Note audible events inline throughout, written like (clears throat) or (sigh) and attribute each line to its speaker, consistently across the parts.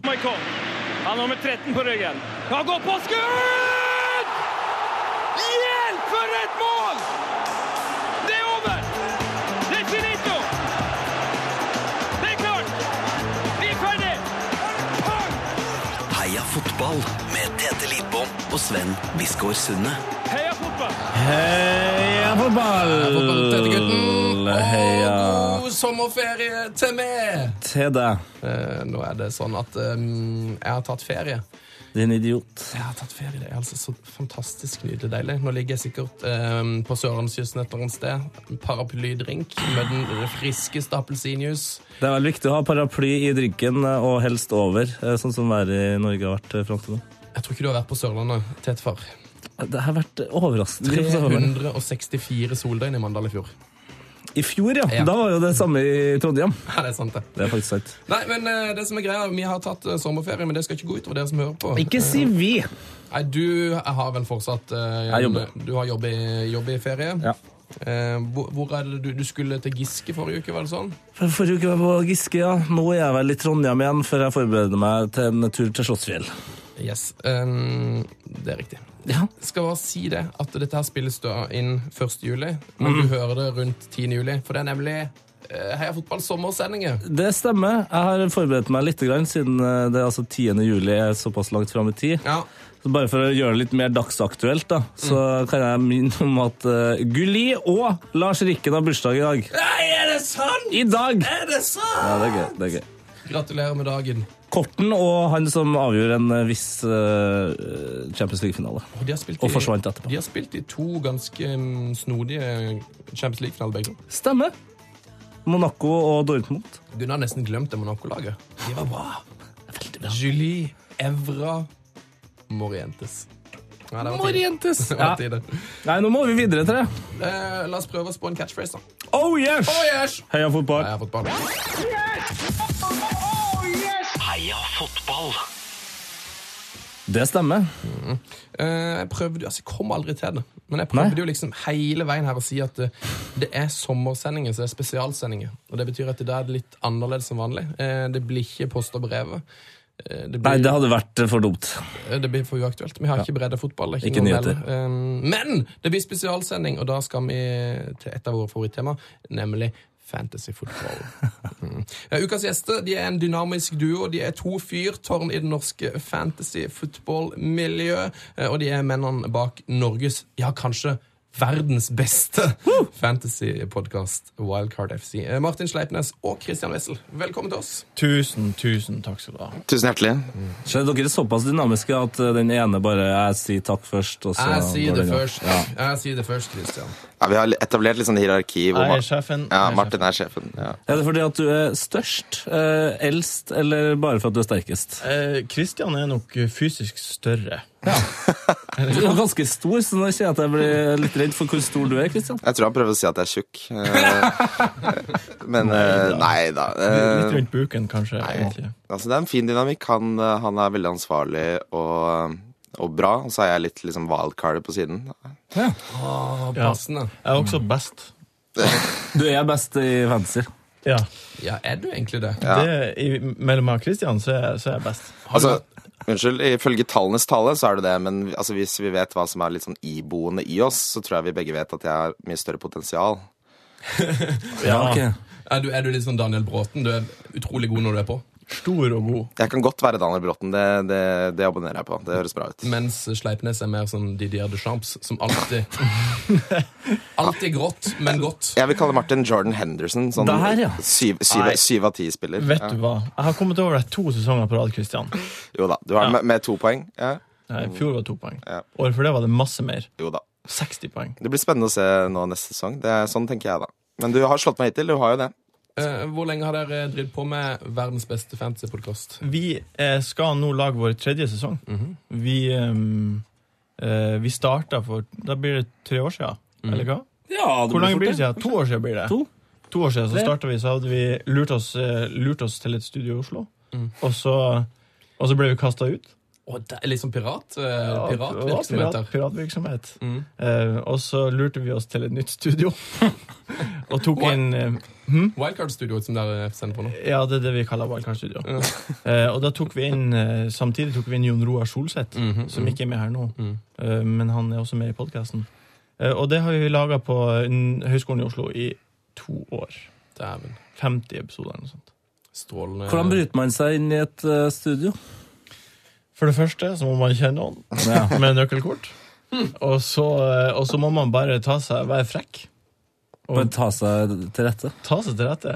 Speaker 1: Boikov. Han har nummer 13 på ryggen. Han går på skudd! Hjelp, for et mål! Det er over! Det er finito! Det er klart! Vi er ferdig!
Speaker 2: Heia fotball med Tete Lidbom og Sven Biskår Sunde.
Speaker 1: Heia fotball!
Speaker 3: Heia
Speaker 4: Velkommen til
Speaker 3: fotball!
Speaker 4: gutten,
Speaker 3: Heia
Speaker 4: og god sommerferie til meg!
Speaker 3: til deg,
Speaker 4: Eh, nå er det sånn at eh, jeg har tatt ferie.
Speaker 3: din idiot.
Speaker 4: Jeg har tatt ferie, det er altså så fantastisk nydelig deilig. Nå ligger jeg sikkert eh, på Sørlandskysten et eller annet sted. Paraplydrink med den friskeste appelsinjuice.
Speaker 3: Det er veldig viktig å ha paraply i drinken, eh, og helst over, eh, sånn som været i Norge har vært eh, fram til nå.
Speaker 4: Jeg tror ikke du har vært på Sørlandet, tetefar.
Speaker 3: Det har vært overraskende. overraskende.
Speaker 4: 364 soldøgn i Mandal i fjor. (laughs)
Speaker 3: I fjor, ja.
Speaker 4: Ja.
Speaker 3: Da var jo det samme i Trondheim.
Speaker 4: Ja, det er sant, det.
Speaker 3: Det er faktisk sant.
Speaker 4: Nei, men eh, det som er greia, vi har tatt eh, sommerferie, men det skal ikke gå utover dere som hører på.
Speaker 3: Ikke si vi.
Speaker 4: Nei, du har vel fortsatt eh,
Speaker 3: Jeg jobber.
Speaker 4: Du har jobb i, jobb i ferie.
Speaker 3: Ja.
Speaker 4: Eh, hvor, hvor er det du, du skulle til Giske forrige uke, var det sånn?
Speaker 3: For- Forrige uke var jeg på Giske, ja. Nå er jeg vel i Trondheim igjen før jeg forbereder meg til en tur til Slottsfjell.
Speaker 4: Yes. eh, det er riktig.
Speaker 3: Ja.
Speaker 4: Skal bare si det, at dette her spilles da inn 1. juli, men
Speaker 3: Mm.
Speaker 4: du hører det rundt 10. juli, for det er nemlig eh, Heia fotball sommersendinger.
Speaker 3: Det stemmer. Jeg har forberedt meg litt, grann, siden eh, det er altså 10. juli er såpass langt fram i tid.
Speaker 4: Ja.
Speaker 3: Så Bare for å gjøre det litt mer dagsaktuelt, da, så kan jeg minne om at uh, Gulli og Lars Rikken har bursdag i dag.
Speaker 4: Nei, er det sant?!
Speaker 3: I dag!
Speaker 4: Er det sant?!
Speaker 3: Ja, det er gøy. det er gøy.
Speaker 4: Gratulerer med dagen.
Speaker 3: Korten og han som avgjorde en eh, viss eh, Champions League-finale.
Speaker 4: Og, de har spilt
Speaker 3: Og
Speaker 4: i-
Speaker 3: forsvant etterpå.
Speaker 4: De har spilt i to ganske mm, snodige Champions League-finaler, begge to.
Speaker 3: Stemmer. Monaco og Dortmund.
Speaker 4: Gunnar har nesten glemt det Monaco-laget. De var bra. Julie Evra Morientes. Ja, det var på tide.
Speaker 3: Morientes!
Speaker 4: Det
Speaker 3: Ja.
Speaker 4: var på tide.
Speaker 3: Nei, nå må vi videre til det.
Speaker 4: Eh, la oss prøve oss på en catchphrase, da.
Speaker 3: Oh yes!
Speaker 4: Oh, yes!
Speaker 3: Heia
Speaker 4: Jeg
Speaker 3: fotball.
Speaker 4: har fått barn.
Speaker 2: Heia fotball.
Speaker 3: Det stemmer.
Speaker 4: Eh, jeg prøvde, altså, jeg kom aldri til det, men jeg prøvde
Speaker 3: Nei.
Speaker 4: jo liksom hele veien her å si at eh, det er sommersendinger, så det er spesialsendinger. Og det betyr at det er det litt annerledes enn vanlig. Eh, det blir ikke post og brevet. Eh, det blir-
Speaker 3: Nei, det hadde vært eh, for dumt.
Speaker 4: Det blir for uaktuelt. Vi har ikke bredde fotball. det er
Speaker 3: Ikke
Speaker 4: noe
Speaker 3: nyheter.
Speaker 4: mer. Um, Men det blir spesialsending, og da skal vi til et av våre favorittema, nemlig
Speaker 3: (laughs)
Speaker 4: fantasyfotball. Mm. Ja, ukas gjester de er en dynamisk duo. De er to fyrtårn i det norske fantasyfotballmiljøet, eh, og de er mennene bak Norges, ja, kanskje Verdens beste fantasypodkast, Wildcard FC. Eh, Martin Sleipnes og Christian Wessel, velkommen til oss.
Speaker 5: Tusen, tusen takk skal du ha.
Speaker 6: Tusen hjertelig.
Speaker 3: Så er dere såpass dynamiske at eh, den ene bare Jeg sier takk først, og så
Speaker 4: Jeg sier
Speaker 3: går
Speaker 4: det
Speaker 3: den av.
Speaker 4: først. Jeg sier det først, Christian.
Speaker 6: Ja, vi har etablert litt sånn hierarki. Hvor
Speaker 5: Jeg er
Speaker 6: Mar
Speaker 5: sjefen.
Speaker 6: ja,
Speaker 5: jeg er
Speaker 6: Martin er sjefen. Ja.
Speaker 3: Er det fordi at du er størst, eh, eldst, eller bare for at du er sterkest?
Speaker 5: sjefen. Eh, Christian er nok eh, fysisk større.
Speaker 6: Eh,
Speaker 3: Du er ganske stor, så nå kjenner jeg at jeg blir litt redd for hvor stor du er, Kristian.
Speaker 6: Jeg tror han prøver å si at jeg er tjukk. eh, (laughs) Men eh, nei da. eh,
Speaker 5: Litt rundt buken, kanskje. egentlig.
Speaker 6: Altså, det er en fin dynamikk. Han, eh, han er veldig ansvarlig og, eh, og bra. Og så er jeg litt liksom wildcardet på siden.
Speaker 5: Ja.
Speaker 4: Passende.
Speaker 5: Jeg er også best.
Speaker 3: Du er best i fancy.
Speaker 5: Ja.
Speaker 4: Ja, er du egentlig det?
Speaker 6: Ja.
Speaker 5: Det, i, mellom meg og Christian så er, så er jeg best.
Speaker 6: Altså, unnskyld, ifølge tallenes tale så er du det, men vi- altså, hvis vi vet hva som er litt sånn iboende i oss, så tror jeg vi begge vet at jeg har mye større potensial.
Speaker 3: Ja, ok.
Speaker 4: Er du, er du litt sånn Daniel Bråten? Du er utrolig god når du er på.
Speaker 5: Stor og god.
Speaker 6: Jeg kan godt være Daniel Bråten. Det, det, det abonnerer jeg på. Det høres bra ut.
Speaker 4: Mens Sleipnes er mer sånn Didier Deschamps, som
Speaker 5: (laughs)
Speaker 4: alltid Alltid grått, men godt.
Speaker 6: Jeg vil kalle Martin Jordan Henderson. Sånn
Speaker 3: Det her, ja.
Speaker 6: syv, syv, syv av ti spiller.
Speaker 5: Vet
Speaker 6: Ja.
Speaker 5: du hva? Jeg har kommet over deg to sesonger på rad, Christian.
Speaker 6: Jo da. Du har
Speaker 5: Ja.
Speaker 6: med, med to poeng. Ja.
Speaker 5: Nei, I fjor var det to poeng.
Speaker 6: Ja.
Speaker 5: Året før det var det masse mer.
Speaker 6: Jo da.
Speaker 5: 60 poeng.
Speaker 6: Det blir spennende å se nå neste sesong. Det er, sånn tenker jeg, da. Men du har slått meg hittil. Du har jo det.
Speaker 4: Eh, hvor lenge har dere drevet på med verdens beste fantasypodkast?
Speaker 5: Vi eh, skal nå lage vår tredje sesong. Vi, ehm, eh, vi starta for Da blir det tre år siden, eller hva?
Speaker 3: Ja, det
Speaker 5: Hvor lenge
Speaker 3: fort
Speaker 5: blir det siden? To år siden blir det.
Speaker 3: To?
Speaker 5: To år siden så
Speaker 3: Tre?
Speaker 5: starta vi, så hadde vi lurt oss, eh, lurt oss til et studio i Oslo. Og, så, og så ble vi kasta ut.
Speaker 4: Og det er litt sånn pirat, eh,
Speaker 5: Ja,
Speaker 4: piratvirksomheter.
Speaker 5: Pirat, piratvirksomhet. Eh, og så lurte vi oss til et nytt studio. og tok
Speaker 4: What?
Speaker 5: en eh,
Speaker 4: Wildcard-studioet som dere sender på nå.
Speaker 5: Ja, det er det vi kaller Wildcard Studio. Eh, og da tok vi inn eh, samtidig tok vi inn Jon Roar Solseth, som ikke er med her nå, eh, men han er også med i podkasten. Eh, og det har vi laga på eh, Høgskolen i Oslo i to år.
Speaker 4: Dæven.
Speaker 5: 50 episoder eller noe sånt.
Speaker 4: Strålende.
Speaker 3: Hvordan bryter man seg inn i et eh, studio?
Speaker 5: For det første så må man kjenne noen med nøkkelkort. Og så, eh, og så må man bare ta seg, være frekk.
Speaker 3: Bare ta seg til rette.
Speaker 5: Ta seg til rette.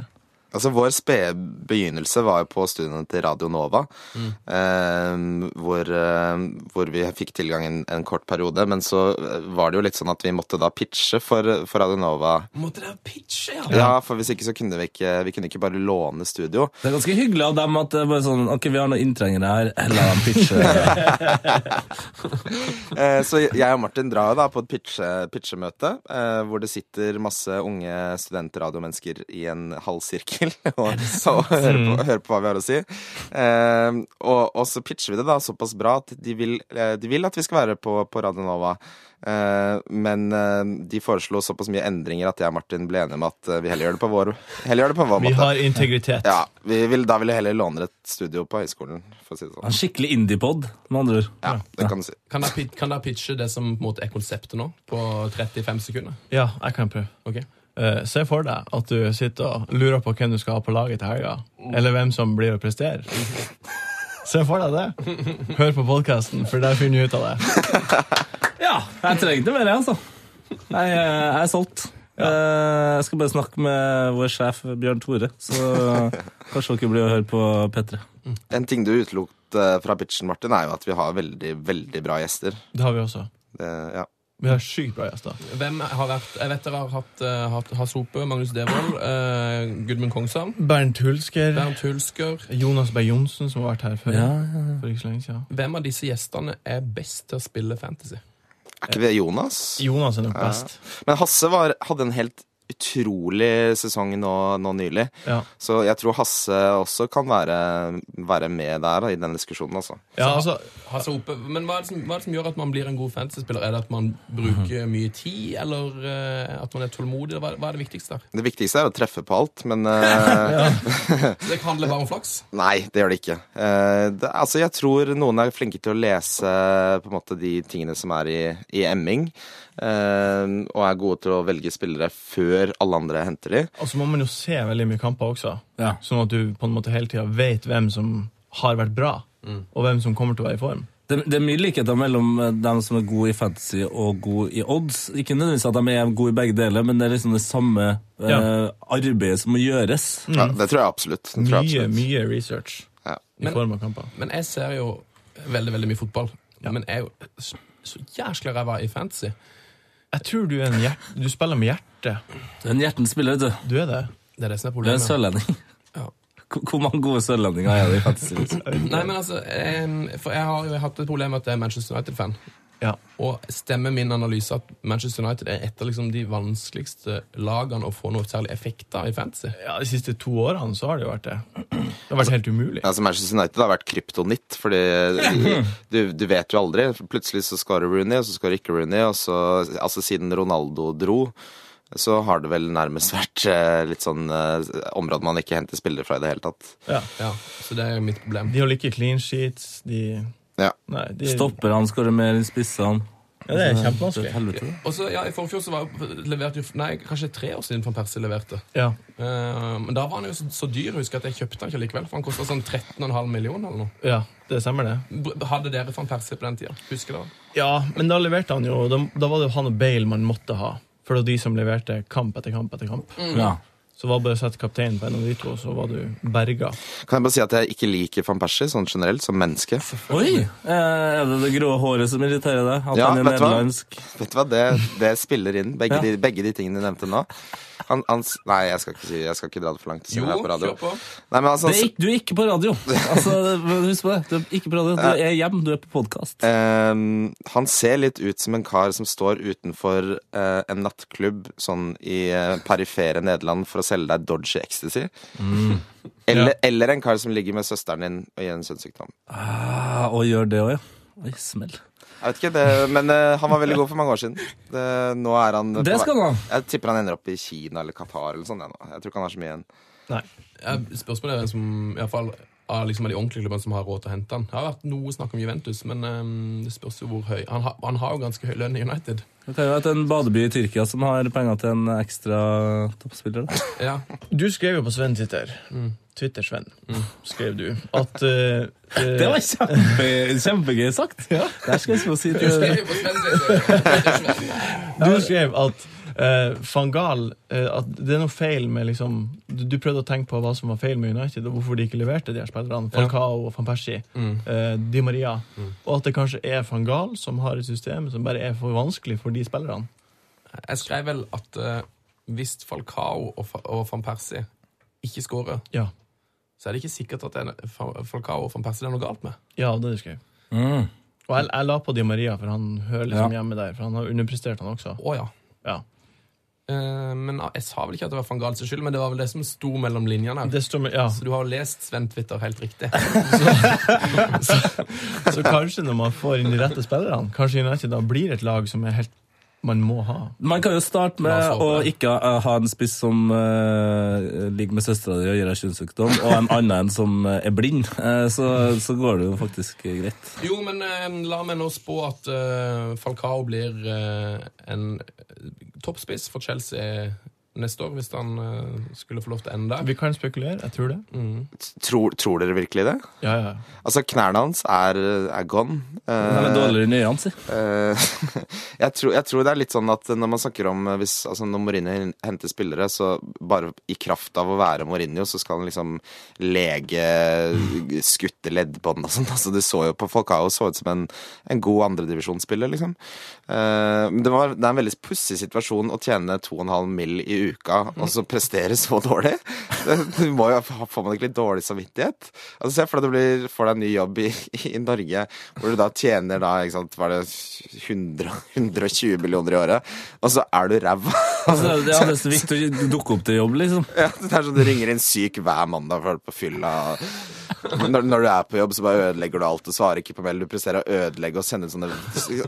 Speaker 6: Altså, vår spede begynnelse var jo på studiene til Radio Nova, eh, hvor, eh, hvor vi fikk tilgang en, en kort periode. Men så eh, var det jo litt sånn at vi måtte da pitche for, for Radio Nova.
Speaker 4: Måtte dere pitche, ja?
Speaker 6: Ja, for hvis ikke så kunne vi ikke, vi kunne ikke bare låne studio.
Speaker 3: Det er ganske hyggelig av dem at det er bare sånn Ok, vi har noen inntrengere her. La dem (laughs) pitche.
Speaker 6: Eh, så jeg og Martin drar jo da på et pitche, pitchemøte, eh, hvor det sitter masse unge studentradiomennesker i en halv sirkel (laughs) og, så, og hører, på,
Speaker 5: Mm.
Speaker 6: hører på hva vi har å si. Eh, og, og så pitcher vi det da såpass bra at de vil, eh, de vil at vi skal være på, på Radio Nova. Eh, men eh, de foreslo såpass mye endringer at jeg og Martin ble enige om at eh, vi heller gjør det på vår, heller gjør det på vår
Speaker 5: Vi
Speaker 6: måte.
Speaker 5: har integritet.
Speaker 6: Ja, vi vil, Da vil jeg heller låne et studio på høyskolen, for å si det
Speaker 5: Ah,
Speaker 6: sånn.
Speaker 3: Skikkelig indiepod, med andre ord.
Speaker 6: Ja, det kan du si.
Speaker 4: Kan dere, pit- kan dere pitche det som på en måte, er konseptet nå, på 35 sekunder?
Speaker 5: Ja, jeg kan prøve.
Speaker 4: Ok.
Speaker 5: Eh, se for deg at du sitter og lurer på hvem du skal ha på laget til helga, eller hvem som blir å prestere. Se for deg det. Hør på podkasten, for der finner du ut av det.
Speaker 3: Ja, jeg trengte mer, jeg, altså. Jeg, eh, jeg er solgt. Eh, Jeg skal bare snakke med vår sjef Bjørn Tore, så kanskje dere blir å høre på P3.
Speaker 6: En ting du utelukket eh, fra pitchen, Martin, er jo at vi har veldig, veldig bra gjester.
Speaker 5: Det har vi også.
Speaker 6: Det, ja.
Speaker 5: Vi har sykt bra gjester.
Speaker 4: Hvem har vært Jeg vet dere har hatt eh, hatt Hasope, Magnus Devold, eh, Gudmund Kongshavn,
Speaker 5: Bernt Hulsker.
Speaker 4: Bernt Hulsker.
Speaker 5: Jonas Berg Johnsen, som har vært her før.
Speaker 3: Ja,
Speaker 5: For ikke så lenge siden.
Speaker 4: Hvem av disse gjestene er best til å spille fantasy?
Speaker 6: Er ikke det Jonas?
Speaker 5: Jonas er nok best.
Speaker 6: Men Hasse var, hadde en helt utrolig sesong nå, nå nylig.
Speaker 5: Ja.
Speaker 6: Så jeg tror Hasse også kan være, være med der da, i den diskusjonen, altså.
Speaker 5: Ja, altså,
Speaker 4: Hasope, men hva er, det som, hva er det som gjør at man blir en god fantasyspiller? Er det at man bruker mye tid, eller eh, at man er tålmodig? eller Hva, hva er det viktigste der?
Speaker 6: Det viktigste er å treffe på alt, men eh,
Speaker 4: Det handler bare om flaks.
Speaker 6: Nei, det gjør det ikke. Eh, det, altså, jeg tror noen er flinke til å lese på en måte de tingene som er i, i emming, eh, og er gode til å velge spillere før alle andre henter de.
Speaker 5: Og så må man jo se veldig mye kamper også,
Speaker 3: Ja.
Speaker 5: sånn at du på en måte hele tida vet hvem som har vært bra,
Speaker 3: Mm.
Speaker 5: og hvem som kommer til å være i form.
Speaker 3: Det, det er mye likheter mellom eh, dem som er gode i fantasy og gode i odds. Ikke nødvendigvis at de er gode i begge deler, men det er liksom det samme eh,
Speaker 5: Ja.
Speaker 3: arbeidet som må gjøres.
Speaker 6: Ja, det tror jeg absolutt. Det tror jeg
Speaker 5: Mye,
Speaker 6: absolutt.
Speaker 5: mye research
Speaker 6: Ja.
Speaker 5: i form av kamper.
Speaker 4: Men jeg ser jo veldig, veldig mye fotball. Men jeg er jo så- så jæskla ræva i fantasy.
Speaker 5: Jeg tror du er en hjert... Du spiller med hjertet.
Speaker 3: Du er en hjertens spiller, vet du.
Speaker 5: Du er det.
Speaker 4: Det er det som er
Speaker 3: Du
Speaker 4: problemet.
Speaker 3: er en sørlending.
Speaker 4: Ja.
Speaker 3: (laughs) Hvor hvor mange gode sørlendinger er det i fantasy? liksom?
Speaker 4: Nei, men altså, em, for jeg har jo hatt et problem med at jeg er Manchester United-fan.
Speaker 5: Ja.
Speaker 4: Og stemmer min analyse at Manchester United er et av liksom, de vanskeligste lagene å få noe særlig effekt av i fantasy?
Speaker 5: ja, De siste to årene så har det jo vært det. Det har vært helt umulig.
Speaker 6: Altså Manchester United har vært kryptonitt, fordi
Speaker 3: (laughs)
Speaker 6: du, du vet jo aldri. Plutselig så skårer Rooney, og så skårer ikke Rooney. Og så, altså siden Ronaldo dro, så har det vel nærmest (laughs) vært eh, litt sånn eh, område man ikke henter spillere fra i det hele tatt.
Speaker 5: Ja.
Speaker 4: Ja, Så det er jo mitt problem.
Speaker 5: De holder ikke clean sheets. De
Speaker 6: Ja.
Speaker 5: Nei, de
Speaker 3: Stopper han, skårer mer enn spissene.
Speaker 5: Ja, det er
Speaker 3: Det er et
Speaker 5: kjempevanskelig.
Speaker 3: helvete.
Speaker 4: Og så, ja, I forfjor så var, leverte jo Nei, kanskje tre år siden Van Persie leverte.
Speaker 5: Ja.
Speaker 4: Eh, men da var han jo så, så dyr, jeg husker at jeg kjøpte han ikke likevel. For han kosta sånn 13,5 millioner eller noe.
Speaker 5: ja, det stemmer, det.
Speaker 4: Br- Hadde dere Van Persie på den tida? Husker dere?
Speaker 5: Ja, men da leverte han jo Da, da var det jo han og Bale man måtte ha. For det var de som leverte kamp etter kamp etter kamp.
Speaker 3: Ja.
Speaker 5: Så var det bare å sette kapteinen på en av de to, så var du berga.
Speaker 6: Kan jeg bare si at jeg ikke liker van Persie sånn generelt, som menneske.
Speaker 3: Oi! eh, Er det det grå håret som irriterer deg? At
Speaker 6: Ja,
Speaker 3: han er
Speaker 6: vet du hva?
Speaker 3: nederlandsk?
Speaker 6: Vet du hva, Det, det spiller inn, begge,
Speaker 3: Ja.
Speaker 6: de, begge de tingene du nevnte nå. Han, han, s- nei, jeg skal ikke si Jeg skal ikke dra det for langt. siden
Speaker 4: Jo,
Speaker 6: jeg er på radio.
Speaker 4: kjør på.
Speaker 6: Nei, men altså,
Speaker 3: Det
Speaker 6: han
Speaker 3: er
Speaker 6: s-
Speaker 3: ikke, du er ikke på radio. Altså, det- husk på det. Du er ikke på radio. Du er hjem, du er på podkast.
Speaker 6: Ehm, han ser litt ut som en kar som står utenfor eh, en nattklubb sånn i eh, perifere Nederland for å å selge deg dodgy ecstasy.
Speaker 3: Mm.
Speaker 6: Eller, eller en kar som ligger med søsteren din i en kjønnssykdom.
Speaker 3: Ah, og gjør det òg, ja. Oi, smell.
Speaker 6: Jeg vet ikke, det, men eh, han var veldig god for mange år siden. Det, nå er han på
Speaker 3: Det skal
Speaker 6: vei-
Speaker 3: han ha.
Speaker 6: Jeg tipper han ender opp i Kina eller Qatar eller sånn. jeg, nå. Jeg tror ikke han har så mye igjen.
Speaker 5: Nei.
Speaker 4: Ja, Spørsmålet er hvem som i hvert fall av liksom av de ordentlige klubbene som har råd til å hente han. Det har vært noe snakk om Juventus, men ehm, det spørs jo hvor høy han, ha, han har jo ganske høy lønn i United.
Speaker 3: Det kan jo være at det er en badeby i Tyrkia som har penger til en ekstra toppspiller. da.
Speaker 4: Ja.
Speaker 5: Du skrev jo på Sven Twitter,
Speaker 3: Mm.
Speaker 5: Twitter-Sven, skrev du,
Speaker 3: (laughs)
Speaker 5: at eh, eh,
Speaker 3: Det var kjempe, kjempegøy sagt! Ja. Der skal jeg så si
Speaker 4: Du
Speaker 3: til
Speaker 4: skrev jo på Svensk,
Speaker 5: Du skrev at eh, van Gaal eh, At det er noe feil med liksom du, du prøvde å tenke på hva som var feil med United, og hvorfor de ikke leverte de her spillerne. Falcao og van Persie.
Speaker 3: Mm.
Speaker 5: eh, Di Maria. Og at det kanskje er van Gaal som har et system som bare er for vanskelig for de spillerne.
Speaker 4: Jeg skrev vel at eh, hvis Falcao og, Fa- og van Persie ikke scorer,
Speaker 5: Ja.
Speaker 4: så er det ikke sikkert at det er no- Fa- Falcao og van Persie det er noe galt med.
Speaker 5: ja, det du skrev.
Speaker 3: Mm.
Speaker 5: Og jeg, jeg la på Di Maria, for han hører liksom
Speaker 3: Ja.
Speaker 5: hjemme der. For han har underprestert, han også.
Speaker 4: Å ja.
Speaker 5: Ja.
Speaker 4: Eh, men jeg sa vel ikke at det var van Gaal sin skyld, men det var vel det som sto mellom linjene.
Speaker 5: Det står med, ja.
Speaker 4: Så du har jo lest Sven Twitter helt riktig.
Speaker 5: Så kanskje når man får inn de rette spillerne, kanskje United da blir et lag som er helt man må ha.
Speaker 3: Man kan jo starte
Speaker 4: La oss
Speaker 3: med å
Speaker 4: håpe det.
Speaker 3: ikke ha- ha en spiss som eh, ligger med søstera di og gir deg kjønnssykdom, og en annen en som eh, er blind. Eh, så, så går det jo faktisk eh, greit.
Speaker 4: Jo, men eh, la meg nå spå at eh, Falcao blir eh, en toppspiss for Chelsea eh, neste år, hvis han eh, skulle få lov til å ende der.
Speaker 5: Vi kan spekulere, jeg tror det.
Speaker 3: Mm.
Speaker 6: Tror, tror dere virkelig det?
Speaker 5: Ja, ja.
Speaker 6: Altså, knærne hans er, er gone. Eh,
Speaker 3: Han er dårligere enn øynene, si.
Speaker 6: Eh, (laughs) jeg, tror, jeg tror det er litt sånn at når man snakker om eh, hvis, altså Når Mourinho henter spillere, så bare i kraft av å være Mourinho, så skal han liksom lege skutte leddbånd og sånn. Altså, du så jo på Falcao så ut som en, en god andredivisjonsspiller, liksom. Eh, men det, var, det er en veldig pussig situasjon å tjene 2,5 mill. i uka, og så prestere så dårlig. Du må jo, ha- får man ikke litt dårlig samvittighet? Altså, Se for deg at du blir, får deg en ny jobb i, i Norge, hvor du da tjener da, ikke sant, hva er det 100, 120 millioner i året, og så er du ræva.
Speaker 3: (laughs) Altså, det er nesten viktig å ikke dukke opp til jobb, liksom.
Speaker 6: Ja, det er sånn du ringer inn syk hver mandag for å holde på fylla. Når, når du er på jobb, så bare ødelegger du alt. Du svarer ikke på mail. Du presterer å ødelegge og sende ut sånne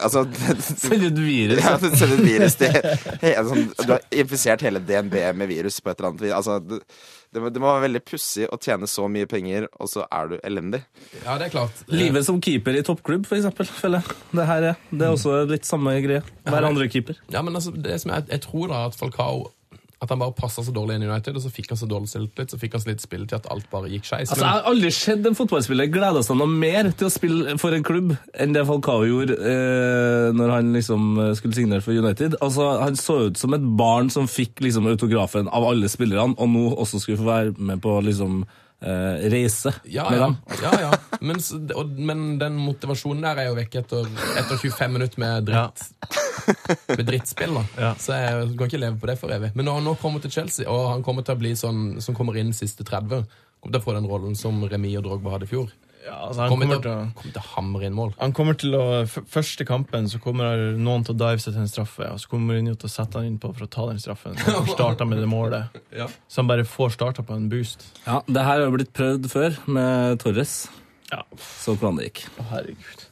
Speaker 6: Altså
Speaker 3: Send ut virus.
Speaker 6: ja, du sender et virus til he, sånn, Du har infisert hele DNB med virus på et eller annet vis. Altså, det, det, må- det må være veldig pussig å tjene så mye penger, og så er du elendig.
Speaker 4: Ja, det er klart. Eh,
Speaker 3: Livet som keeper i toppklubb, for eksempel, føler jeg. Det her er, det er også litt samme greie. Hver andre keeper.
Speaker 4: Ja, men altså, det som jeg, jeg tror da at Falcao at han bare passa så dårlig inn i United, og så fikk han så dårlig selvtillit, så fikk han så litt spill til at alt bare gikk skeis.
Speaker 3: Altså, Jeg har aldri sett en fotballspiller glede seg noe mer til å spille for en klubb enn det Falcao gjorde eh, når han liksom eh, skulle signere for United. Altså, Han så ut som et barn som fikk liksom autografen av alle spillerne, og nå også skulle få være med på liksom eh, reise
Speaker 4: Ja,
Speaker 3: med
Speaker 4: ja.
Speaker 3: dem.
Speaker 4: ja, ja. Men, s- og, men den motivasjonen der er jo vekk etter, etter 25 minutter med dritt. Med drittspill, da.
Speaker 5: Ja.
Speaker 4: Så jeg kan ikke leve på det for evig. Men når han nå kommer til Chelsea, og han kommer til å bli sånn som kommer inn siste 30, kommer til å få den rollen som Remi og Drogba hadde i fjor.
Speaker 5: Ja, altså, han,
Speaker 4: Kommer
Speaker 5: kommer
Speaker 4: til,
Speaker 5: til,
Speaker 4: å-
Speaker 5: å-
Speaker 4: kommer til å hamre inn mål.
Speaker 5: han kommer til å f- Første kampen så kommer noen til å dive seg til en straffe, og så kommer Mourinho til å sette han innpå for å ta den straffen. Så han får starta med det
Speaker 3: (laughs)
Speaker 5: målet.
Speaker 4: Ja.
Speaker 5: Så han bare får starta på en boost.
Speaker 3: Ja, Det her har jo blitt prøvd før, med Torres.
Speaker 5: Ja.
Speaker 3: Så hvordan det gikk.
Speaker 5: Å, herregud.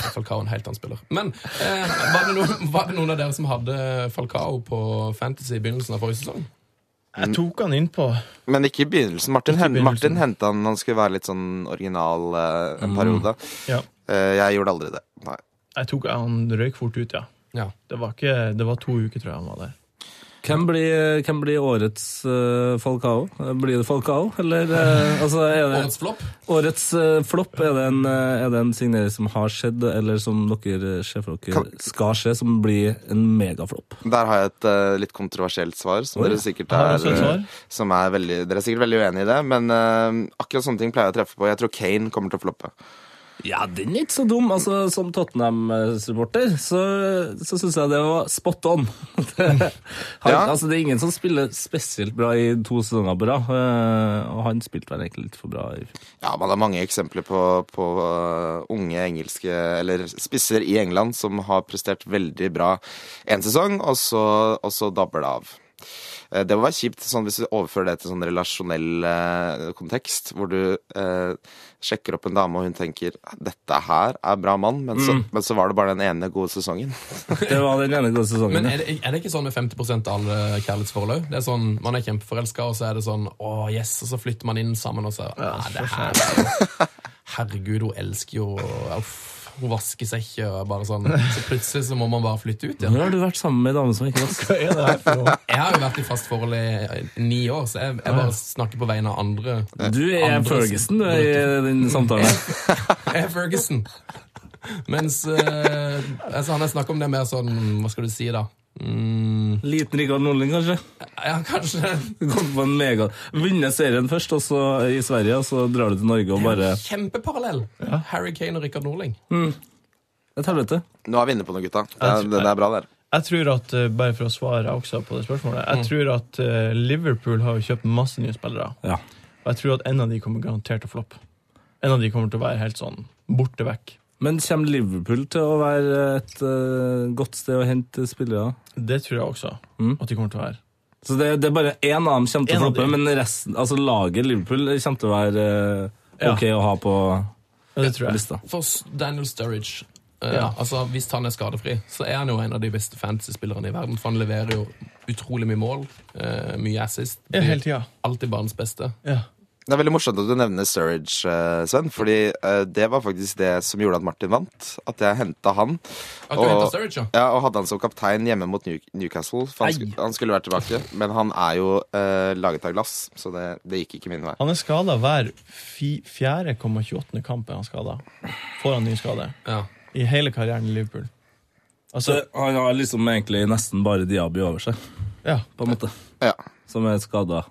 Speaker 4: Falcao er en helt annen spiller. Men eh, var, det noen, var det noen av dere som hadde Falcao på Fantasy i begynnelsen av forrige sesong?
Speaker 3: Mm.
Speaker 5: Jeg tok han innpå.
Speaker 6: Men ikke i begynnelsen. Martin,
Speaker 5: Ikke i
Speaker 6: hen-
Speaker 5: begynnelsen.
Speaker 6: Martin henta han han skulle være litt sånn original eh, en periode.
Speaker 5: Ja.
Speaker 6: Eh, jeg gjorde aldri det. Nei.
Speaker 5: Jeg tok, han røyk fort ut, ja.
Speaker 4: Ja.
Speaker 5: Det var, ikke, det var to uker, tror jeg han var der.
Speaker 3: Hvem blir, hvem blir årets eh, Falcao? Blir det Falcao, eller eh, altså, er det,
Speaker 4: Årets flopp?
Speaker 3: Årets eh, flopp, er det, en, eh, er det en signering som har skjedd, eller som dere eh, ser for dere
Speaker 6: Kan-
Speaker 3: skal skje, som blir en megaflopp?
Speaker 6: Der har jeg et eh, litt kontroversielt svar, som
Speaker 3: Oi.
Speaker 6: dere sikkert
Speaker 5: Har
Speaker 6: er,
Speaker 5: du også et
Speaker 6: eh,
Speaker 5: svar?
Speaker 6: som er veldig, Dere er sikkert veldig uenige i det, men eh, akkurat sånne ting pleier jeg å treffe på. Jeg tror Kane kommer til å floppe.
Speaker 3: Ja, den er ikke så dum. Altså, som Tottenham-supporter så, så syns jeg det var spot on. (laughs) det, han,
Speaker 6: Ja.
Speaker 3: altså, det er ingen som spiller spesielt bra i to sesonger på rad, eh, og han spilte vel egentlig litt for bra i fjor.
Speaker 6: Ja, man har mange eksempler på, på øh, unge engelske, eller spisser i England, som har prestert veldig bra en sesong, og så, og så dabber det av. Eh, Det må være kjipt sånn, hvis du overfører det til sånn relasjonell eh, kontekst, hvor du eh, sjekker opp en dame og hun tenker 'dette her er bra mann', men
Speaker 5: Mm.
Speaker 6: så, men så var det bare den ene gode sesongen.
Speaker 3: Det var den
Speaker 4: (laughs)
Speaker 3: ene gode sesongen.
Speaker 4: Men
Speaker 3: ja.
Speaker 4: er det, er det ikke sånn med 50 av alle kjærlighetsforhold òg? Det er sånn, Man er kjempeforelska, og så er det sånn Å, yes, og så flytter man inn sammen, og så «Nei, det her er jo- Herregud, hun elsker jo og, uff, Hun vasker seg ikke, og bare sånn Så plutselig så må man bare flytte ut igjen.
Speaker 3: Nå har du vært sammen med en dame som ikke var
Speaker 5: Hva er det her for noe?
Speaker 4: Jeg har jo vært i fast forhold i i ni år, så jeg, jeg bare snakker på vegne av andre.
Speaker 3: Du er
Speaker 4: Andre-
Speaker 3: Ferguson du, i den samtalen. her.
Speaker 4: Jeg er Ferguson. Mens eh, altså, han jeg snakker om, det er mer sånn Hva skal du si, da? Mm,
Speaker 3: (laughs) Liten Rikard Norling, kanskje?
Speaker 4: ja, kanskje
Speaker 3: Kom på en mega... Vinne serien først, og så i Sverige, og så drar du til Norge og bare
Speaker 4: Kjempeparallell! Harry Kane og Rikard Norling.
Speaker 3: Et helvete.
Speaker 6: Nå er vi inne på noe, gutta. Det er, det er bra, der.
Speaker 5: Jeg tror at, eh, bare for å svare også på det spørsmålet, jeg tror at eh, Liverpool har jo kjøpt masse nye spillere.
Speaker 3: Ja.
Speaker 5: Og jeg tror at en av de kommer garantert til å floppe. En av de kommer til å være helt sånn borte vekk.
Speaker 3: Men kommer Liverpool til å være et eh, godt sted å hente spillere?
Speaker 5: Det tror jeg også at de kommer til å være.
Speaker 3: Så det, det er bare én av dem kommer til
Speaker 5: En
Speaker 3: å
Speaker 5: av
Speaker 3: floppe,
Speaker 5: de.
Speaker 3: men resten, altså laget Liverpool kommer til å være eh,
Speaker 5: Ja.
Speaker 3: ok å ha på
Speaker 5: Ja, det tror jeg.
Speaker 3: lista.
Speaker 4: For S- Daniel Sturridge eh,
Speaker 5: Ja.
Speaker 4: altså Hvis han er skadefri, så er han jo en av de beste fantasy-spillerne i verden. For han leverer jo utrolig mye mål, eh, mye assist.
Speaker 5: Ja, hele tida.
Speaker 4: Alltid banens beste.
Speaker 5: Ja.
Speaker 6: Det er veldig morsomt at du nevner Sturridge, eh, Sven, fordi eh, det var faktisk det som gjorde at Martin vant. At jeg henta han.
Speaker 4: At du
Speaker 6: Og-
Speaker 4: henter Sturridge, ja?
Speaker 6: Ja, og hadde han som kaptein hjemme mot New Newcastle. For han, skulle, han skulle vært tilbake, men han er jo eh, laget av glass, så det, det gikk ikke min vei.
Speaker 5: Han er skada hver fi- 4,28. kamp. er han skada. Får han ny skade.
Speaker 4: ja.
Speaker 5: I hele karrieren i Liverpool.
Speaker 3: Så
Speaker 5: Altså,
Speaker 3: han har liksom egentlig nesten bare Diaby over seg,
Speaker 5: ja.
Speaker 3: på en måte.
Speaker 6: Ja.
Speaker 3: Som er skada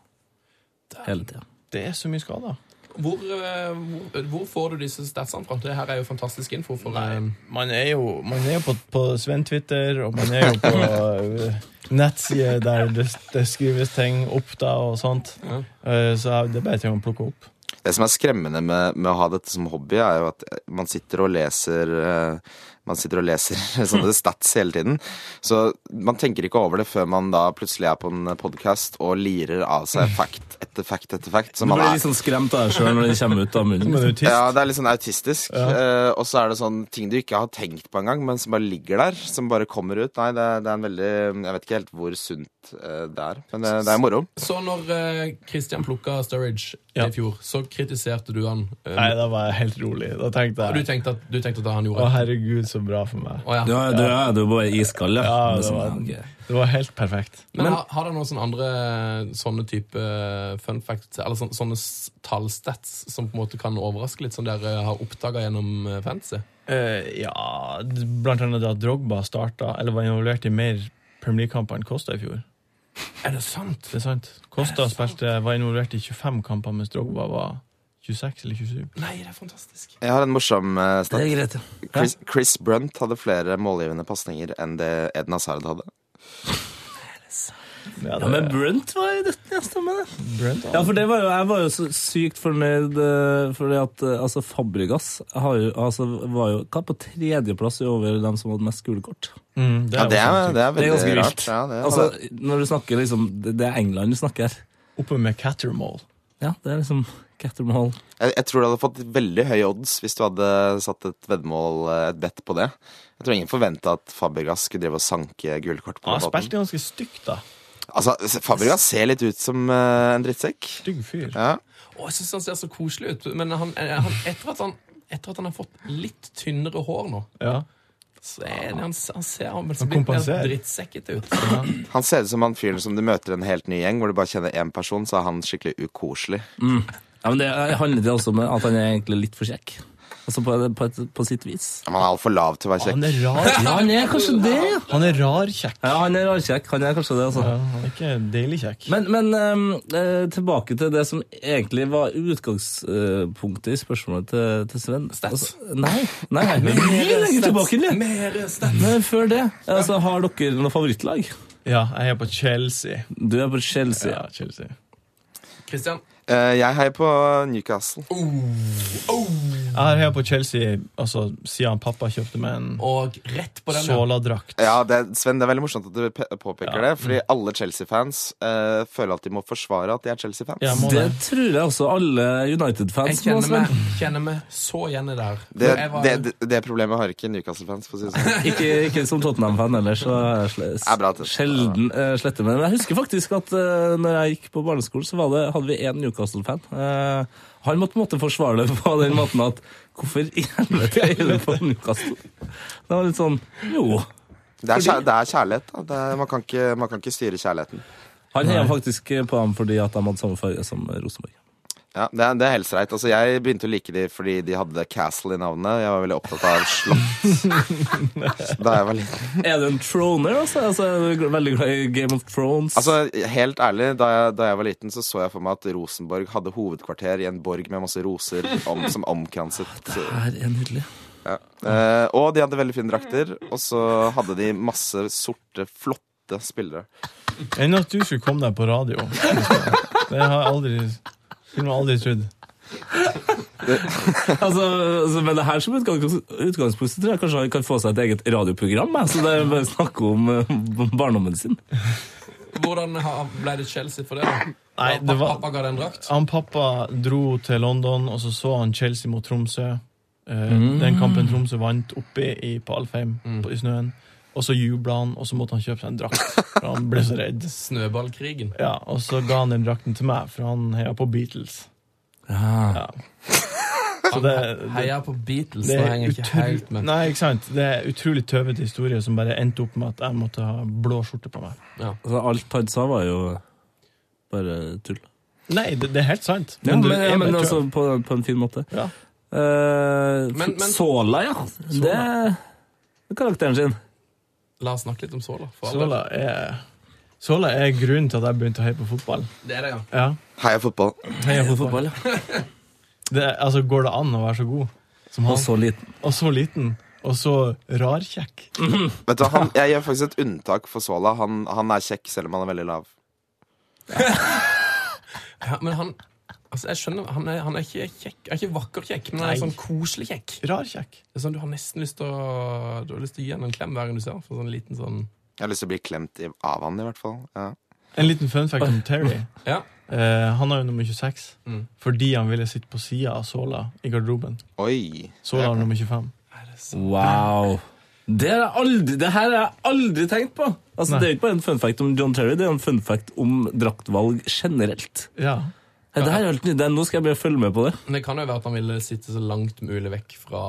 Speaker 3: hele tida.
Speaker 5: Det er så mye skader.
Speaker 4: Hvor, eh, hvor, hvor får du disse statsene fra? Det her er jo fantastisk info. for... eh,
Speaker 5: Um, Man er jo, man er jo på, på Sven-Twitter, og man er jo på eh, nettsider der det, det skrives ting opp da og sånt. Eh, så jeg- det er bare ting man plukker opp.
Speaker 6: Det som er skremmende med, med å ha dette som hobby, er jo at man sitter og leser eh, man sitter og leser (laughs)
Speaker 3: (laughs)
Speaker 6: sånne stats hele tiden. Så man tenker ikke over det før man da plutselig er på en podkast og lirer av
Speaker 3: (laughs)
Speaker 6: seg fact etter fact etter fact. Som
Speaker 3: Du
Speaker 6: man
Speaker 3: blir
Speaker 6: er
Speaker 3: litt sånn skremt av deg sjøl når det kommer ut av munnen. liksom.
Speaker 5: Men autist,
Speaker 6: Ja, det er litt sånn autistisk. Eh, og så er det sånn ting du ikke har tenkt på engang, men som bare ligger der. Som bare kommer ut. Nei, det, er- det er en veldig Jeg vet ikke helt hvor sunt eh, det er, men det, det er moro.
Speaker 4: Så når eh, Christian plukka Sturridge
Speaker 5: Ja.
Speaker 4: i fjor, så kritiserte du han. eh,
Speaker 5: Nei, da var jeg helt rolig. Da tenkte
Speaker 4: og du
Speaker 5: jeg
Speaker 4: tenkte at, du tenkte at han
Speaker 5: Å,
Speaker 4: gjorde det?
Speaker 5: herregud, så bra for meg.
Speaker 4: Å, ja.
Speaker 3: Du er, du er, du er bare iskald, ja.
Speaker 5: Ja,
Speaker 3: Men
Speaker 5: det
Speaker 3: sånn,
Speaker 5: var,
Speaker 3: ja, ok.
Speaker 5: det var helt perfekt.
Speaker 4: Men, har, har dere noen sånne andre eh, sånne type eh, fun facts, eller sånne, sånne s- tallstats som på en måte kan overraske litt, som dere eh, har oppdaga gjennom eh, fantasy?
Speaker 5: Eh, ja, d- blant annet at Drogba starta, eller var involvert i mer Premier League-kamper enn Costa i fjor.
Speaker 4: Er det sant?
Speaker 5: Det er sant. Costa spilte, var involvert i 25 kamper, mens Drogba var 26 eller 27.
Speaker 4: Nei, det er fantastisk.
Speaker 6: Jeg har en morsom uh,
Speaker 3: Det
Speaker 6: stat.
Speaker 3: er greit, ja.
Speaker 6: Chris, Chris Brunt hadde flere målgivende pasninger enn det Eden Hazard hadde.
Speaker 5: Ja,
Speaker 3: Ja, men Brunt var i dette, ja, stemmer det.
Speaker 5: Brent,
Speaker 3: Ja, for det var jo, jeg var jo så sykt fornøyd, eh, fordi at eh, altså, Fabregas har jo, altså, var jo hva, på tredjeplass over dem som hadde mest gule kort.
Speaker 5: mm,
Speaker 6: Ja, det er,
Speaker 5: også
Speaker 6: det er
Speaker 3: Det er
Speaker 6: veldig
Speaker 3: ganske
Speaker 6: rart.
Speaker 3: vilt.
Speaker 6: Ja, det,
Speaker 3: altså, når du snakker liksom, det, det er England du snakker her.
Speaker 5: Oppe med Cattermall.
Speaker 3: Ja, det er liksom Cattermall.
Speaker 6: jeg, jeg tror du hadde fått veldig høye odds hvis du hadde satt et veddemål, eh, et bet på det. Jeg tror ingen forventa at Fabregas skulle drive og sanke gullkort
Speaker 5: Ja,
Speaker 6: på den
Speaker 5: han
Speaker 6: måten.
Speaker 5: spilte ganske stygt, da.
Speaker 6: Altså, Fabregas ser litt ut som eh, en drittsekk.
Speaker 5: Stygg fyr.
Speaker 6: Ja.
Speaker 4: Å, jeg syns han ser så koselig ut, men han, eh, han, etter, at han, etter at han har fått litt tynnere hår nå,
Speaker 5: Ja.
Speaker 4: så er det, han, han ser han, han
Speaker 5: Han
Speaker 4: blir mer
Speaker 5: kompenserer.
Speaker 4: drittsekkete ut.
Speaker 6: Han ser ut som han fyren som du møter en helt ny gjeng, hvor du bare kjenner én person, så er han skikkelig ukoselig.
Speaker 3: Ja, men det handler det også om at han er egentlig litt for kjekk. Altså på, på, et, på sitt vis.
Speaker 6: Men han er altfor lav til å være
Speaker 5: Han
Speaker 6: kjekk.
Speaker 5: er rar.
Speaker 3: Ja, han er kanskje det, ja.
Speaker 5: Han er rar kjekk.
Speaker 3: Ja, han er rarkjekk. Han er kanskje det, altså.
Speaker 5: Ja, han er ikke deilig kjekk.
Speaker 3: Men, men ehm, eh, tilbake til det som egentlig var utgangspunktet i spørsmålet til, til Sven.
Speaker 4: Stats.
Speaker 3: Altså, nei, nei, nei, men mye lenger tilbake enn det.
Speaker 4: Mer stats.
Speaker 3: Men før det, altså, har dere noe favorittlag?
Speaker 5: Ja, jeg er på Chelsea.
Speaker 3: Du er på Chelsea.
Speaker 5: Ja, Chelsea.
Speaker 4: Christian,
Speaker 6: Eh, jeg heier på Newcastle.
Speaker 5: Jeg har heia på Chelsea altså, siden pappa kjøpte meg en
Speaker 4: Og rett på den. ja.
Speaker 5: Sola-drakt.
Speaker 6: Ja, det, Sven, det er veldig morsomt at du pe- påpeker det, fordi alle Chelsea-fans eh, føler at de må forsvare at de er Chelsea-fans.
Speaker 5: Ja, må
Speaker 3: Det
Speaker 5: det.
Speaker 3: tror jeg også alle
Speaker 4: Jeg
Speaker 3: United-fans må
Speaker 4: kjenner meg,
Speaker 3: Sven.
Speaker 4: kjenner meg så igjen i det der.
Speaker 6: Det,
Speaker 4: Jeg var-
Speaker 6: det, det, det problemet har ikke Newcastle-fans, for å si det sånn.
Speaker 3: Ikke, ikke som Tottenham-fan ellers, så er jeg sle-
Speaker 6: Ja, bra, Tete.
Speaker 3: sjelden eh, sletter med det. Men jeg husker faktisk at eh, når jeg gikk på barneskolen, så var det, hadde vi én Newcastle-fan. Eh, han måtte på en måte forsvare det på den måten at hvorfor i helvete er det på Newcastle? Det var litt sånn jo.
Speaker 6: Det er, kjær, det er kjærlighet, da. Det er, man, kan ikke, man kan ikke styre kjærligheten.
Speaker 3: Han heia faktisk på ham fordi at de hadde samme farge som Rosenborg.
Speaker 6: Ja, det, er- det er helt greit. Altså, jeg begynte å like de fordi de hadde Castle i navnet. Jeg var veldig opptatt av slott da jeg var liten.
Speaker 3: Er du en troner, altså? altså er du veldig glad i Game of Thrones?
Speaker 6: Altså, Helt ærlig, da jeg, da jeg var liten, så så jeg for meg at Rosenborg hadde hovedkvarter i en borg med masse roser om, som omkranset
Speaker 3: det her er nydelig.
Speaker 6: ja. eh, Og de hadde veldig fine drakter, og så hadde de masse sorte, flotte spillere.
Speaker 5: Enn at du skulle komme deg på radio. Det har jeg aldri, skulle man aldri trodd.
Speaker 3: Altså, altså, men det her som utgangs- utgangspunkt så tror jeg kanskje han kan få seg et eget radioprogram. jeg, Så det er bare å snakke om eh, barndommen sin.
Speaker 4: Hvordan ha- ble det Chelsea for det? da?
Speaker 5: Nei,
Speaker 4: Da
Speaker 5: det var-
Speaker 4: Pappa ga deg en drakt?
Speaker 5: Han pappa dro til London, og så så han Chelsea mot Tromsø. Eh,
Speaker 3: Mm.
Speaker 5: Den kampen Tromsø vant oppe i, på Alfheim på, i snøen. Og så jubla han, og så måtte han kjøpe seg en drakt, for han ble så redd.
Speaker 3: (laughs)
Speaker 4: Snøballkrigen.
Speaker 5: Ja, Og så ga han den drakten til meg, for han heia på Beatles. Ja. Så det, det,
Speaker 4: Heia på Beatles.
Speaker 5: det
Speaker 4: Det
Speaker 5: er
Speaker 4: henger jeg ikke
Speaker 5: utrolig,
Speaker 4: helt med.
Speaker 5: nei, ikke sant? Det er utrolig tøvete historie som bare endte opp med at jeg måtte ha blå skjorte på meg.
Speaker 3: Altså, alt han sa, var jo bare tull.
Speaker 5: Nei, det, det er helt sant.
Speaker 3: Ja, men,
Speaker 5: du er
Speaker 3: ja, men
Speaker 5: bare tøv.
Speaker 3: altså, på, på en fin måte.
Speaker 5: Ja.
Speaker 3: Eh,
Speaker 4: Men- men-
Speaker 3: Sola, ja. Det er karakteren sin.
Speaker 4: La oss snakke litt om Sola. For all del.
Speaker 5: Sola er, Sola er grunnen til at jeg begynte å heie på fotball.
Speaker 4: Det er det, ja.
Speaker 5: Ja.
Speaker 6: Heia fotball.
Speaker 5: Heie på
Speaker 3: Fotball,
Speaker 5: fotball.
Speaker 3: ja.
Speaker 5: Det, er- altså, går det an å være så god som
Speaker 3: Og
Speaker 5: han?
Speaker 3: så liten.
Speaker 5: Og så liten. Og så rarkjekk.
Speaker 6: Vet du, han, Jeg gjør faktisk et unntak for Sola. Han, han er kjekk selv om han er veldig lav.
Speaker 4: ja. Men han Altså, jeg skjønner, han er, han er ikke kjekk. Han er ikke vakker kjekk, men han er
Speaker 5: Nei.
Speaker 4: sånn koselig kjekk.
Speaker 5: Rarkjekk.
Speaker 4: Det er sånn Du har nesten lyst til å Du har lyst til å gi han en klem hver gang du ser han, for sånn liten sånn
Speaker 6: Jeg har lyst til å bli klemt i, av han, i hvert fall. Ja.
Speaker 5: En liten fun fact om Terry.
Speaker 4: Ja.
Speaker 5: Eh, han har jo nummer 26
Speaker 4: Mm.
Speaker 5: fordi han ville sitte på sida av Sola i garderoben.
Speaker 6: Oi.
Speaker 5: Sola har nummer 25.
Speaker 3: Wow. Det, har jeg aldri, det her har jeg aldri tenkt på! Altså,
Speaker 5: Nei.
Speaker 3: det er jo ikke bare en fun fact om John Terry, det er en fun fact om draktvalg generelt.
Speaker 5: Ja.
Speaker 4: (laughs)
Speaker 3: Ja, det her er helt nydelig. Nå skal jeg begynne å følge med på det.
Speaker 4: Men det kan jo være at han ville sitte så langt mulig vekk fra,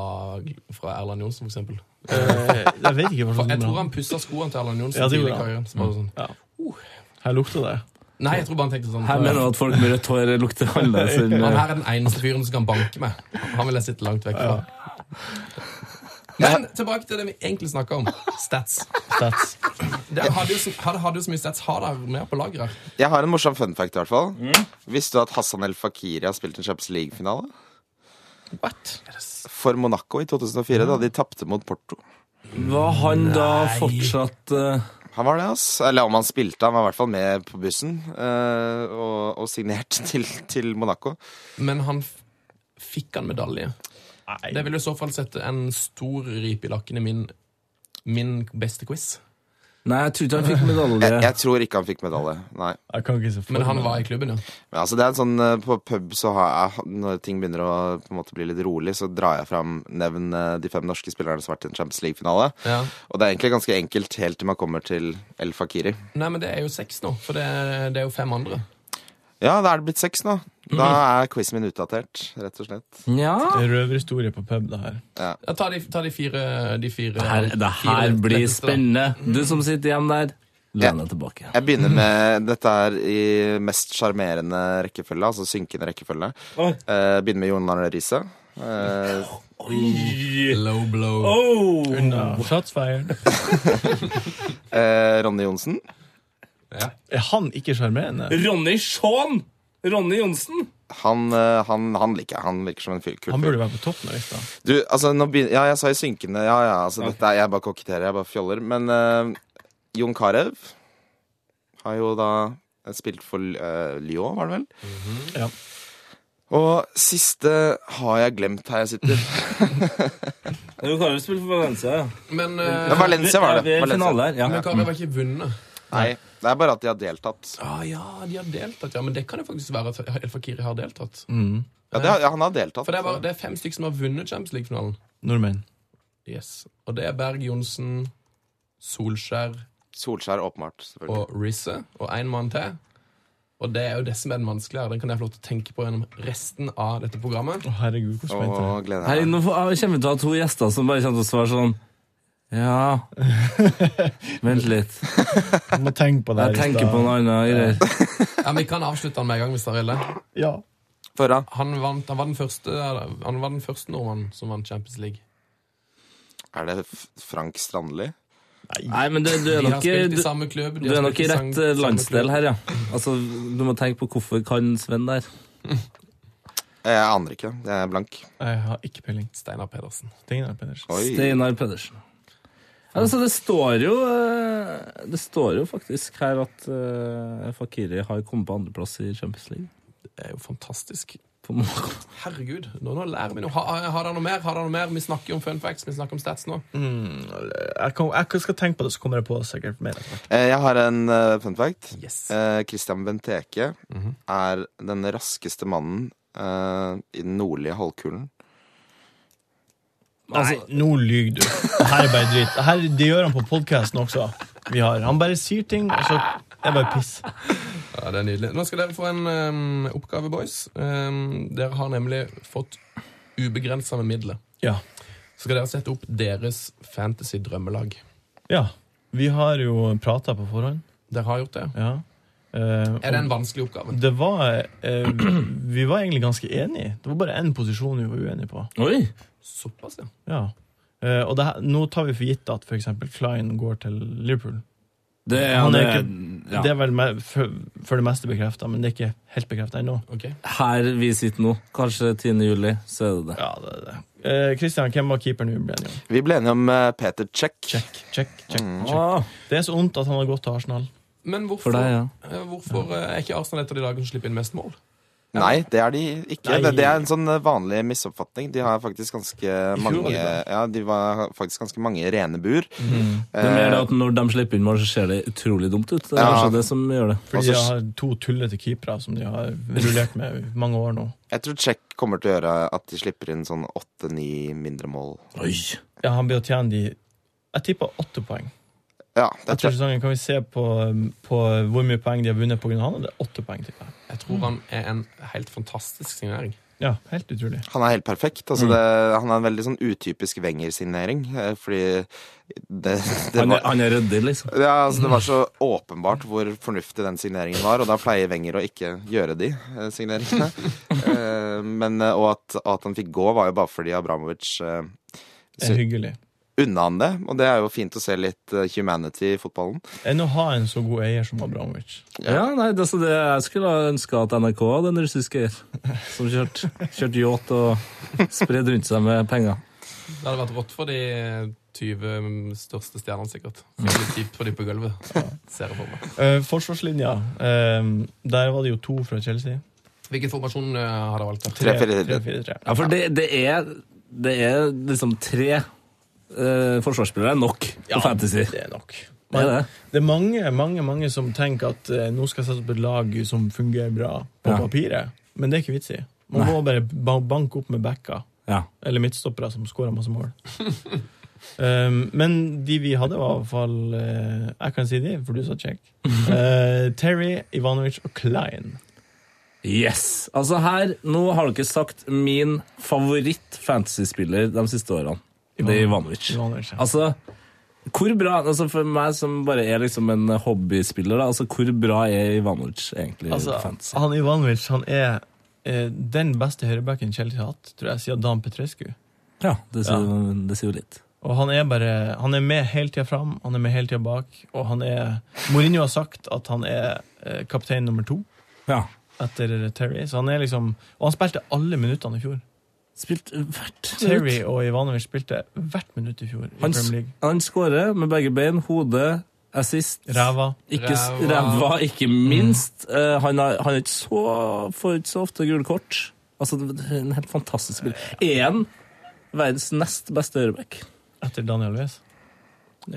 Speaker 4: fra Erland Johnsen, for eksempel.
Speaker 5: Eh, jeg vet ikke hva
Speaker 4: For
Speaker 5: som
Speaker 4: jeg tror
Speaker 5: kommer
Speaker 4: han pussa skoene til Erland Johnsen
Speaker 5: Ja, det
Speaker 4: tidlig i
Speaker 5: gjorde
Speaker 4: karrieren.
Speaker 5: han. Mm.
Speaker 4: Så bare sånn.
Speaker 5: Her lukter det.
Speaker 4: Nei, jeg tror bare han tenkte sånn
Speaker 3: Her mener du at folk med rødt hår lukter annerledes enn
Speaker 4: Han
Speaker 3: eh,
Speaker 4: her er den eneste fyren som kan banke meg. Han vil jeg sitte langt vekk fra. Men tilbake til det vi egentlig snakka om. Stats.
Speaker 5: Stats.
Speaker 4: Det hadde jo så, hadde, hadde jo så mye stats. Har dere mer på lager her?
Speaker 6: Jeg har en morsom fun fact, i hvert fall. Visste du at Hassan El Fakiri har spilt en Champions League-finale?
Speaker 4: What?
Speaker 6: For Monaco i 2004, da de tapte mot Porto.
Speaker 3: Var han da fortsatt eh,
Speaker 6: Han var det, ass. Eller om han spilte, han var i hvert fall med på bussen. eh, og, og signert til, til Monaco.
Speaker 4: Men han f- fikk han medalje. Det vil i så fall sette en stor ripe i lakken i min, min beste quiz.
Speaker 3: Nei, jeg tror ikke han fikk
Speaker 6: Jeg,
Speaker 3: medalje.
Speaker 6: jeg tror ikke han fikk medalje, nei.
Speaker 5: Jeg kan ikke se for
Speaker 4: Men han
Speaker 5: meg.
Speaker 4: var i klubben, ja.
Speaker 6: Men altså, det er en sånn eh, På pub, så har jeg, når ting begynner å på en måte bli litt rolig, så drar jeg fram nevn eh, de fem norske spillerne som har vært i en Champions League-finale.
Speaker 4: Ja.
Speaker 6: Og det er egentlig ganske enkelt helt til man kommer til El Fakiri.
Speaker 4: Nei, men det er jo seks nå, for det, det er jo fem andre.
Speaker 6: Ja, da er det blitt seks nå. Da er quizen min utdatert, rett og slett.
Speaker 3: Nja
Speaker 5: Det er røverhistorie på pub, det her.
Speaker 4: Ja, ta de, ta de fire, de fire
Speaker 3: her, Det
Speaker 4: fire
Speaker 3: her blir
Speaker 4: letteste, da.
Speaker 3: spennende. Du som sitter hjemme der, len deg tilbake.
Speaker 6: Jeg begynner med dette er i mest sjarmerende rekkefølge, altså synkende rekkefølge.
Speaker 3: Oi.
Speaker 6: Eh, begynner med Jon Arne Riise. Eh,
Speaker 4: Low blow.
Speaker 3: Oh.
Speaker 5: Unna. Shots fired.
Speaker 6: eh, Ronny Johnsen.
Speaker 5: Er han ikke sjarmerende?
Speaker 3: Ronny Shaun! Ronny Johnsen!
Speaker 6: Han, eh, han, han liker jeg. Han virker som en fyr. kul
Speaker 5: Han
Speaker 6: fyr.
Speaker 5: burde være på toppen av lista.
Speaker 6: Du, altså, nå begynner Ja, jeg sa i synkende Ja, ja, altså, dette er Jeg bare koketterer, jeg bare fjoller. Men eh, Jon Carew har jo da Spilt for eh, Lyon, var det vel?
Speaker 5: Ja.
Speaker 6: Og siste har jeg glemt her jeg sitter.
Speaker 3: Du kan jo spille for Valencia, ja.
Speaker 4: Men,
Speaker 6: Ja,
Speaker 4: eh,
Speaker 6: Valencia var det.
Speaker 3: Vi er i
Speaker 6: Valencia.
Speaker 3: finale her. Ja.
Speaker 4: men Kari var ikke vunnet.
Speaker 6: Nei, det er bare at de har deltatt.
Speaker 4: Ah, ja, de har deltatt, ja. Men det kan jo faktisk være at El Fakiri har deltatt.
Speaker 3: Mm.
Speaker 6: Ja, det har, ja, han har deltatt.
Speaker 4: For det er, bare, det er fem stykker som har vunnet Champions League-finalen.
Speaker 5: Nordmenn.
Speaker 4: Yes. Og det er Berg Johnsen, Solskjær
Speaker 6: Solskjær åpenbart, selvfølgelig.
Speaker 4: og Rizze. Og én mann til. Og det er jo det som er den vanskelige her. Den kan jeg få lov til å tenke på gjennom resten av dette programmet.
Speaker 5: Å, herregud, hvor spent jeg er.
Speaker 6: Og gleder
Speaker 3: Hei,
Speaker 6: jeg meg.
Speaker 3: nå får- jeg kommer vi til å ha to gjester som bare kommer til å svare sånn
Speaker 5: (laughs)
Speaker 3: Ja Vent litt.
Speaker 5: Jeg må tenke på
Speaker 3: Jeg
Speaker 5: det. her i
Speaker 3: tenker
Speaker 5: stad.
Speaker 3: på noe annet.
Speaker 5: (laughs)
Speaker 3: greier.
Speaker 4: Ja, Vi kan avslutte den med en gang. hvis det er ille.
Speaker 5: Ja.
Speaker 6: Føra.
Speaker 4: Han, vant, han, var den første, han var den første nordmannen som vant Champions League.
Speaker 6: Er det F- Frank Strandli?
Speaker 3: Nei, men du, du
Speaker 4: De
Speaker 3: er
Speaker 4: har
Speaker 3: nok i-
Speaker 4: spilt i
Speaker 3: du,
Speaker 4: samme klubb. de
Speaker 3: du
Speaker 4: har
Speaker 3: er nok i
Speaker 4: spilt
Speaker 3: rett
Speaker 4: sam-
Speaker 3: eh,
Speaker 4: samme
Speaker 3: landsdel
Speaker 4: klubb.
Speaker 3: her, ja. Altså, Du må tenke på hvorfor kan Sven der.
Speaker 6: Jeg aner ikke. Jeg er blank.
Speaker 5: Jeg har ikke peiling.
Speaker 4: Steinar Pedersen.
Speaker 5: Steinar Pedersen.
Speaker 6: Oi.
Speaker 3: Steinar Pedersen. Ja, Altså, det står jo eh, Det står jo faktisk her at eh, Fakiri har kommet på andreplass i Champions League.
Speaker 4: Det er jo fantastisk.
Speaker 3: På Monaco.
Speaker 4: Herregud, nå, nå lærer vi noe. Ha- Har dere noe mer? Har dere noe mer? Vi snakker jo om fun facts, vi snakker om stats nå.
Speaker 5: Jeg, kan, jeg skal tenke på det, så kommer jeg på sikkert mer. etter hvert.
Speaker 6: Eh, Jeg har en eh, fun fact.
Speaker 4: Yes.
Speaker 6: Eh, Christian Benteke er den raskeste mannen eh, i den nordlige halvkulen.
Speaker 3: Altså,
Speaker 5: Nei, nå lyver du. Det her er bare dritt. Det Her, det gjør han på podkasten også. Vi har. Han bare sier ting, og så Det er bare piss.
Speaker 4: Ja, det er nydelig. Nå skal dere få en ehm, oppgave, boys. Ehm, dere har nemlig fått ubegrensa med midler.
Speaker 5: Ja.
Speaker 4: Så skal dere sette opp deres fantasy-drømmelag.
Speaker 5: ja. Vi har jo prata på forhånd.
Speaker 4: Dere har gjort det.
Speaker 5: Ja. Eh,
Speaker 4: Er det en vanskelig oppgave?
Speaker 5: Det var eh, Vi var egentlig ganske enige. Det var bare én posisjon vi var uenige på.
Speaker 3: oi!
Speaker 4: Såpass, ja.
Speaker 5: Ja. Eh, og det, her- nå tar vi for gitt at f.eks. Klein går til Liverpool.
Speaker 3: Det er,
Speaker 5: Han er
Speaker 3: det- ja.
Speaker 5: Det er vel me for, for det meste bekrefta, men det er ikke helt bekrefta ennå.
Speaker 4: Ok.
Speaker 3: her vi sitter nå, kanskje 10. juli, så er det det.
Speaker 5: Ja, det er det. Eh, Christian, hvem var keeperen vi ble enige om?
Speaker 6: Vi ble enige om eh, Peter Czech.
Speaker 5: Check, check, check, check.
Speaker 3: Ah,
Speaker 5: Det er så vondt at han har gått til Arsenal.
Speaker 4: Men
Speaker 3: for
Speaker 4: hvorfor,
Speaker 3: deg, ja.
Speaker 4: eh, hvorfor eh, er ikke Arsenal et av de lagene som slipper inn mest mål?
Speaker 6: Nei, det er de ikke.
Speaker 5: Nei.
Speaker 6: Det, det er en sånn eh, vanlig misoppfatning. De har faktisk ganske
Speaker 4: var
Speaker 6: mange
Speaker 4: de bra.
Speaker 6: Ja, de var faktisk ganske mange rene bur.
Speaker 3: Det er mer det
Speaker 6: Eh,
Speaker 3: at når de slipper inn mål, så ser det utrolig dumt ut. Det er
Speaker 6: Ja.
Speaker 3: kanskje det som gjør det.
Speaker 5: Fordi
Speaker 6: Altså,
Speaker 5: de har to tullete keepere som de har rullert med i mange år nå.
Speaker 6: jeg tror Czech kommer til å gjøre at de slipper inn sånn åtte-ni mindre mål.
Speaker 3: Oi.
Speaker 5: Ja, han blir å tjene de Jeg tipper åtte poeng.
Speaker 6: Ja, det
Speaker 5: Etter
Speaker 6: tror jeg.
Speaker 5: sesongen kan vi se på, um, på hvor mye poeng de har vunnet pga. han. og Det er åtte poeng, tipper jeg.
Speaker 4: Jeg tror han er en helt fantastisk signering.
Speaker 5: Ja, helt utrolig.
Speaker 6: Han er helt perfekt. Altså det, han er en veldig sånn utypisk Wenger-signering. eh, Fordi det, det,
Speaker 3: Han er,
Speaker 6: var,
Speaker 3: han er ryddig, liksom.
Speaker 6: ja, altså det var så åpenbart hvor fornuftig den signeringen var, og da pleier Wenger å ikke gjøre de eh, signeringene. Eh, Men, eh, og at, at han fikk gå, var jo bare fordi Abramovic eh,
Speaker 5: Det er hyggelig.
Speaker 6: unna han det. Og det er jo fint å se litt eh, humanity i fotballen.
Speaker 5: Enn å ha en så god eier som Abramovic.
Speaker 3: Ja, nei, det, er så det, Jeg skulle ha ønska at NRK hadde en russisk eier som kjørte kjørt yacht og spredde rundt seg med penger.
Speaker 4: Det hadde vært rått for de 20 største stjernene, sikkert. Så det blir kjipt for de på gulvet. Ser jeg for meg.
Speaker 5: Eh, forsvarslinja, eh, der var det jo to fra Chelsea.
Speaker 4: Hvilken formasjon eh, har dere valgt? da?
Speaker 6: Tre, fire, tre.
Speaker 5: 3-4-3.
Speaker 3: Ja, for det, det, er, det er liksom tre eh, forsvarsspillere er nok på fantasy.
Speaker 5: det er nok.
Speaker 3: Det er det.
Speaker 5: Det er mange mange, mange som tenker at eh, nå skal jeg sette opp et lag som fungerer bra på
Speaker 3: Ja.
Speaker 5: papiret, men det er ikke vits i. Man må bare ba banke opp med backer
Speaker 3: Ja.
Speaker 5: eller midtstoppere som skårer
Speaker 3: (laughs)
Speaker 5: masse mål. um, men de vi hadde, var i hvert fall eh, Jeg kan si de, for du sa
Speaker 3: (laughs)
Speaker 5: check. Eh, Terry, Ivanovic og Klein.
Speaker 3: Yes! Altså her, Nå har dere sagt min favoritt-fantasy-spiller de siste årene. Det er Ivanovic.
Speaker 5: Ivanovic, ja.
Speaker 3: Altså, hvor bra altså For meg som bare er liksom en hobbyspiller, da, altså hvor bra er Ivanovic egentlig
Speaker 5: Altså,
Speaker 3: på fantasy?
Speaker 5: han Ivanovic han er eh, den beste høyrebacken Chelsea har hatt, tror jeg, siden Dan Petrescu.
Speaker 3: Ja, det sier, det sier jo litt.
Speaker 5: Og han er bare Han er med hele tida fram, han er med hele tida bak, og han er Mourinho har sagt at han er eh, kaptein nummer to
Speaker 3: Ja.
Speaker 5: etter Terry, så han er liksom Og han spilte alle minuttene i fjor.
Speaker 3: Spilt hvert
Speaker 5: Terry og Ivanovic spilte hvert minutt i fjor i
Speaker 3: Han,
Speaker 5: Premier League.
Speaker 3: han skårer med begge bein, hodet, assist.
Speaker 5: Ræva. Mm.
Speaker 3: Ikke, s-
Speaker 4: Ræva.
Speaker 3: ræva, ikke minst. Eh, han, har, han er ikke så, får ikke så ofte gule kort. Altså, det er en helt fantastisk spiller. Er han verdens nest beste høyreback?
Speaker 5: Etter Daniel Wes.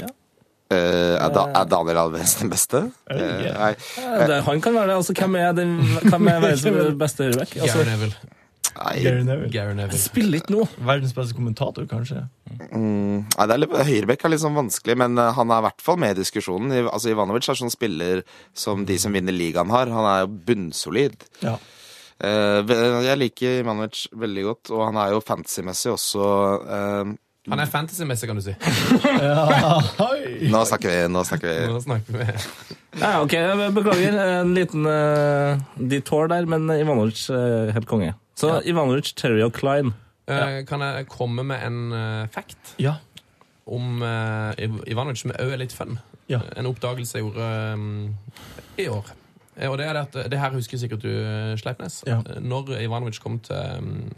Speaker 6: Eh, er, da, er Daniel Alves den beste?
Speaker 5: Jeg vet ikke.
Speaker 6: Eh, nei.
Speaker 3: Eh, det- Han kan være det. Altså, hvem er, den, hvem er
Speaker 5: (laughs)
Speaker 3: verdens beste høyreback? Altså,
Speaker 4: Gary Neville.
Speaker 6: Nei.
Speaker 5: Gary Neville.
Speaker 4: Gary
Speaker 3: han
Speaker 4: Neville.
Speaker 3: spiller ikke nå.
Speaker 5: Verdens beste kommentator, kanskje.
Speaker 6: Mm, nei, det er litt, Høyrebekk er litt sånn vanskelig, men eh, han er i hvert fall med i diskusjonen. I- Altså, Ivanovic er sånn spiller som de som vinner ligaen har. Han er jo bunnsolid.
Speaker 5: Ja.
Speaker 6: Eh, ve- jeg liker Ivanovic veldig godt, og han er jo fantasy-messig også eh,
Speaker 4: Han er fantasy-messig, kan du si.
Speaker 5: Hei!
Speaker 6: Nå snakker vi! nå snakker vi.
Speaker 4: Nå snakker vi
Speaker 3: Ja, ok, jeg Beklager en liten uh, detour der, men Ivanovic eh, helt konge. Så Ivanovic, Terry og Klein.
Speaker 4: Eh, Kan jeg komme med en eh, fact
Speaker 5: Ja.
Speaker 4: om eh, Iv- Ivanovic som òg er litt fun?
Speaker 5: Ja.
Speaker 4: En oppdagelse jeg gjorde um, i år. Eh, Og det er det at eh, Det her husker sikkert du, eh, Sleipnes.
Speaker 5: Ja.
Speaker 4: Eh, Når Ivanovic kom til, um,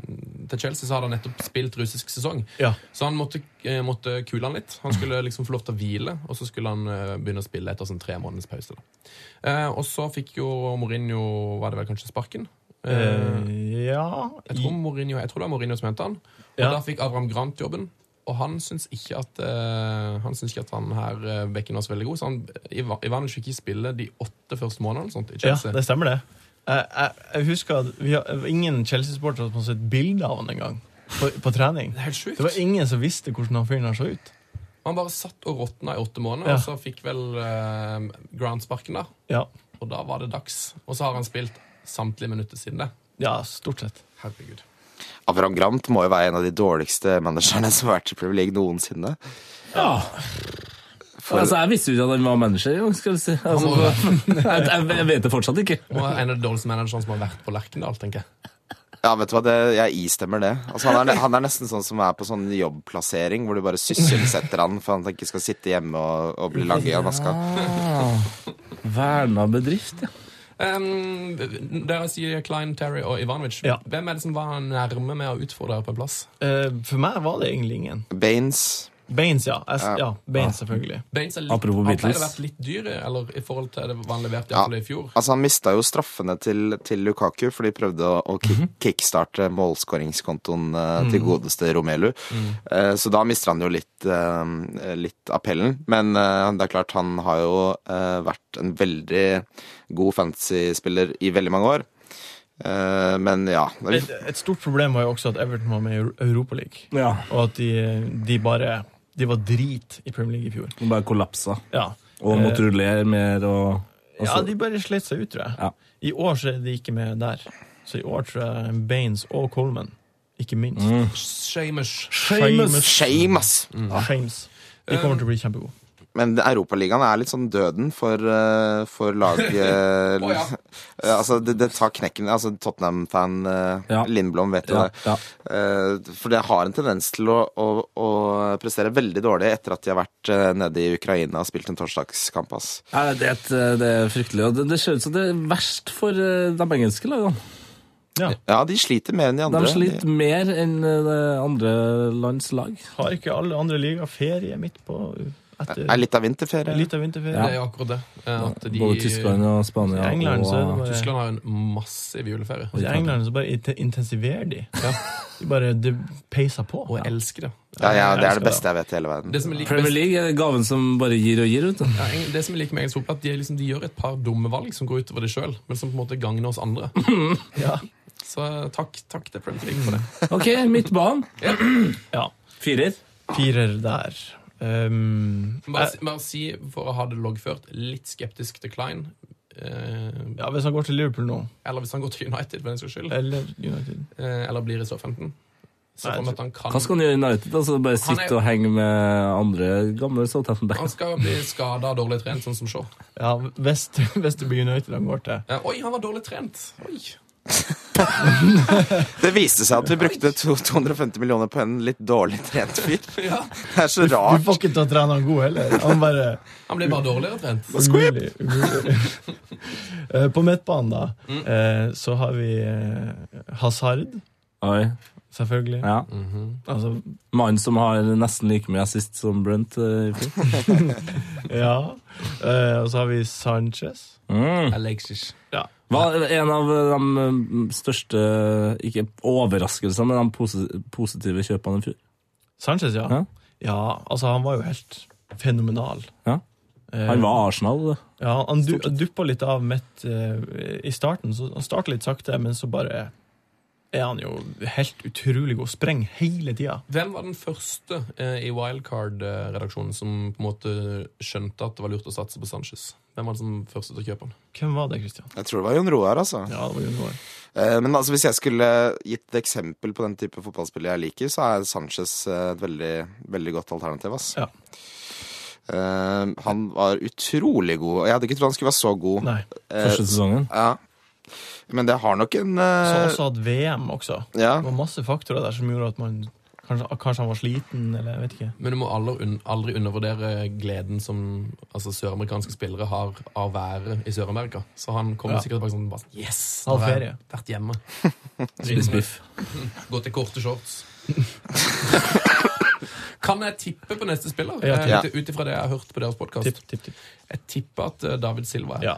Speaker 4: til Chelsea, så hadde han nettopp spilt russisk sesong.
Speaker 5: Ja.
Speaker 4: Så han måtte, eh, måtte kule han litt. Han skulle liksom få lov til å hvile, og så skulle han eh, begynne å spille etter sånn tre måneders pause. Da. Eh, og så fikk jo Mourinho Var det vel kanskje sparken? Eh,
Speaker 5: Eh, ja
Speaker 4: jeg, tror Mourinho, jeg tror det var Mourinho som hentet han. Og
Speaker 5: Ja.
Speaker 4: da fikk Abraham Grant jobben. Og han syns ikke at eh, Han syns ikke at han her eh, bekken var så veldig god. Så han, eh, Iva- Ivanovic fikk ikke spille de åtte første månedene eller sånt, i
Speaker 5: Ja,
Speaker 4: Chelsea.
Speaker 5: det stemmer det. Jeg, jeg, jeg husker at vi har, ingen Chelsea-sportere som har sett bilde av han engang. På, på trening.
Speaker 4: Det er helt sjukt.
Speaker 5: Det var ingen som visste hvordan han fyren her så ut.
Speaker 4: Han bare satt og råtna i åtte måneder,
Speaker 5: Ja.
Speaker 4: og så fikk vel eh, Grant sparken der.
Speaker 5: Ja,
Speaker 4: Og da var det dags. Og så har han spilt samtlige minutter siden det.
Speaker 5: ja stort sett.
Speaker 4: Herregud.
Speaker 6: Avram Grant må jo være en av de dårligste managerne (laughs) som har vært i Premier League noensinne.
Speaker 3: Ja. Altså, jeg visste jo ikke at han var manager engang, skal du si. Altså, (laughs) jeg, jeg, jeg vet det fortsatt ikke.
Speaker 4: Og en av de dårligste managerne som har vært på Lerkendal, tenker jeg.
Speaker 6: Ja, vet du hva, det, jeg istemmer det. Altså, han, er, han er nesten sånn som er på sånn jobbplassering, hvor du bare sysselsetter han for han ikke skal sitte hjemme og, og bli lange i maska.
Speaker 3: Verna bedrift, ja.
Speaker 4: Um, dere sier Klein, Terry og Ivanovic.
Speaker 5: Ja.
Speaker 4: Hvem er det som var nærme med å utfordre på en plass?
Speaker 5: Eh, for meg var det egentlig ingen.
Speaker 6: Baines
Speaker 5: Baines, ja. Jeg, s- ja Baines, selvfølgelig.
Speaker 4: Baines er litt,
Speaker 3: Apropos
Speaker 4: han
Speaker 3: Beatles.
Speaker 4: pleier å vært litt dyr eller, i forhold til det han leverte i,
Speaker 6: Ja.
Speaker 4: alle fall i fjor.
Speaker 6: Altså, han mista jo straffene til, til Lukaku, for de prøvde å, å kick, kickstarte målskåringskontoen eh, til godeste Romelu. Eh, så da mister han jo litt, eh, litt appellen. Men eh, det er klart, han har jo eh, vært en veldig god fantasy-spiller i veldig mange år. Eh, men ja
Speaker 5: Et, et stort problem var jo også at Everton var med i Euro- Europaligaen.
Speaker 3: ja.
Speaker 5: Og at de, de bare De var drit i Premier League i fjor.
Speaker 3: Han bare kollapsa
Speaker 5: Ja.
Speaker 3: og måtte
Speaker 5: Eh,
Speaker 3: rullere mer og, og
Speaker 5: ja,
Speaker 3: så.
Speaker 5: de bare slet seg ut, tror jeg.
Speaker 3: Ja.
Speaker 5: I år så er de ikke med der. Så i år tror jeg Baines og Coleman, ikke minst.
Speaker 4: Shamesh.
Speaker 5: Shames.
Speaker 6: Shame, ass!
Speaker 5: Mm. Shames. De Ah, kommer til å bli kjempegode.
Speaker 6: Men Europaligaen er litt sånn døden for, eh, for laget
Speaker 4: Å, ja.
Speaker 6: (laughs) Eh, Altså, det, det tar knekken Altså, Tottenham-fan eh,
Speaker 3: Ja.
Speaker 6: Lindblom vet jo
Speaker 3: Ja,
Speaker 6: det.
Speaker 3: ja.
Speaker 6: Eh, for det har en tendens til å, å, å prestere veldig dårlig etter at de har vært eh, nede i Ukraina og spilt en torsdagskamp, ass.
Speaker 3: Nei, det, er et, det er fryktelig. Og det, det ser ut som det er verst for eh, de engelske lagene.
Speaker 6: Ja, de sliter mer enn de andre.
Speaker 3: De sliter mer enn eh, det andre lands lag.
Speaker 5: Har ikke alle andre liga ferie midt på
Speaker 6: De
Speaker 5: etter
Speaker 6: er litt av vinterferie.
Speaker 5: litt av vinterferie?
Speaker 4: Det er jo akkurat det. eh, At de,
Speaker 3: Både Tyskland og Spania.
Speaker 5: I England så er det
Speaker 3: og,
Speaker 5: bare
Speaker 4: Tyskland har en massiv juleferie.
Speaker 5: I England så bare int- intensiverer de. De bare de peiser på.
Speaker 4: Og jeg elsker det.
Speaker 6: Ja, ja, det er
Speaker 5: elsker
Speaker 6: det beste jeg vet i hele verden.
Speaker 4: Det som jeg liker
Speaker 3: Premier
Speaker 4: best,
Speaker 3: League er gaven som bare gir og gir. Vet du.
Speaker 4: ja, eng- det som jeg liker med engelsk fotball, er at de, er liksom, de gjør et par dumme valg som går utover de sjøl, men som på en måte gagner oss andre.
Speaker 5: Ja.
Speaker 4: Så takk, takk til Premier League for det.
Speaker 3: Ok, midtbanen.
Speaker 5: ja.
Speaker 3: Firer.
Speaker 5: Firer der. Um,
Speaker 4: Bare,
Speaker 5: jeg,
Speaker 4: si- bare si, for å ha det loggført, litt skeptisk til Klein. eh,
Speaker 5: ja, hvis han går til Liverpool nå,
Speaker 4: Eller hvis han går til United, for den saks skyld.
Speaker 5: eller United
Speaker 4: eh, Eller blir i Southampton. Så
Speaker 5: Nei,
Speaker 4: for meg
Speaker 5: jeg
Speaker 4: at han kan
Speaker 3: Hva skal han gjøre i United? Altså
Speaker 4: Han
Speaker 3: bare
Speaker 4: er-
Speaker 3: sitte og henge med andre gamle Southampton-backer?
Speaker 4: Han skal bli skada og dårlig trent, sånn som Shaw.
Speaker 5: Ja, hvis, (laughs) hvis det blir United han går til.
Speaker 4: Eh, oi, han var dårlig trent! Oi.
Speaker 6: Det viste seg at vi brukte to, 250 millioner på en litt dårlig trent fyr.
Speaker 4: Ja.
Speaker 6: Det er så
Speaker 5: Du
Speaker 6: rart.
Speaker 5: får ikke til å trene han god heller. Han bare
Speaker 4: (laughs) Han ble bare dårligere trent.
Speaker 5: umulig, umulig.
Speaker 4: (laughs)
Speaker 5: Eh, På midtbanen, da,
Speaker 4: Mm.
Speaker 5: eh, så har vi eh, Hazard,
Speaker 3: Oi,
Speaker 5: selvfølgelig.
Speaker 3: ja.
Speaker 5: Altså,
Speaker 3: Mannen som har nesten like mye assist som Brunt. eh, i fjor.
Speaker 5: Ja. Eh, og så har vi Sanchez.
Speaker 4: Alexis.
Speaker 3: Hva, en av de mm, største, ikke overraskelsene, men de posi- positive kjøpene i fjor.
Speaker 5: Sanchez, ja.
Speaker 3: Ja.
Speaker 5: ja. altså han var jo helt fenomenal.
Speaker 3: Ja. Han var Arsenal. eh, det.
Speaker 5: Ja, han du, duppa litt av midt eh, i starten. Så han starta litt sakte, men så bare er han jo helt utrolig god. Sprenger hele tida.
Speaker 4: Hvem var den første eh, i Wildcard-redaksjonen som på en måte skjønte at det var lurt å satse på Sanchez? Hvem var den som første til å kjøpe han?
Speaker 5: Hvem var det, Christian?
Speaker 6: Jeg tror det var Jon Roar, altså.
Speaker 5: Ja, det var junior.
Speaker 6: Eh, Men altså, hvis jeg skulle gitt et eksempel på den type fotballspiller jeg liker, så er Sanchez eh, et veldig, veldig godt alternativ. Ass.
Speaker 5: Ja.
Speaker 6: Eh, han var utrolig god. Jeg hadde ikke trodd han skulle være så god.
Speaker 5: Nei.
Speaker 6: Eh,
Speaker 3: Første sesongen.
Speaker 6: ja. Men det har nok en
Speaker 5: Så
Speaker 6: eh,
Speaker 5: også hatt VM også.
Speaker 6: ja.
Speaker 5: Det var masse faktorer der som gjorde at man Kanskje, kanskje han var sliten, eller jeg vet ikke.
Speaker 4: Men du må aldri, un aldri undervurdere gleden som altså, søramerikanske spillere har av været i Sør-Amerika. Så han kommer
Speaker 5: Ja.
Speaker 4: sikkert tilbake sånn bare sånn, Yes!
Speaker 5: Halv
Speaker 4: nå har jeg
Speaker 5: ferie.
Speaker 4: Vært hjemme.
Speaker 3: Spist biff.
Speaker 4: (laughs) Gått i korte shorts. (laughs) kan jeg tippe på neste spiller?
Speaker 5: Ja,
Speaker 4: Eh,
Speaker 6: ja.
Speaker 4: Ut ut ifra det jeg har hørt på deres
Speaker 5: Tipp,
Speaker 4: podkast.
Speaker 5: tipp, tipp.
Speaker 4: Jeg tipper at eh, David Silva er
Speaker 5: Ja,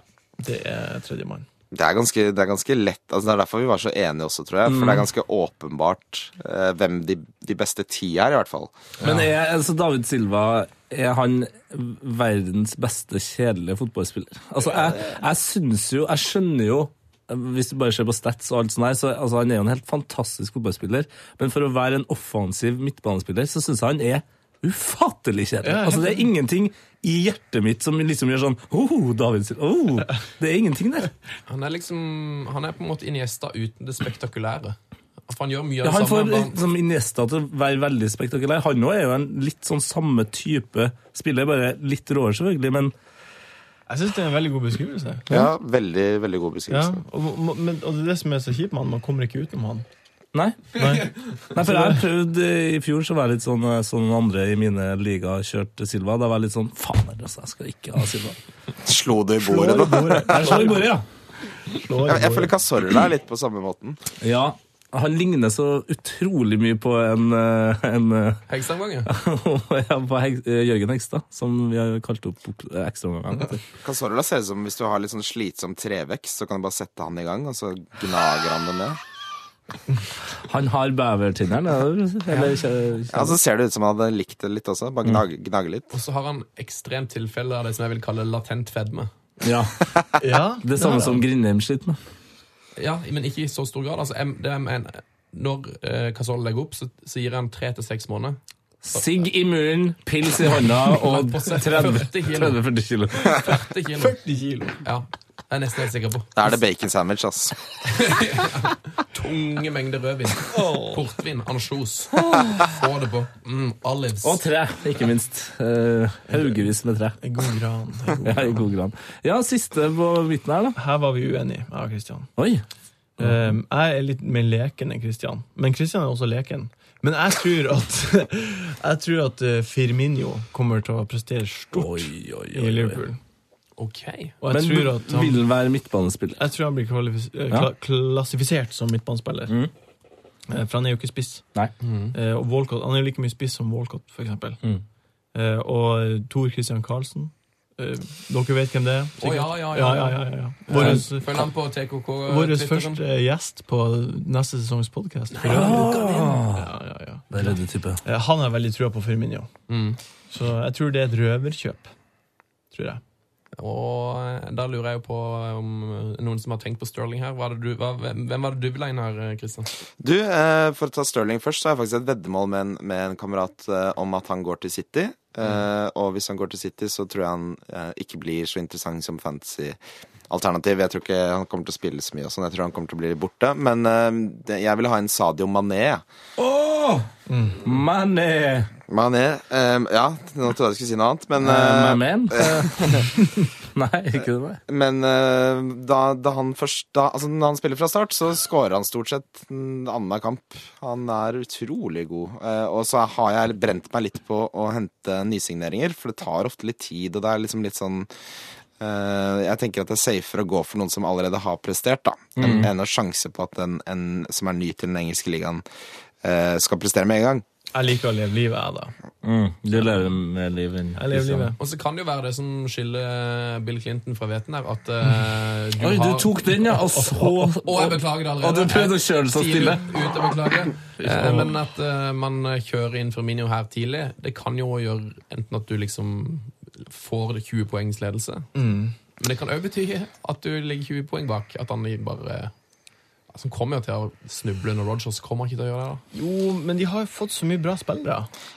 Speaker 5: det er tredjemann.
Speaker 6: det, er ganske, det er ganske lett. Altså, det er derfor vi var så enige også, tror jeg. For
Speaker 5: Mm.
Speaker 6: det er ganske åpenbart eh, hvem de, de beste ti er, i hvert fall.
Speaker 3: Men er altså David Silva er han verdens beste kjedelige fotballspiller? Altså, jeg, jeg syns jo Jeg skjønner jo hvis du bare ser på stats og alt sånt her, så altså, han er jo en helt fantastisk fotballspiller. Men for å være en offensiv midtbanespiller, så syns jeg han er ufattelig kjedelig.
Speaker 5: Ja, helt
Speaker 3: altså, det er ingenting i hjertet mitt som liksom gjør sånn Oh, David Silva! Oh, det er ingenting der.
Speaker 4: Han er liksom Han er på en måte Iniesta uten det spektakulære. For han gjør mye av
Speaker 3: Ja,
Speaker 4: det
Speaker 3: han får
Speaker 4: samme. bare-
Speaker 3: liksom Iniesta til å være veldig spektakulær. Han òg er jo en litt sånn samme type spiller, bare litt råere, selvfølgelig, men
Speaker 5: Jeg syns det er en veldig god beskrivelse.
Speaker 6: Ja, veldig, veldig god
Speaker 5: Ja,
Speaker 6: beskrivelse.
Speaker 5: liksom. og, men, og det er det som er så kjipt med han, man kommer ikke utenom
Speaker 3: (laughs)
Speaker 5: han.
Speaker 3: Nei.
Speaker 5: Nei.
Speaker 3: Nei, for jeg har prøvd eh, i fjor, så var jeg litt sånn eh, som andre i mine ligaer kjørte Silva. Da var jeg litt sånn Faen, altså, jeg skal ikke ha Silva.
Speaker 6: Slo det i
Speaker 5: Slår
Speaker 6: bordet,
Speaker 5: i
Speaker 6: da.
Speaker 5: bordet.
Speaker 3: Jeg slår i bordet, ja.
Speaker 5: Slår i
Speaker 6: Jeg, jeg
Speaker 5: bordet.
Speaker 6: føler Casorla er litt på samme måten.
Speaker 3: Ja, han ligner så utrolig mye på en, eh, en eh, (laughs)
Speaker 4: Hegstanggang, ja.
Speaker 3: ja, på Heg- eh, Jørgen Hegstad, som vi har kalt opp opp- eh, ekstraomgangene.
Speaker 6: Casorla ser ut som hvis du har litt sånn slitsom trevekst, så kan du bare sette han i gang, og så gnager han det ned.
Speaker 3: Han har bevertinneren, eller? eller kje-
Speaker 6: Ja, Så ser det ut som han hadde likt det litt også.
Speaker 5: Mm.
Speaker 6: Bare gnage, gnage litt.
Speaker 4: Og så har han ekstremt tilfelle av det som jeg vil kalle latent fedme.
Speaker 3: Ja,
Speaker 5: ja,
Speaker 3: Det er samme
Speaker 5: ja.
Speaker 3: som Grindheim sliter med.
Speaker 4: Ja, Men ikke i så stor grad. Altså, jeg, det jeg mener, når eh, Casol legger opp, så, så gir han tre til seks måneder.
Speaker 3: Sigg i munnen, pils i hånda og
Speaker 4: På seg 40 kilo.
Speaker 3: 30-40 kilo.
Speaker 4: 40 kilo.
Speaker 5: 40 kilo.
Speaker 4: Ja, jeg er nesten helt sikker på.
Speaker 6: Da er det bacon sandwich, ass.
Speaker 4: Tunge mengder rødvin. Portvin. Ansjos. Få det på. Mm, olives.
Speaker 3: Og tre, ikke minst. Eh, Haugevis med tre.
Speaker 5: En god gran. En
Speaker 3: (laughs)
Speaker 5: god
Speaker 3: Ja, i god grad. Ja, siste på midten her, da.
Speaker 5: Her var vi uenige, jeg og Kristian.
Speaker 3: Oi.
Speaker 5: Um, jeg er litt mer leken enn Kristian, men Kristian er også leken. Men jeg tror at, (laughs) jeg tror at eh, Firmino kommer til å prestere stort
Speaker 3: Oi, oi,
Speaker 5: i Liverpool.
Speaker 4: OK.
Speaker 5: Og
Speaker 3: Men
Speaker 5: jeg tror, at han,
Speaker 3: vil være midtbanespiller.
Speaker 5: jeg tror han blir kvalifis- eh,
Speaker 3: Ja. Mm.
Speaker 5: kla klassifisert som midtbanespiller. Eh, For han er jo ikke spiss.
Speaker 3: Nei.
Speaker 5: Eh, Og Walcott, han er jo like mye spiss som Walcott, for eksempel.
Speaker 3: Mm.
Speaker 5: Eh, Og Tor Christian Karlsen. Eh, Dere vet hvem det er?
Speaker 4: Å, ja, ja,
Speaker 5: ja,
Speaker 4: ja.
Speaker 5: ja, ja, ja. Våres,
Speaker 4: Følg han på TKK.
Speaker 5: vår
Speaker 4: Twitteren.
Speaker 5: første gjest på neste sesongs podkast. Ja, ja, ja.
Speaker 3: Det er rødde type.
Speaker 5: Eh, Han har veldig trua på Firmino. Så jeg tror det er et røverkjøp. Tror jeg.
Speaker 4: Og eh, da lurer jeg jo på om eh, noen som har tenkt på Sterling her. Hva er det du, hva, hvem hvem var det du ville inn her, eh, Christian?
Speaker 6: Du, eh, for å ta Sterling først, så har jeg faktisk et veddemål med en, med en kamerat eh, om at han går til City. Eh, og hvis han går til City, så tror jeg han eh, ikke blir så interessant som fantasy-alternativ. Jeg tror ikke han kommer til å spille så mye og sånn. Jeg tror han kommer til å bli borte. Men eh, det, jeg vil ha en Sadio Mané. jeg.
Speaker 3: Man, eh,
Speaker 6: Mané eh, Ja, nå trodde jeg du skulle si noe annet, men
Speaker 3: my
Speaker 6: eh,
Speaker 3: man. (laughs) Nei, ikke det. Nei.
Speaker 6: Men eh, da, da han først da, altså Når han spiller fra start, så scorer han stort sett annenhver kamp. Han er utrolig god. Eh, og så har jeg brent meg litt på å hente nysigneringer, for det tar ofte litt tid, og det er liksom litt sånn eh, jeg tenker at det er safer å gå for noen som allerede har prestert, da,
Speaker 5: Mm.
Speaker 6: enn- enn å sjanse på at en, en som er ny til den engelske ligaen, eh, skal prestere med en gang.
Speaker 5: Jeg liker å leve livet, jeg, da.
Speaker 3: Mm, du lever med livet. enn
Speaker 5: Jeg lever
Speaker 3: Kristian.
Speaker 5: livet.
Speaker 4: Og så kan det jo være det som skiller Bill Clinton fra hveten her, at eh, du
Speaker 3: Oi,
Speaker 4: har
Speaker 3: du tok den, ja, og så
Speaker 4: Å, jeg beklager det allerede.
Speaker 3: Og du prøvde å kjøre det så
Speaker 4: Jeg
Speaker 3: stille.
Speaker 4: sier Ut, ut og
Speaker 3: (laughs)
Speaker 4: beklager. Eh, Men at eh, man kjører inn Firmino her tidlig, det kan jo gjøre enten at du liksom får det 20 poengs ledelse,
Speaker 3: Mm.
Speaker 4: men det kan òg bety at du ligger 20 poeng bak. At han bare eh, Altså, han kommer jo til å snuble under Rogers. Kommer han ikke til å gjøre det?
Speaker 5: Jo, men de har jo fått så mye bra spillere.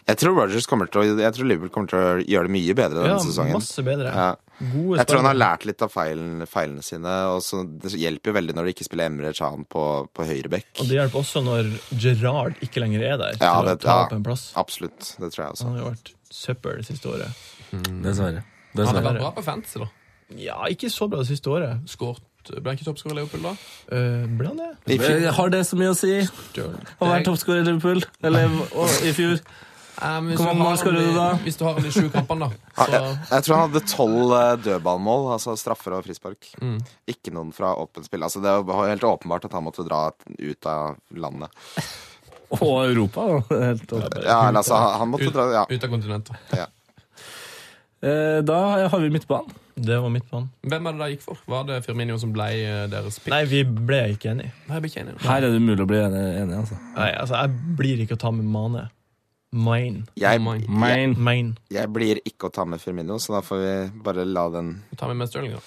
Speaker 6: Jeg tror Rodgers kommer til å Jeg tror Liverpool kommer til å gjøre det mye bedre denne
Speaker 5: Ja,
Speaker 6: sesongen.
Speaker 5: masse bedre.
Speaker 6: Ja.
Speaker 5: Gode
Speaker 6: Jeg tror han har
Speaker 5: spillere.
Speaker 6: lært litt av feilen, feilene sine. Og så det hjelper jo veldig når de ikke spiller Emre Chan på, på høyrebekk.
Speaker 5: Og det hjelper også når Gerard ikke lenger er der.
Speaker 6: Ja,
Speaker 5: til å
Speaker 6: det-
Speaker 5: ta
Speaker 6: ja.
Speaker 5: opp en plass.
Speaker 6: Absolutt. Det tror jeg også.
Speaker 5: Han har jo vært søppel det siste året.
Speaker 3: Dessverre.
Speaker 4: Han har
Speaker 3: Dessverre.
Speaker 4: vært bra på fantasy, da.
Speaker 5: Ja, ikke så bra det siste året.
Speaker 4: Skårt, ble han ikke toppskårer i Leopold, da?
Speaker 5: Uh, ble han det?
Speaker 6: I fjor,
Speaker 3: Eh, Har det så mye å si? Å være toppskårer i Liverpool? Eller å- i fjor?
Speaker 4: Eh, men hvis du
Speaker 3: Hvor
Speaker 4: har
Speaker 3: mange mål skårer
Speaker 4: han i-
Speaker 3: du da?
Speaker 4: Hvis du har han i sju kampene, da.
Speaker 6: Ja,
Speaker 4: Så,
Speaker 6: jeg, jeg tror han hadde tolv eh, dødballmål, altså straffer og frispark. Ikke noen fra åpent spill. Altså, det var helt åpenbart at han måtte dra ut av landet.
Speaker 3: Og Europa, da. (laughs) Helt topp.
Speaker 6: Ja, eller altså, han måtte
Speaker 4: ut,
Speaker 6: dra Ja.
Speaker 4: ut av kontinentet.
Speaker 6: ja.
Speaker 3: Eh, Da har vi midtbanen.
Speaker 5: Det var mitt plan.
Speaker 4: Hvem er det dere gikk for? Var det Firmino som ble eh, deres pick?
Speaker 5: Nei, vi ble ikke enige.
Speaker 4: Nei, jeg blir ikke enig.
Speaker 3: Her er det umulig å bli enig, enig altså.
Speaker 5: Nei, altså, jeg blir ikke å ta med Mane. Mine.
Speaker 6: Jeg,
Speaker 4: Mine.
Speaker 3: Main.
Speaker 5: Mine.
Speaker 6: jeg blir ikke å ta med Firmino, så da får vi bare la den
Speaker 4: Ta med mest Stirling, da.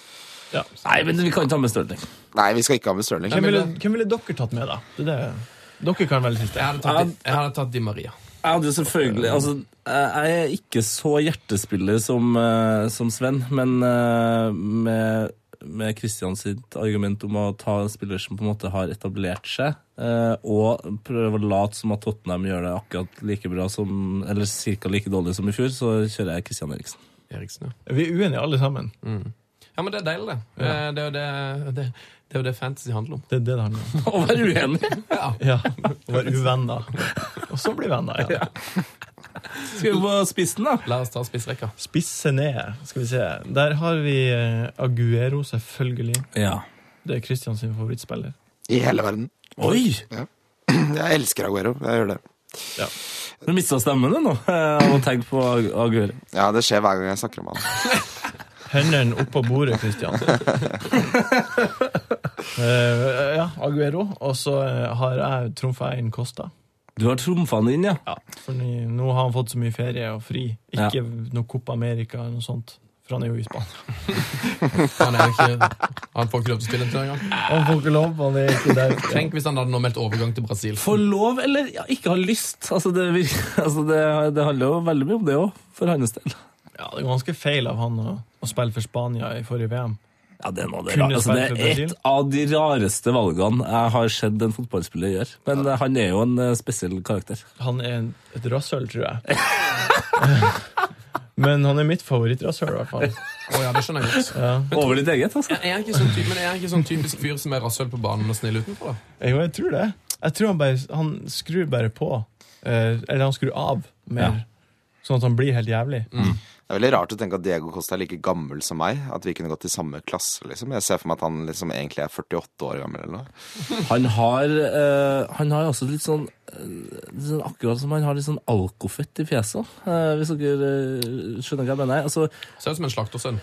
Speaker 5: Ja.
Speaker 3: Nei, men vi kan ta med Stirling.
Speaker 6: Nei, vi skal ikke ha med Stirling.
Speaker 5: Hvem, ville, hvem ville dere tatt med, da? Det er det. Dere kan velge siste.
Speaker 4: Jeg hadde tatt, Di- jeg hadde tatt Di Maria.
Speaker 3: Jeg hadde jo selvfølgelig Altså, jeg er ikke så hjertespiller som, eh, som Sven, men eh, med, med Christian sitt argument om å ta en spiller som på en måte har etablert seg, eh, og prøve å late som at Tottenham gjør det akkurat like bra som Eller ca. like dårlig som i fjor, så kjører jeg Christian Eriksen.
Speaker 4: Eriksen, ja.
Speaker 5: Vi er uenige alle sammen.
Speaker 4: Ja, men det er deilig, det. Eh, Det er jo det, det, det, er jo det fantasy handler om.
Speaker 5: Det er det det handler om.
Speaker 3: (laughs) Å være uenig!
Speaker 4: Ja.
Speaker 5: Ja, å Være uvenner. Og så bli venner igjen.
Speaker 3: Skal vi på spissen, da?
Speaker 4: La oss ta spissrekka.
Speaker 5: Spisse ned, skal vi se. Der har vi eh, Aguero, selvfølgelig.
Speaker 3: Ja.
Speaker 5: Det er Christian sin favorittspiller.
Speaker 6: I hele verden. (clears throat)
Speaker 3: Oi!
Speaker 6: Jeg elsker Aguero. Jeg gjør det.
Speaker 3: Du mista stemmen din nå, (laughs) av å tenke på Agur.
Speaker 6: Ja, det skjer hver gang jeg snakker om han.
Speaker 5: Hendene oppå bordet, (laughs) Christian. Eh, ja, Aguero. Og så eh, har jeg trumfa inn Costa.
Speaker 3: Du har trumfa den inn, ja.
Speaker 5: Ja, for ny- nå har han fått så mye ferie og fri. Ikke
Speaker 3: Ja.
Speaker 5: noe Copa America eller noe sånt. For han er jo i Spania.
Speaker 4: Han, er jo ikke, han får ikke lov til å spille en tur engang.
Speaker 5: Han får ikke lov, han er ikke der.
Speaker 4: Tenk hvis han hadde nå meldt overgang til Brasil.
Speaker 3: Få lov eller ja, ikke ha lyst. Altså det, vir- (laughs) altså det, det handler jo veldig mye om det òg, for hans del.
Speaker 5: Ja, det er ganske feil av han å, å spille for Spania i forrige VM.
Speaker 3: Ja, Det er noe av det
Speaker 5: Kunne
Speaker 3: rare. altså,
Speaker 5: spilt
Speaker 3: Det
Speaker 5: for
Speaker 3: er
Speaker 5: Brasil.
Speaker 3: et av de rareste valgene jeg har sett en fotballspiller gjøre. Men eh, han er jo en eh, spesiell karakter.
Speaker 5: Han er en- et rasshøl, tror jeg. (laughs) Men han er mitt favorittrasshøl, i hvert fall.
Speaker 4: Å ja, det skjønner jeg godt.
Speaker 3: Over ditt eget, altså.
Speaker 4: Er han ikke sånn, ty- men er han ikke sånn typisk fyr som er rasshøl på banen og snill utenfor? da?
Speaker 5: Jo, jeg tror det. Jeg tror han bare Han skrur bare på. Eh, eller han skrur av mer.
Speaker 3: Ja.
Speaker 5: Sånn at han blir helt jævlig.
Speaker 4: Mm.
Speaker 6: Det er veldig rart å tenke at Diego Costa er like gammel som meg. At vi kunne gått i samme klasse, liksom. Jeg ser for meg at han liksom egentlig er 48 år gammel eller noe.
Speaker 3: Han har, eh, han har også litt sånn, eh, litt sånn Akkurat som han har litt sånn alkofett i fjeset. eh, hvis dere eh, skjønner hva jeg mener. Altså,
Speaker 4: Ser ut som en slaktersønn.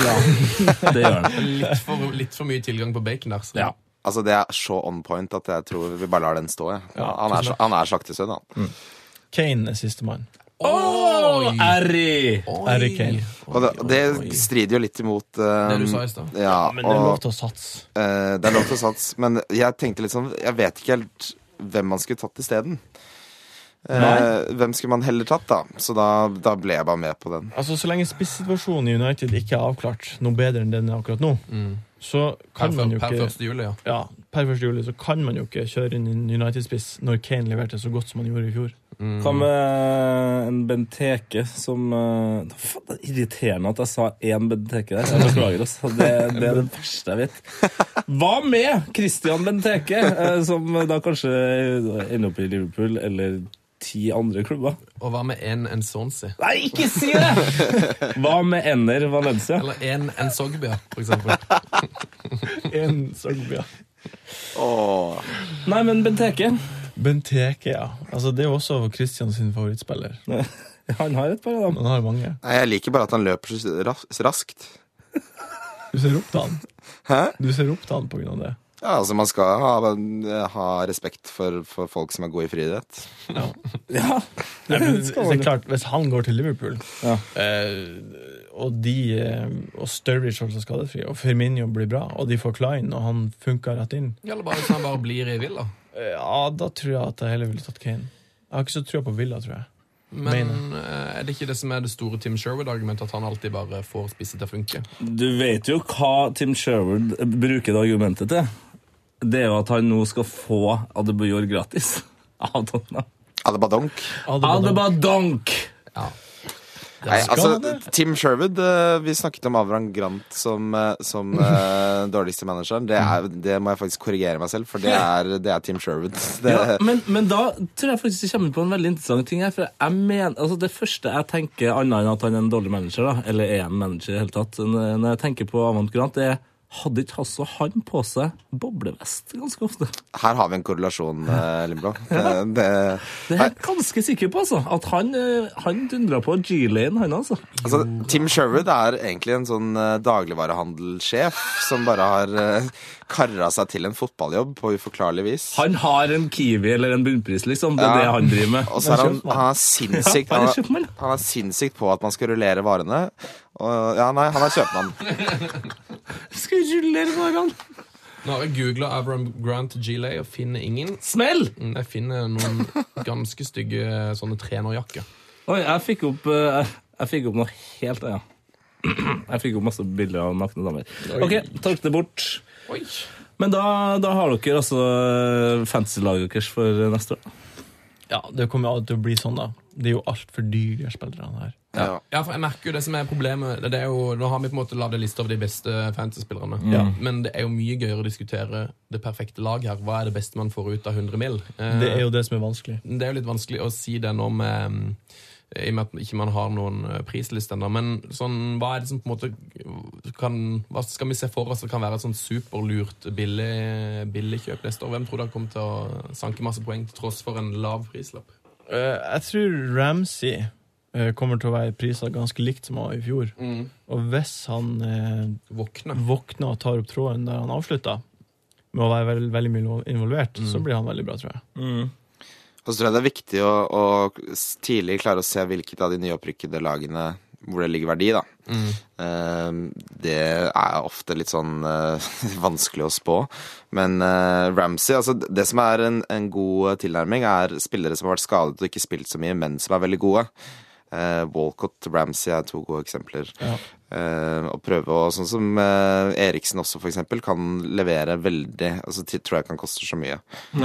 Speaker 3: ja, (laughs) det gjør han.
Speaker 4: Litt for, litt for mye tilgang på bacon der. Så.
Speaker 3: Ja.
Speaker 6: Altså, det er så on point at jeg tror vi bare lar den stå, jeg. han, er, så- han er slaktesønn, han.
Speaker 4: Mm.
Speaker 5: Kane er sistemann.
Speaker 3: Å, Harry!
Speaker 4: Oi.
Speaker 5: Harry Kane.
Speaker 6: Og det, og det strider jo litt imot eh,
Speaker 4: Det du sa i stad.
Speaker 6: Ja,
Speaker 5: Men det er lov
Speaker 6: og
Speaker 5: til å satse.
Speaker 6: eh, det er lov til å satse. Men jeg tenkte litt sånn Jeg vet ikke helt hvem man skulle tatt isteden. Uh, hvem skulle man heller tatt, da? Så da, da ble jeg bare med på den.
Speaker 5: Altså, Så lenge spissituasjonen i United ikke er avklart noe bedre enn den er akkurat nå, så
Speaker 4: Mm. Per,
Speaker 5: kan man
Speaker 4: fyr-
Speaker 5: jo
Speaker 4: per
Speaker 5: ikke
Speaker 4: 1. juli, ja.
Speaker 5: ja, per 1. juli så kan man jo ikke kjøre inn en United-spiss når Kane leverte så godt som han gjorde i
Speaker 4: (laughs)
Speaker 5: fjor.
Speaker 3: Hva med en Benteke som eh, da faen, Det er irriterende at jeg sa én Benteke der. Jeg beklager oss. Det, det er det verste jeg vet. Hva med Christian Benteke, eh, som da kanskje ender opp i Liverpool eller ti andre klubber?
Speaker 4: Og hva med en Ensonsi?
Speaker 3: Nei, ikke si det! Hva med Enner Valencia?
Speaker 4: Eller en Ensogbia, for eksempel.
Speaker 5: En Sagbia.
Speaker 6: Åh.
Speaker 3: Nei, men Benteke.
Speaker 5: Benteke, ja. Altså, det er jo også Christian sin favorittspiller.
Speaker 3: Han har et par av dem.
Speaker 5: Han har mange.
Speaker 6: Nei, jeg liker bare at han løper så ras- raskt.
Speaker 5: Du ser opp til han.
Speaker 6: Hæ?
Speaker 5: Du ser opp til han på grunn av det.
Speaker 6: Ja, altså Man skal ha, eh, ha respekt for, for folk som er gode i friidrett.
Speaker 3: Ja.
Speaker 5: Nei, men,
Speaker 3: Det
Speaker 5: det
Speaker 3: skal
Speaker 5: er
Speaker 3: man.
Speaker 5: klart, Hvis han går til Liverpool,
Speaker 3: Ja.
Speaker 5: eh, og de eh, og Sturridge holder seg skadefri, og Firmino blir bra, og de får Klein, og han funker rett inn,
Speaker 4: Eller bare hvis han bare blir i Villa.
Speaker 5: eh, ja, da tror jeg at jeg heller ville tatt Kane. Jeg har ikke så trua på Villa, tror jeg.
Speaker 4: Men eh, er det ikke det som er det store Tim Sherwood-argumentet, at han alltid bare får spisse til å funke?
Speaker 3: Du vet jo hva Tim Sherwood bruker det argumentet til. Det er jo at han nå skal få Adebayor gratis. (laughs) Av Tottenham.
Speaker 6: Adebadonk.
Speaker 5: Adebayor.
Speaker 3: Adebadonk!
Speaker 4: Ja.
Speaker 6: Nei,
Speaker 5: skal
Speaker 6: altså, Tim Sherwood eh, Vi snakket om Avram Grant som, eh, som eh, dårligste manageren. Det, er, det må jeg faktisk korrigere meg selv, for det er, det er Tim Sherwood. (laughs) Det,
Speaker 3: Ja, men, men da tror jeg faktisk jeg kommer på en veldig interessant ting her. For jeg mener, altså Det første jeg tenker, annet enn at han er en dårlig manager, da, eller er en manager i det hele tatt, n- når jeg tenker på Avant Grant, det er hadde ikke også han på seg boblevest ganske ofte?
Speaker 6: her har vi en korrelasjon, eh, Lindblad. Det, det,
Speaker 3: Det er jeg ganske sikker på, altså. At han, eh, han dundra på G-lane, han altså.
Speaker 6: altså, Tim Sherwood er egentlig en sånn eh, dagligvarehandelsjef som bare har eh, karra seg til en fotballjobb på uforklarlig vis.
Speaker 3: Han har en Kiwi eller en bunnpris, liksom. Det er
Speaker 6: Ja.
Speaker 3: det han driver med.
Speaker 6: Og så er han,
Speaker 5: kjøpmann.
Speaker 6: han er
Speaker 3: Ja,
Speaker 6: sinnssykt
Speaker 3: han er
Speaker 6: han, er-
Speaker 3: kjøpmann.
Speaker 6: han er sinnssykt på at man skal rullere varene. Og, ja, nei, han er kjøpmann.
Speaker 3: Skal vi rullere varene?
Speaker 4: Nå har jeg googla Avram Grant Gilay og finner ingen.
Speaker 3: Smell!
Speaker 4: Mm, Jeg finner noen ganske stygge sånne trenerjakker.
Speaker 3: Oi, jeg fikk opp, eh, jeg- jeg fikk opp noe helt annet. Jeg fikk opp masse bilder av nakne damer. Ok, takk det bort.
Speaker 4: Oi!
Speaker 3: Men da, da har dere altså eh, fantasy-laget deres for neste år.
Speaker 5: Ja, det kommer jo alltid til å bli sånn, da. Det er jo altfor dyre spillere, han her.
Speaker 6: Ja.
Speaker 4: Ja, for jeg merker jo det som er problemet det er jo, Nå har vi på en måte laget en liste over de beste fantasy-spillerne. Men det er jo mye gøyere å diskutere det perfekte lag her. Hva er det beste man får ut av 100 mil? Eh,
Speaker 5: Det er jo det som er vanskelig.
Speaker 4: det er jo litt vanskelig å si det nå med eh, i og med at ikke man har noen eh, prisliste ennå. Men sånn, hva er det som på en måte kan, Hva skal vi se for oss det kan være et sånn superlurt billig, billig kjøp neste år? Hvem tror dere kommer til å sanke masse poeng til tross for en lav prislapp?
Speaker 5: Eh, jeg tror Ramsey eh, kommer til å være prisa ganske likt som han var i fjor. Og hvis han eh,
Speaker 4: Våkne.
Speaker 5: våkner og tar opp tråden der han avslutta, med å være veld, veldig mye involvert, så blir han veldig bra, tror jeg.
Speaker 6: Og så tror jeg det er viktig å, å s- tidlig klare å se hvilket av de nyopprykkede lagene hvor det ligger verdi, da. Eh, Det er ofte litt sånn eh, (laughs) vanskelig å spå. Men eh, Ramsey altså d- Det som er en, en god tilnærming, er spillere som har vært skadet og ikke spilt så mye, men som er veldig gode. Eh, Walcott og Ramsey er to gode eksempler. Eh, og prøve å Sånn som eh, Eriksen også, for eksempel, kan levere veldig Altså t- tror jeg ikke han koster så mye.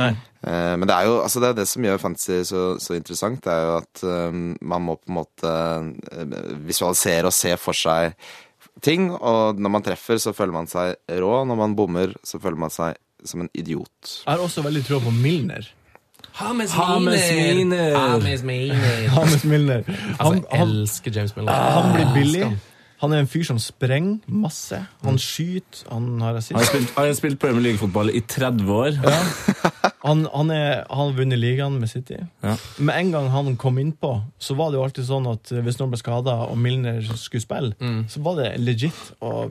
Speaker 6: Eh, Men det er jo altså det, er det som gjør fantasy så, så interessant, det er jo at eh, man må på en måte eh, visualisere og se for seg ting. Og når man treffer, så føler man seg rå. Når man bommer, så føler man seg som en idiot.
Speaker 5: Jeg har også veldig tro på (laughs) Milner.
Speaker 4: Hames
Speaker 3: James Milner.
Speaker 4: Hames Milner.
Speaker 5: Hans Milner. Han, Ah,
Speaker 4: Altså, jeg
Speaker 5: han,
Speaker 4: elsker James Milner.
Speaker 5: han blir billig.
Speaker 4: Elsker han.
Speaker 5: Han Mm. er en fyr som sprenger masse. Han skyter, han har
Speaker 3: Han har
Speaker 5: rasist.
Speaker 3: spilt, han har spilt Premier League-fotball i 30 år.
Speaker 5: Han, han, er, han har vunnet ligaen med City.
Speaker 3: Ja.
Speaker 5: Med en gang han kom innpå, så var det jo alltid sånn at hvis noen ble skada og Milner skulle spille, så var det legit å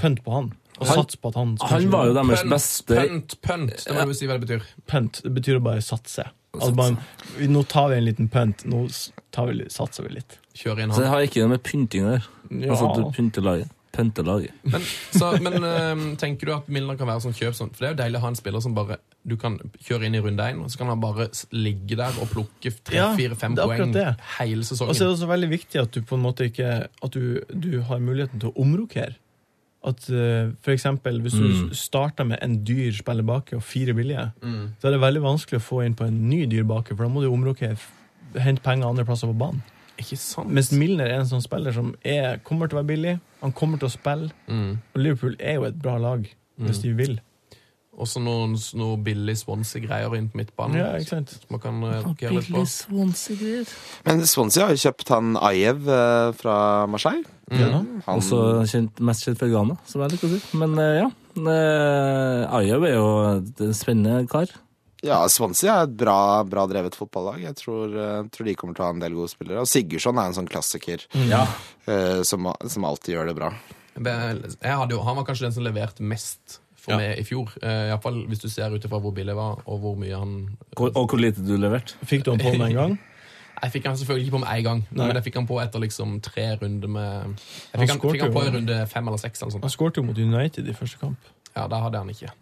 Speaker 5: pønte på han. Og
Speaker 3: Mm. Han-
Speaker 5: satse på at han skulle
Speaker 3: Han var jo deres
Speaker 4: Pønt,
Speaker 3: beste
Speaker 4: pønt, pønt. Det må vi jo si hva det betyr.
Speaker 5: Pønt det betyr å bare satse. Altså man, vi- nå tar vi en liten pønt. Nå s- tar vi, litt- satser vi litt.
Speaker 4: Kjør inn
Speaker 3: Så det
Speaker 4: han.
Speaker 3: har ikke noe med pynting å gjøre.
Speaker 5: Ja.
Speaker 3: Altså at du pynter laget. Pynter laget.
Speaker 4: Men, så, men eh, tenker du at Milner kan være sånn kjøp sånn? For det er jo deilig å ha en spiller som bare du kan kjøre inn i runde én, og så kan han bare s- ligge der og plukke
Speaker 5: Ja,
Speaker 4: tre-fire-fem
Speaker 5: det er akkurat
Speaker 4: poeng
Speaker 5: det.
Speaker 4: hele
Speaker 5: Og
Speaker 4: sesongen.
Speaker 5: så er det også veldig viktig at du på en måte ikke At du, du har muligheten til å omrokere. At eh, for eksempel hvis du s- starter med en dyr spiller baki og fire billige, så er det veldig vanskelig å få inn på en ny dyr baki, for da må du omrokere. f- Hente penger andre plasser på banen.
Speaker 4: ikke sant?
Speaker 5: Mens Milner er en sånn spiller som er, kommer til å være billig. Han kommer til å spille.
Speaker 4: Mm.
Speaker 5: Og Liverpool er jo et bra lag, hvis de vil.
Speaker 4: Og så noen, noen billig Swansea-greier inn på midtbanen.
Speaker 5: Ja, ikke sant?
Speaker 4: Som man kan eh, rokere litt på.
Speaker 3: Billig Swansea-greier.
Speaker 6: Men Swansea har jo kjøpt han Ajev eh, fra Marseille.
Speaker 5: Ja.
Speaker 6: Han,
Speaker 3: Også kjent, mest kjent fra Ghana, Eh, som jeg liker å si. Men eh, ja. Uh, Ayab er jo et spennende kar.
Speaker 6: Ja, Swansea er et bra, bra drevet fotballag. Jeg tror, eh, tror de kommer til å ha en del gode spillere. Og Sigurdsson er en sånn klassiker eh, som, som alltid gjør det bra.
Speaker 4: Vel, Jeg hadde jo, han var kanskje den som leverte mest for
Speaker 5: Ja.
Speaker 4: meg i fjor. Eh, i hvert fall hvis du ser ut ifra hvor billig jeg var, og hvor mye han
Speaker 3: Hvor, og hvor lite du leverte.
Speaker 5: Fikk du han på med en gang?
Speaker 4: Jeg fikk han selvfølgelig ikke på med en gang,
Speaker 5: Nei.
Speaker 4: men jeg fikk han på etter liksom tre runder med Jeg
Speaker 5: Han
Speaker 4: fikk han,
Speaker 5: skårte
Speaker 4: fikk han
Speaker 5: jo.
Speaker 4: på i runde fem eller seks. Eller noe
Speaker 5: (laughs) Han
Speaker 4: sånt.
Speaker 5: skåret jo mot United i første kamp.
Speaker 4: ja, da hadde han ikke.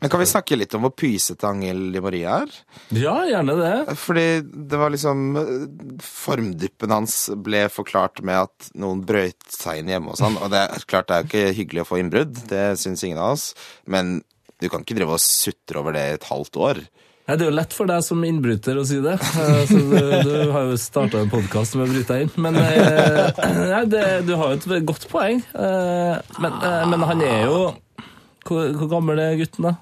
Speaker 6: Men kan vi snakke litt om hvor pysete Angel Di Maria er?
Speaker 3: Ja, gjerne det.
Speaker 6: Fordi det var liksom eh, Formdyppen hans ble forklart med at noen brøyt seg inn hjemme hos han. Og det er klart det er jo ikke hyggelig å få innbrudd, det syns ingen av oss. Men du kan ikke drive og sutre over det i et halvt år.
Speaker 3: Nei, det er jo lett for deg som innbryter å si det. Eh, Så du, du har jo starta en podkast med å bryte deg inn. Men eh, (clears throat) nei, det, du har jo et godt poeng. Eh, Men, eh, men han er jo hvor, hvor gammel er gutten, da?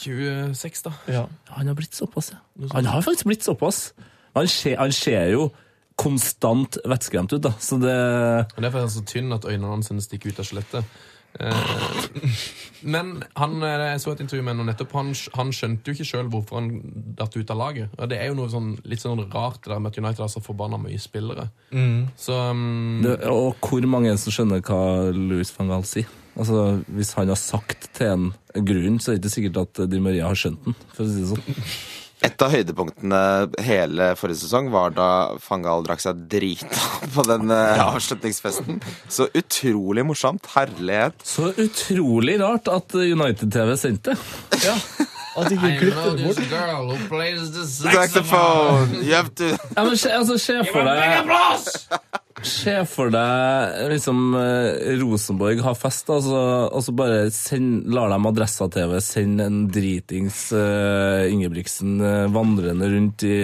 Speaker 4: 26, da.
Speaker 5: Ja.
Speaker 3: Han har blitt såpass, ja. Han har faktisk blitt såpass. Han ser, han ser jo konstant vettskremt ut, da. Så det
Speaker 4: Men Derfor er han så tynn at øynene hans stikker ut av skjelettet. Eh, men han, eh, jeg så et intervju med ham nettopp. Han, skj- han skjønte jo ikke sjøl hvorfor han datt ut av laget. Og Det er jo noe sånn, litt sånn rart det der med at United har så forbanna mye spillere. Så um,
Speaker 3: det, Og hvor mange er det som skjønner hva Louis van Gaal sier? Altså, Hvis han har sagt til en grunn, så er det ikke sikkert at Di Maria har skjønt den. for å si det sånn.
Speaker 6: Et av høydepunktene hele forrige sesong var da Fangal drakk seg drita (laughs) på den eh, avslutningsfesten. Så utrolig morsomt. Herlighet.
Speaker 3: Så utrolig rart at United-TV sendte.
Speaker 5: At de ikke klippet det bort.
Speaker 4: girl who plays the
Speaker 6: Saxophone! You have to
Speaker 3: Ja, men se, altså, se for deg Se for deg liksom eh, Rosenborg har fest, og så altså, bare send, lar dem Adressa-TV sende en dritings eh, Ingebrigtsen eh, vandrende rundt i,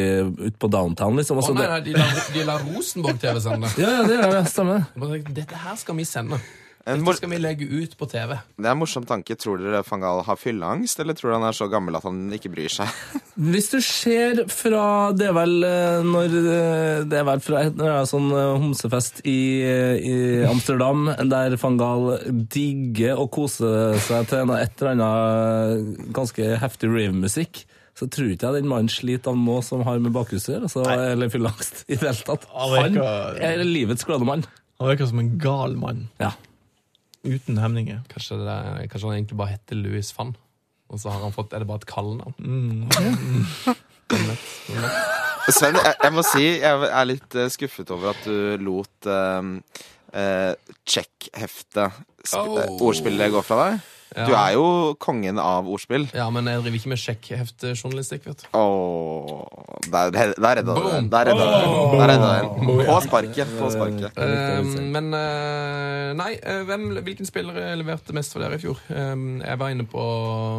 Speaker 3: ut på downtown, liksom.
Speaker 4: Å
Speaker 3: Altså,
Speaker 4: nei,
Speaker 3: det,
Speaker 4: nei, de lar, de lar Rosenborg-TV sende.
Speaker 3: ja, ja, det gjør det. Stemmer.
Speaker 4: Jeg bare tenkte, Dette her skal vi sende.
Speaker 6: En
Speaker 4: Dette
Speaker 6: mor-
Speaker 4: skal vi legge ut på TV.
Speaker 6: Det er en morsom tanke. Tror dere Fangal har fylleangst, eller tror dere han er så gammel at han ikke bryr seg? (laughs)
Speaker 3: Hvis du ser fra Det er vel eh, når eh, Det er vel fra når det er sånn eh, homsefest i, eh, i Amsterdam, der van Gaal digger å kose seg til noe- et eller annet eh, ganske heftig rave-musikk, så tror ikke jeg den mannen sliter av nå som har med bakhus å gjøre, altså, eller fylleangst i det hele tatt.
Speaker 5: Han
Speaker 3: Han
Speaker 5: virker-
Speaker 3: er livets glade mann.
Speaker 5: Han virker som en gal mann.
Speaker 3: Ja.
Speaker 5: Uten hemninger.
Speaker 4: Kanskje, det, kanskje han egentlig bare heter Louis Fan. Og så har han fått, er det bare et kallenavn.
Speaker 5: Mm.
Speaker 6: Sven, jeg, jeg må si jeg er litt eh, skuffet over at du lot eh, heftet
Speaker 4: Oh.
Speaker 6: ordspillet gå fra deg. Du
Speaker 4: Ja.
Speaker 6: er jo kongen av ordspill.
Speaker 4: Ja, men jeg driver ikke med sjekkheftjournalistikk, vet du.
Speaker 6: Åh, Der, der redda du
Speaker 4: Boom.
Speaker 6: den. Der redda du den. Der redda du den. På sparket. På sparket.
Speaker 4: Eh, men eh, Nei, eh, hvem, hvilken spiller leverte mest for dere i fjor? Eh, jeg var inne på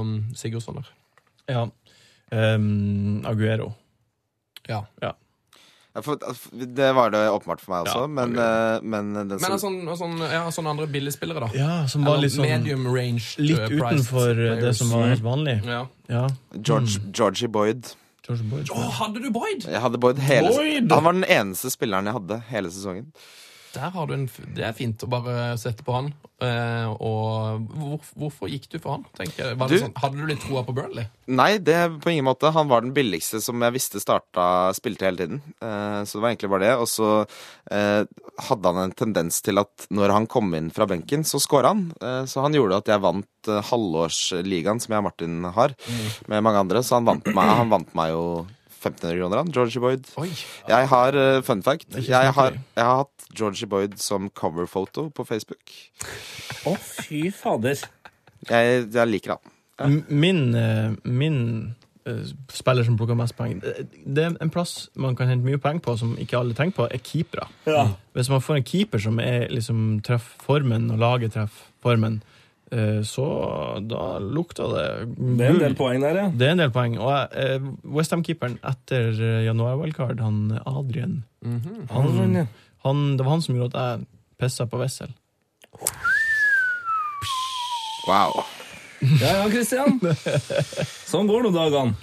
Speaker 4: um, Sigurdsson der.
Speaker 5: Ja. Ehm, Aguero.
Speaker 4: Ja.
Speaker 6: Ja, for- Det var det åpenbart for meg også,
Speaker 5: Ja,
Speaker 6: men, eh, men den
Speaker 4: Men
Speaker 6: som
Speaker 4: sånn, sånn, ja, sånne andre billigspillere, da.
Speaker 5: Ja, som var
Speaker 4: Eller
Speaker 5: litt sånn
Speaker 4: medium range.
Speaker 5: Litt
Speaker 4: eh, priced
Speaker 5: utenfor eh, det
Speaker 4: players. Mm,
Speaker 5: som var helt vanlig.
Speaker 4: ja.
Speaker 5: Ja.
Speaker 6: George, Georgie Boyd.
Speaker 5: George Boyd.
Speaker 4: Å, hadde du Boyd?
Speaker 6: Jeg hadde Boyd hele
Speaker 5: Boyd!
Speaker 6: Han var den eneste spilleren jeg hadde hele sesongen.
Speaker 4: Der har du en, f- det er fint å bare sette på han. Eh, og hvor, hvorfor gikk du for han? tenker jeg? Var det
Speaker 6: Du-
Speaker 4: sånn, hadde du litt troa på Burnley?
Speaker 6: Nei, det på ingen måte. Han var den billigste som jeg visste starta spilte hele tiden. Eh, så det var egentlig bare det. Og så eh, hadde han en tendens til at når han kom inn fra benken, så scora han. Eh, så han gjorde at jeg vant eh, halvårsligaen som jeg og Martin har, med mange andre. Så han vant meg, han vant meg jo 1500 kroner, han. Georgie Boyd.
Speaker 4: Oi,
Speaker 6: Jeg har eh, fun fact.
Speaker 5: er ikke
Speaker 6: Jeg har,
Speaker 5: småtteri.
Speaker 6: jeg har hatt Georgie Boyd som coverfoto på Facebook.
Speaker 3: Å, fy fader.
Speaker 6: Jeg, jeg liker han.
Speaker 5: M- Min, eh, min eh, spiller som plukker mest poeng eh, Det er en plass man kan hente mye poeng på, som ikke alle tenker på, er keepere. Mm. Hvis man får en keeper som er, liksom, treffer formen, og laget treffer formen, eh, så da lukter det
Speaker 3: Det er en
Speaker 5: gull.
Speaker 3: del poeng der, ja.
Speaker 5: Det er en del poeng. Og eh, Westham-keeperen etter eh, januar-wildcard, han eh, Adrian
Speaker 3: Adrian, sånn, ja.
Speaker 5: han, han, Det var han som gjorde at jeg pissa på Wessel.
Speaker 6: Wow.
Speaker 3: Ja ja, (laughs) Christian. Sånn går nå dagene.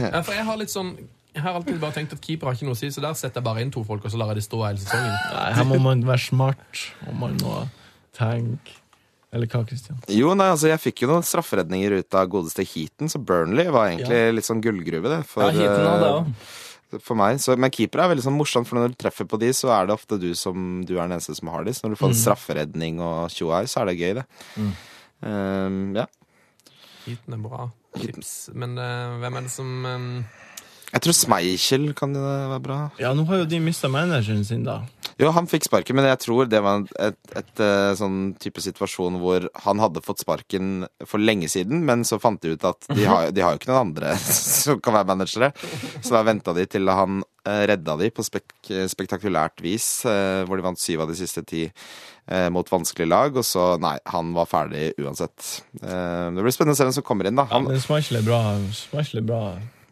Speaker 4: ja, for jeg har litt sånn jeg har alltid bare tenkt at keeper har ikke noe å si, så der setter jeg bare inn to folk, og så lar jeg de stå hele sesongen.
Speaker 5: Nei, her må man være smart, og man må tenke Eller hva, Kristian?
Speaker 6: Jo, nei, altså jeg fikk jo noen strafferedninger ut av godeste Heaton, så Burnley var egentlig litt sånn gullgruve, det. For,
Speaker 3: Ja, Heaton hadde
Speaker 6: eh,
Speaker 3: jeg òg.
Speaker 6: for meg. Så, men keepere er veldig sånn morsomt, for når du treffer på de, så er det ofte du som du er den eneste som har de. Så når du får en
Speaker 3: Mm.
Speaker 6: strafferedning og tjoei, så er det gøy, det. Eh, ja.
Speaker 4: Heaton er bra tips. Men eh, hvem er det som eh,
Speaker 6: Jeg tror Schmeichel kan eh, være bra.
Speaker 5: Ja, nå har jo de mista manageren sin, da.
Speaker 6: Jo, han fikk sparken, men jeg tror det var et, et, eh, sånn type situasjon hvor han hadde fått sparken for lenge siden, men så fant de ut at de har, de har jo ikke noen andre (laughs) som kan være managere. Så da venta de til han eh, redda de på spek spektakulært vis, eh, hvor de vant syv av de siste ti eh, mot vanskelige lag, og så Nei, han var ferdig uansett. Eh, Det blir spennende å se hvem som kommer inn, da. Han,
Speaker 5: Men Schmeichel er bra. Schmeichel er bra.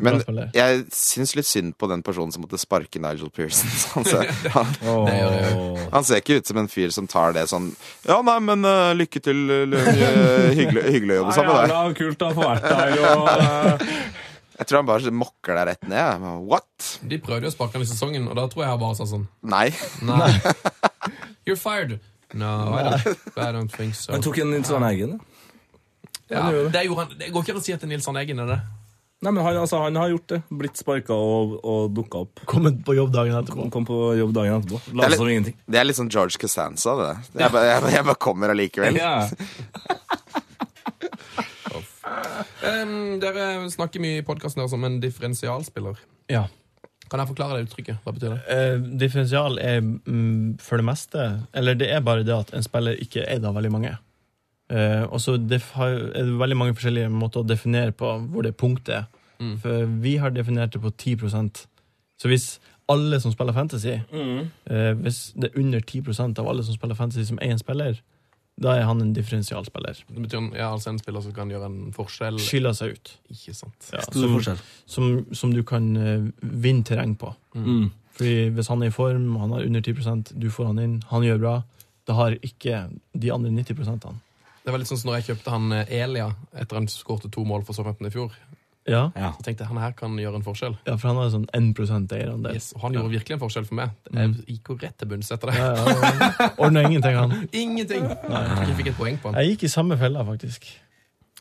Speaker 6: men
Speaker 5: bra spiller.
Speaker 6: jeg syns litt synd på den personen som måtte sparke Nigel Pearson. (laughs) Han ser, han,
Speaker 3: Åh.
Speaker 6: han ser ikke ut som en fyr som tar det sånn Ja, nei, men eh, lykke til.
Speaker 3: (laughs)
Speaker 6: eller, eh, hyggelig, hyggelig å jobbe sammen med deg.
Speaker 3: Jævla kult å få vært der og
Speaker 6: Jeg tror han bare mokker deg rett ned. jeg. What?
Speaker 4: De prøvde jo å sparke han i sesongen, og da tror jeg han bare sa sånn
Speaker 6: Nei.
Speaker 4: Nei. (laughs) You're fired. No, I don't, I don't think so.
Speaker 3: Jeg tok en Nils Arne Eggen. da.
Speaker 4: Ja,
Speaker 3: gjorde det.
Speaker 4: det, gjorde han, det går ikke an å si at det er Nils Arne Eggen er det.
Speaker 3: Nei, men han, altså, han har gjort det. Blitt sparka og, og dukka opp.
Speaker 5: Kommet på jobb dagen etterpå.
Speaker 3: Han kom på jobb dagen etterpå. La
Speaker 6: Det er
Speaker 3: oss som
Speaker 6: litt-
Speaker 3: ingenting.
Speaker 6: Det er litt sånn George Costanza, det. Jeg bare, jeg, bare- jeg bare kommer allikevel.
Speaker 3: Ja.
Speaker 4: Em, dere snakker mye i podkasten om en differensialspiller.
Speaker 5: Ja.
Speaker 4: Kan jeg forklare det uttrykket? Hva betyr det?
Speaker 5: Eh, differensial er mm, for det meste Eller det er bare det at en spiller ikke er da veldig mange. Eh, og så def- har- er det veldig mange forskjellige måter å definere på hvor det punktet er. For vi har definert det på 10 Så hvis alle som spiller fantasy eh, Hvis det er under 10 av alle som spiller fantasy, som er en spiller, da er han en differensialspiller.
Speaker 4: Det betyr ja, altså en spiller som kan gjøre en forskjell.
Speaker 5: Skiller seg ut.
Speaker 4: Ikke sant.
Speaker 5: Ja,
Speaker 3: Stor
Speaker 5: som-
Speaker 3: forskjell.
Speaker 5: som, som du kan eh, vinne terreng på.
Speaker 3: Mm.
Speaker 5: Fordi hvis han er i form, han har under 10 du får han inn, han gjør bra, da har ikke de andre 90 han.
Speaker 4: Det var litt sånn som når jeg kjøpte han eh, Elia etter han skårte to mål for Southampton i fjor.
Speaker 5: Ja,
Speaker 3: Ja.
Speaker 4: Jeg tenkte han her kan gjøre en forskjell.
Speaker 5: ja for han har sånn 1 eierandel.
Speaker 4: Yes, og han gjorde virkelig en forskjell for meg. Jeg gikk jo rett til bunns etter det.
Speaker 5: Ja, ja, Ordna ingenting, han.
Speaker 4: (laughs) Ingenting! Ikke fikk et poeng på han.
Speaker 5: Jeg gikk i samme fella, faktisk.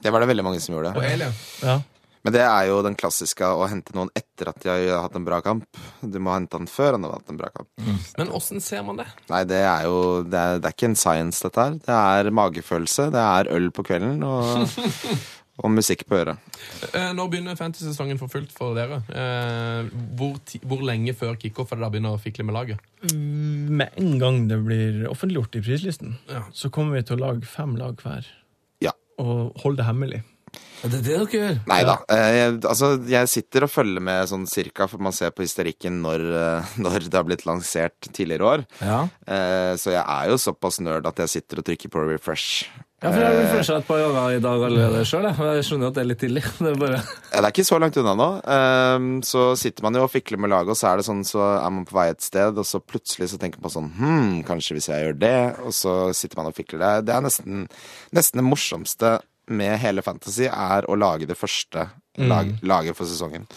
Speaker 6: Det var det veldig mange som gjorde.
Speaker 4: Og Elia
Speaker 5: Ja.
Speaker 6: Men det er jo den klassiske å hente noen etter at de har hatt en bra kamp. Du må hente han før han har hatt en bra kamp.
Speaker 4: Men åssen ser man det?
Speaker 6: Nei, det er jo det er, det er ikke en science, dette her. Det er magefølelse, det er øl på kvelden
Speaker 3: (laughs)
Speaker 6: og, og musikk på øret.
Speaker 4: Eh, Når begynner fantasy-sesongen for fullt for dere? Eh, Hvor, ti hvor lenge før kickoff er det da begynner å fikle med laget?
Speaker 5: Med en gang det blir offentliggjort i prislisten,
Speaker 4: Ja.
Speaker 5: så kommer vi til å lage fem lag hver.
Speaker 6: Ja.
Speaker 5: Og holde det hemmelig.
Speaker 3: Det er det dere gjør.
Speaker 6: Nei da. Eh, jeg, altså, jeg sitter og følger med sånn cirka, for man ser på hysterikken når, eh, (laughs) når det har blitt lansert tidligere år.
Speaker 3: Ja.
Speaker 6: Eh, så jeg er jo såpass nerd at jeg sitter og trykker på refresh.
Speaker 3: ja, for jeg vil flashe et par ganger i dag allerede sjøl. Jeg skjønner jo at det er litt tidlig. (laughs) Det er bare...
Speaker 6: Ja, Det er ikke så langt unna nå. Ehm, Så sitter man jo og fikler med laget, og så er det sånn, så er man på vei et sted, og så plutselig så tenker man sånn Hm, kanskje hvis jeg gjør det, og så sitter man og fikler det. Det er nesten, nesten det morsomste med hele Fantasy, er å lage det første lag, laget for sesongen.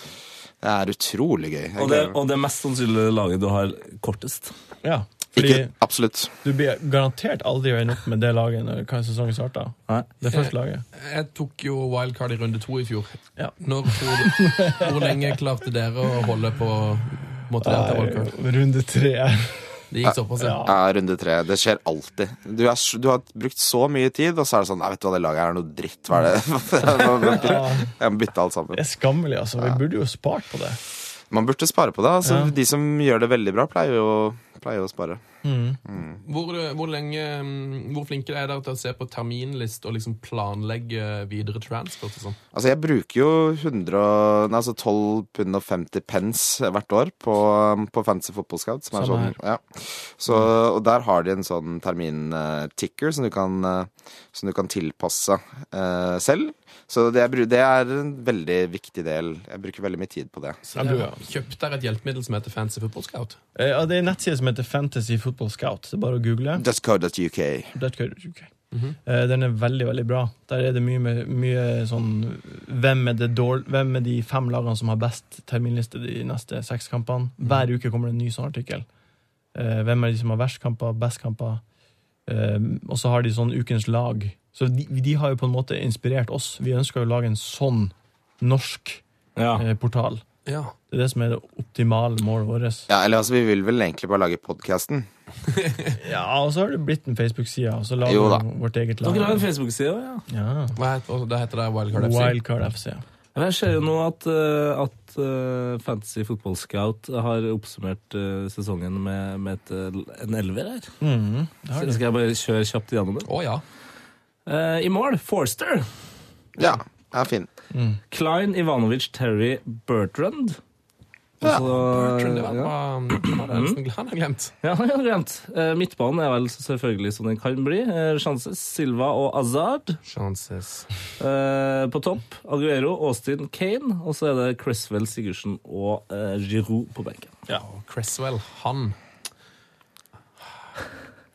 Speaker 6: Det er utrolig gøy. Jeg
Speaker 3: Mm. Og, det,
Speaker 6: gleder meg.
Speaker 3: og det mest sannsynlige laget du har kortest.
Speaker 5: Ja. Fordi
Speaker 6: Ikke, absolutt.
Speaker 5: du blir garantert aldri å ende opp med det laget når hva sesongen starter.
Speaker 3: Nei.
Speaker 5: Det første laget.
Speaker 4: Jeg tok jo wildcard i runde to i fjor.
Speaker 5: Ja.
Speaker 4: Når tror du, Hvor lenge klarte dere å holde på måtte dere ta wildcard?
Speaker 5: Runde tre.
Speaker 4: Det gikk såpass, ja.
Speaker 5: Ja.
Speaker 6: Ja, runde tre. Det skjer alltid. Du, er, s- du har brukt så mye tid, og så er det sånn Nei, vet du hva, det laget her er noe dritt. Hva er (laughs) det? Jeg må bytte alt sammen.
Speaker 5: Det er skammelig, altså. Vi burde jo spart på det.
Speaker 6: Man burde spare på det. altså
Speaker 5: Ja.
Speaker 6: De som gjør det veldig bra, pleier jo, pleier jo å spare.
Speaker 4: Hvor, eh, hvor, lenge, mm, hvor flinke er dere til å se på terminlist og liksom planlegge videre transfers og sånn?
Speaker 6: Altså Jeg bruker jo 100, og- nei, altså 12 pund og 50 pence hvert år på, på Fantasy Football Scout. Som er
Speaker 5: Samme
Speaker 6: sånn, ja. Så, og der har de en sånn terminticker som, du kan, eh, som du kan tilpasse eh, selv. Så det, jeg bru- det er en veldig viktig del. Jeg bruker veldig mye tid på det.
Speaker 5: Jeg burde, ja.
Speaker 4: Kjøpte dere et hjelpemiddel som heter Fancy Football Scout?
Speaker 5: Eh, ja, det er en nettside som heter Fantasy Football Scout. Det er bare å google.
Speaker 6: Dustcode.uk.
Speaker 5: Det er ikke- ok. Eh, Den er veldig, veldig bra. Der er det mye, med- mye sånn hvem er, det dårl hvem er de fem lagene som har best terminliste de neste seks Mhm. kampene? Hver uke kommer det en ny sånn artikkel. Eh, Hvem er de som har verst kamper, best kamper? Eh, og så har de sånn Ukens lag. Så de, de har jo på en måte inspirert oss. Vi ønsker jo å lage en sånn norsk
Speaker 3: Ja.
Speaker 5: eh, portal.
Speaker 4: Ja.
Speaker 5: Det er det som er det optimale målet vårt.
Speaker 6: Ja, eller altså, vi vil vel egentlig bare lage podkasten.
Speaker 5: Ja, og så har det blitt en Facebook-side, og så lager
Speaker 6: Jo da.
Speaker 5: vi vårt eget lag.
Speaker 3: Dere har en Facebook-side òg, ja.
Speaker 5: Ja.
Speaker 4: Hva heter, og da heter det Wildcard FC.
Speaker 5: Wildcard FC.
Speaker 3: Ja, Jeg ser jo nå at, eh, at eh, Fantasy Football Scout har oppsummert eh, sesongen med, med et, eh, en elver her.
Speaker 5: Mhm, det har
Speaker 3: Så
Speaker 5: det.
Speaker 3: skal jeg bare kjøre kjapt gjennom det.
Speaker 4: Å ja.
Speaker 3: Eh, I mål Forster.
Speaker 6: Ja, ja fin.
Speaker 3: Klein, Ivanovic, Terry, Bertrand.
Speaker 6: Ja,
Speaker 3: Altså,
Speaker 4: Bertrand, det var
Speaker 3: ja.
Speaker 4: hva- hva er
Speaker 5: Mhm.
Speaker 4: det som Han har glemt.
Speaker 3: Ja, (laughs) jeg hadde glemt. Eh, Midtbanen er vel selvfølgelig som den kan bli. Eh, Chances, Silva og Azard.
Speaker 4: Chances.
Speaker 3: Eh, på topp Aguero, Austin, Kane. Og så er det Cresswell, Sigurdsen og eh, Giroud på benken.
Speaker 4: Og Cresswell, han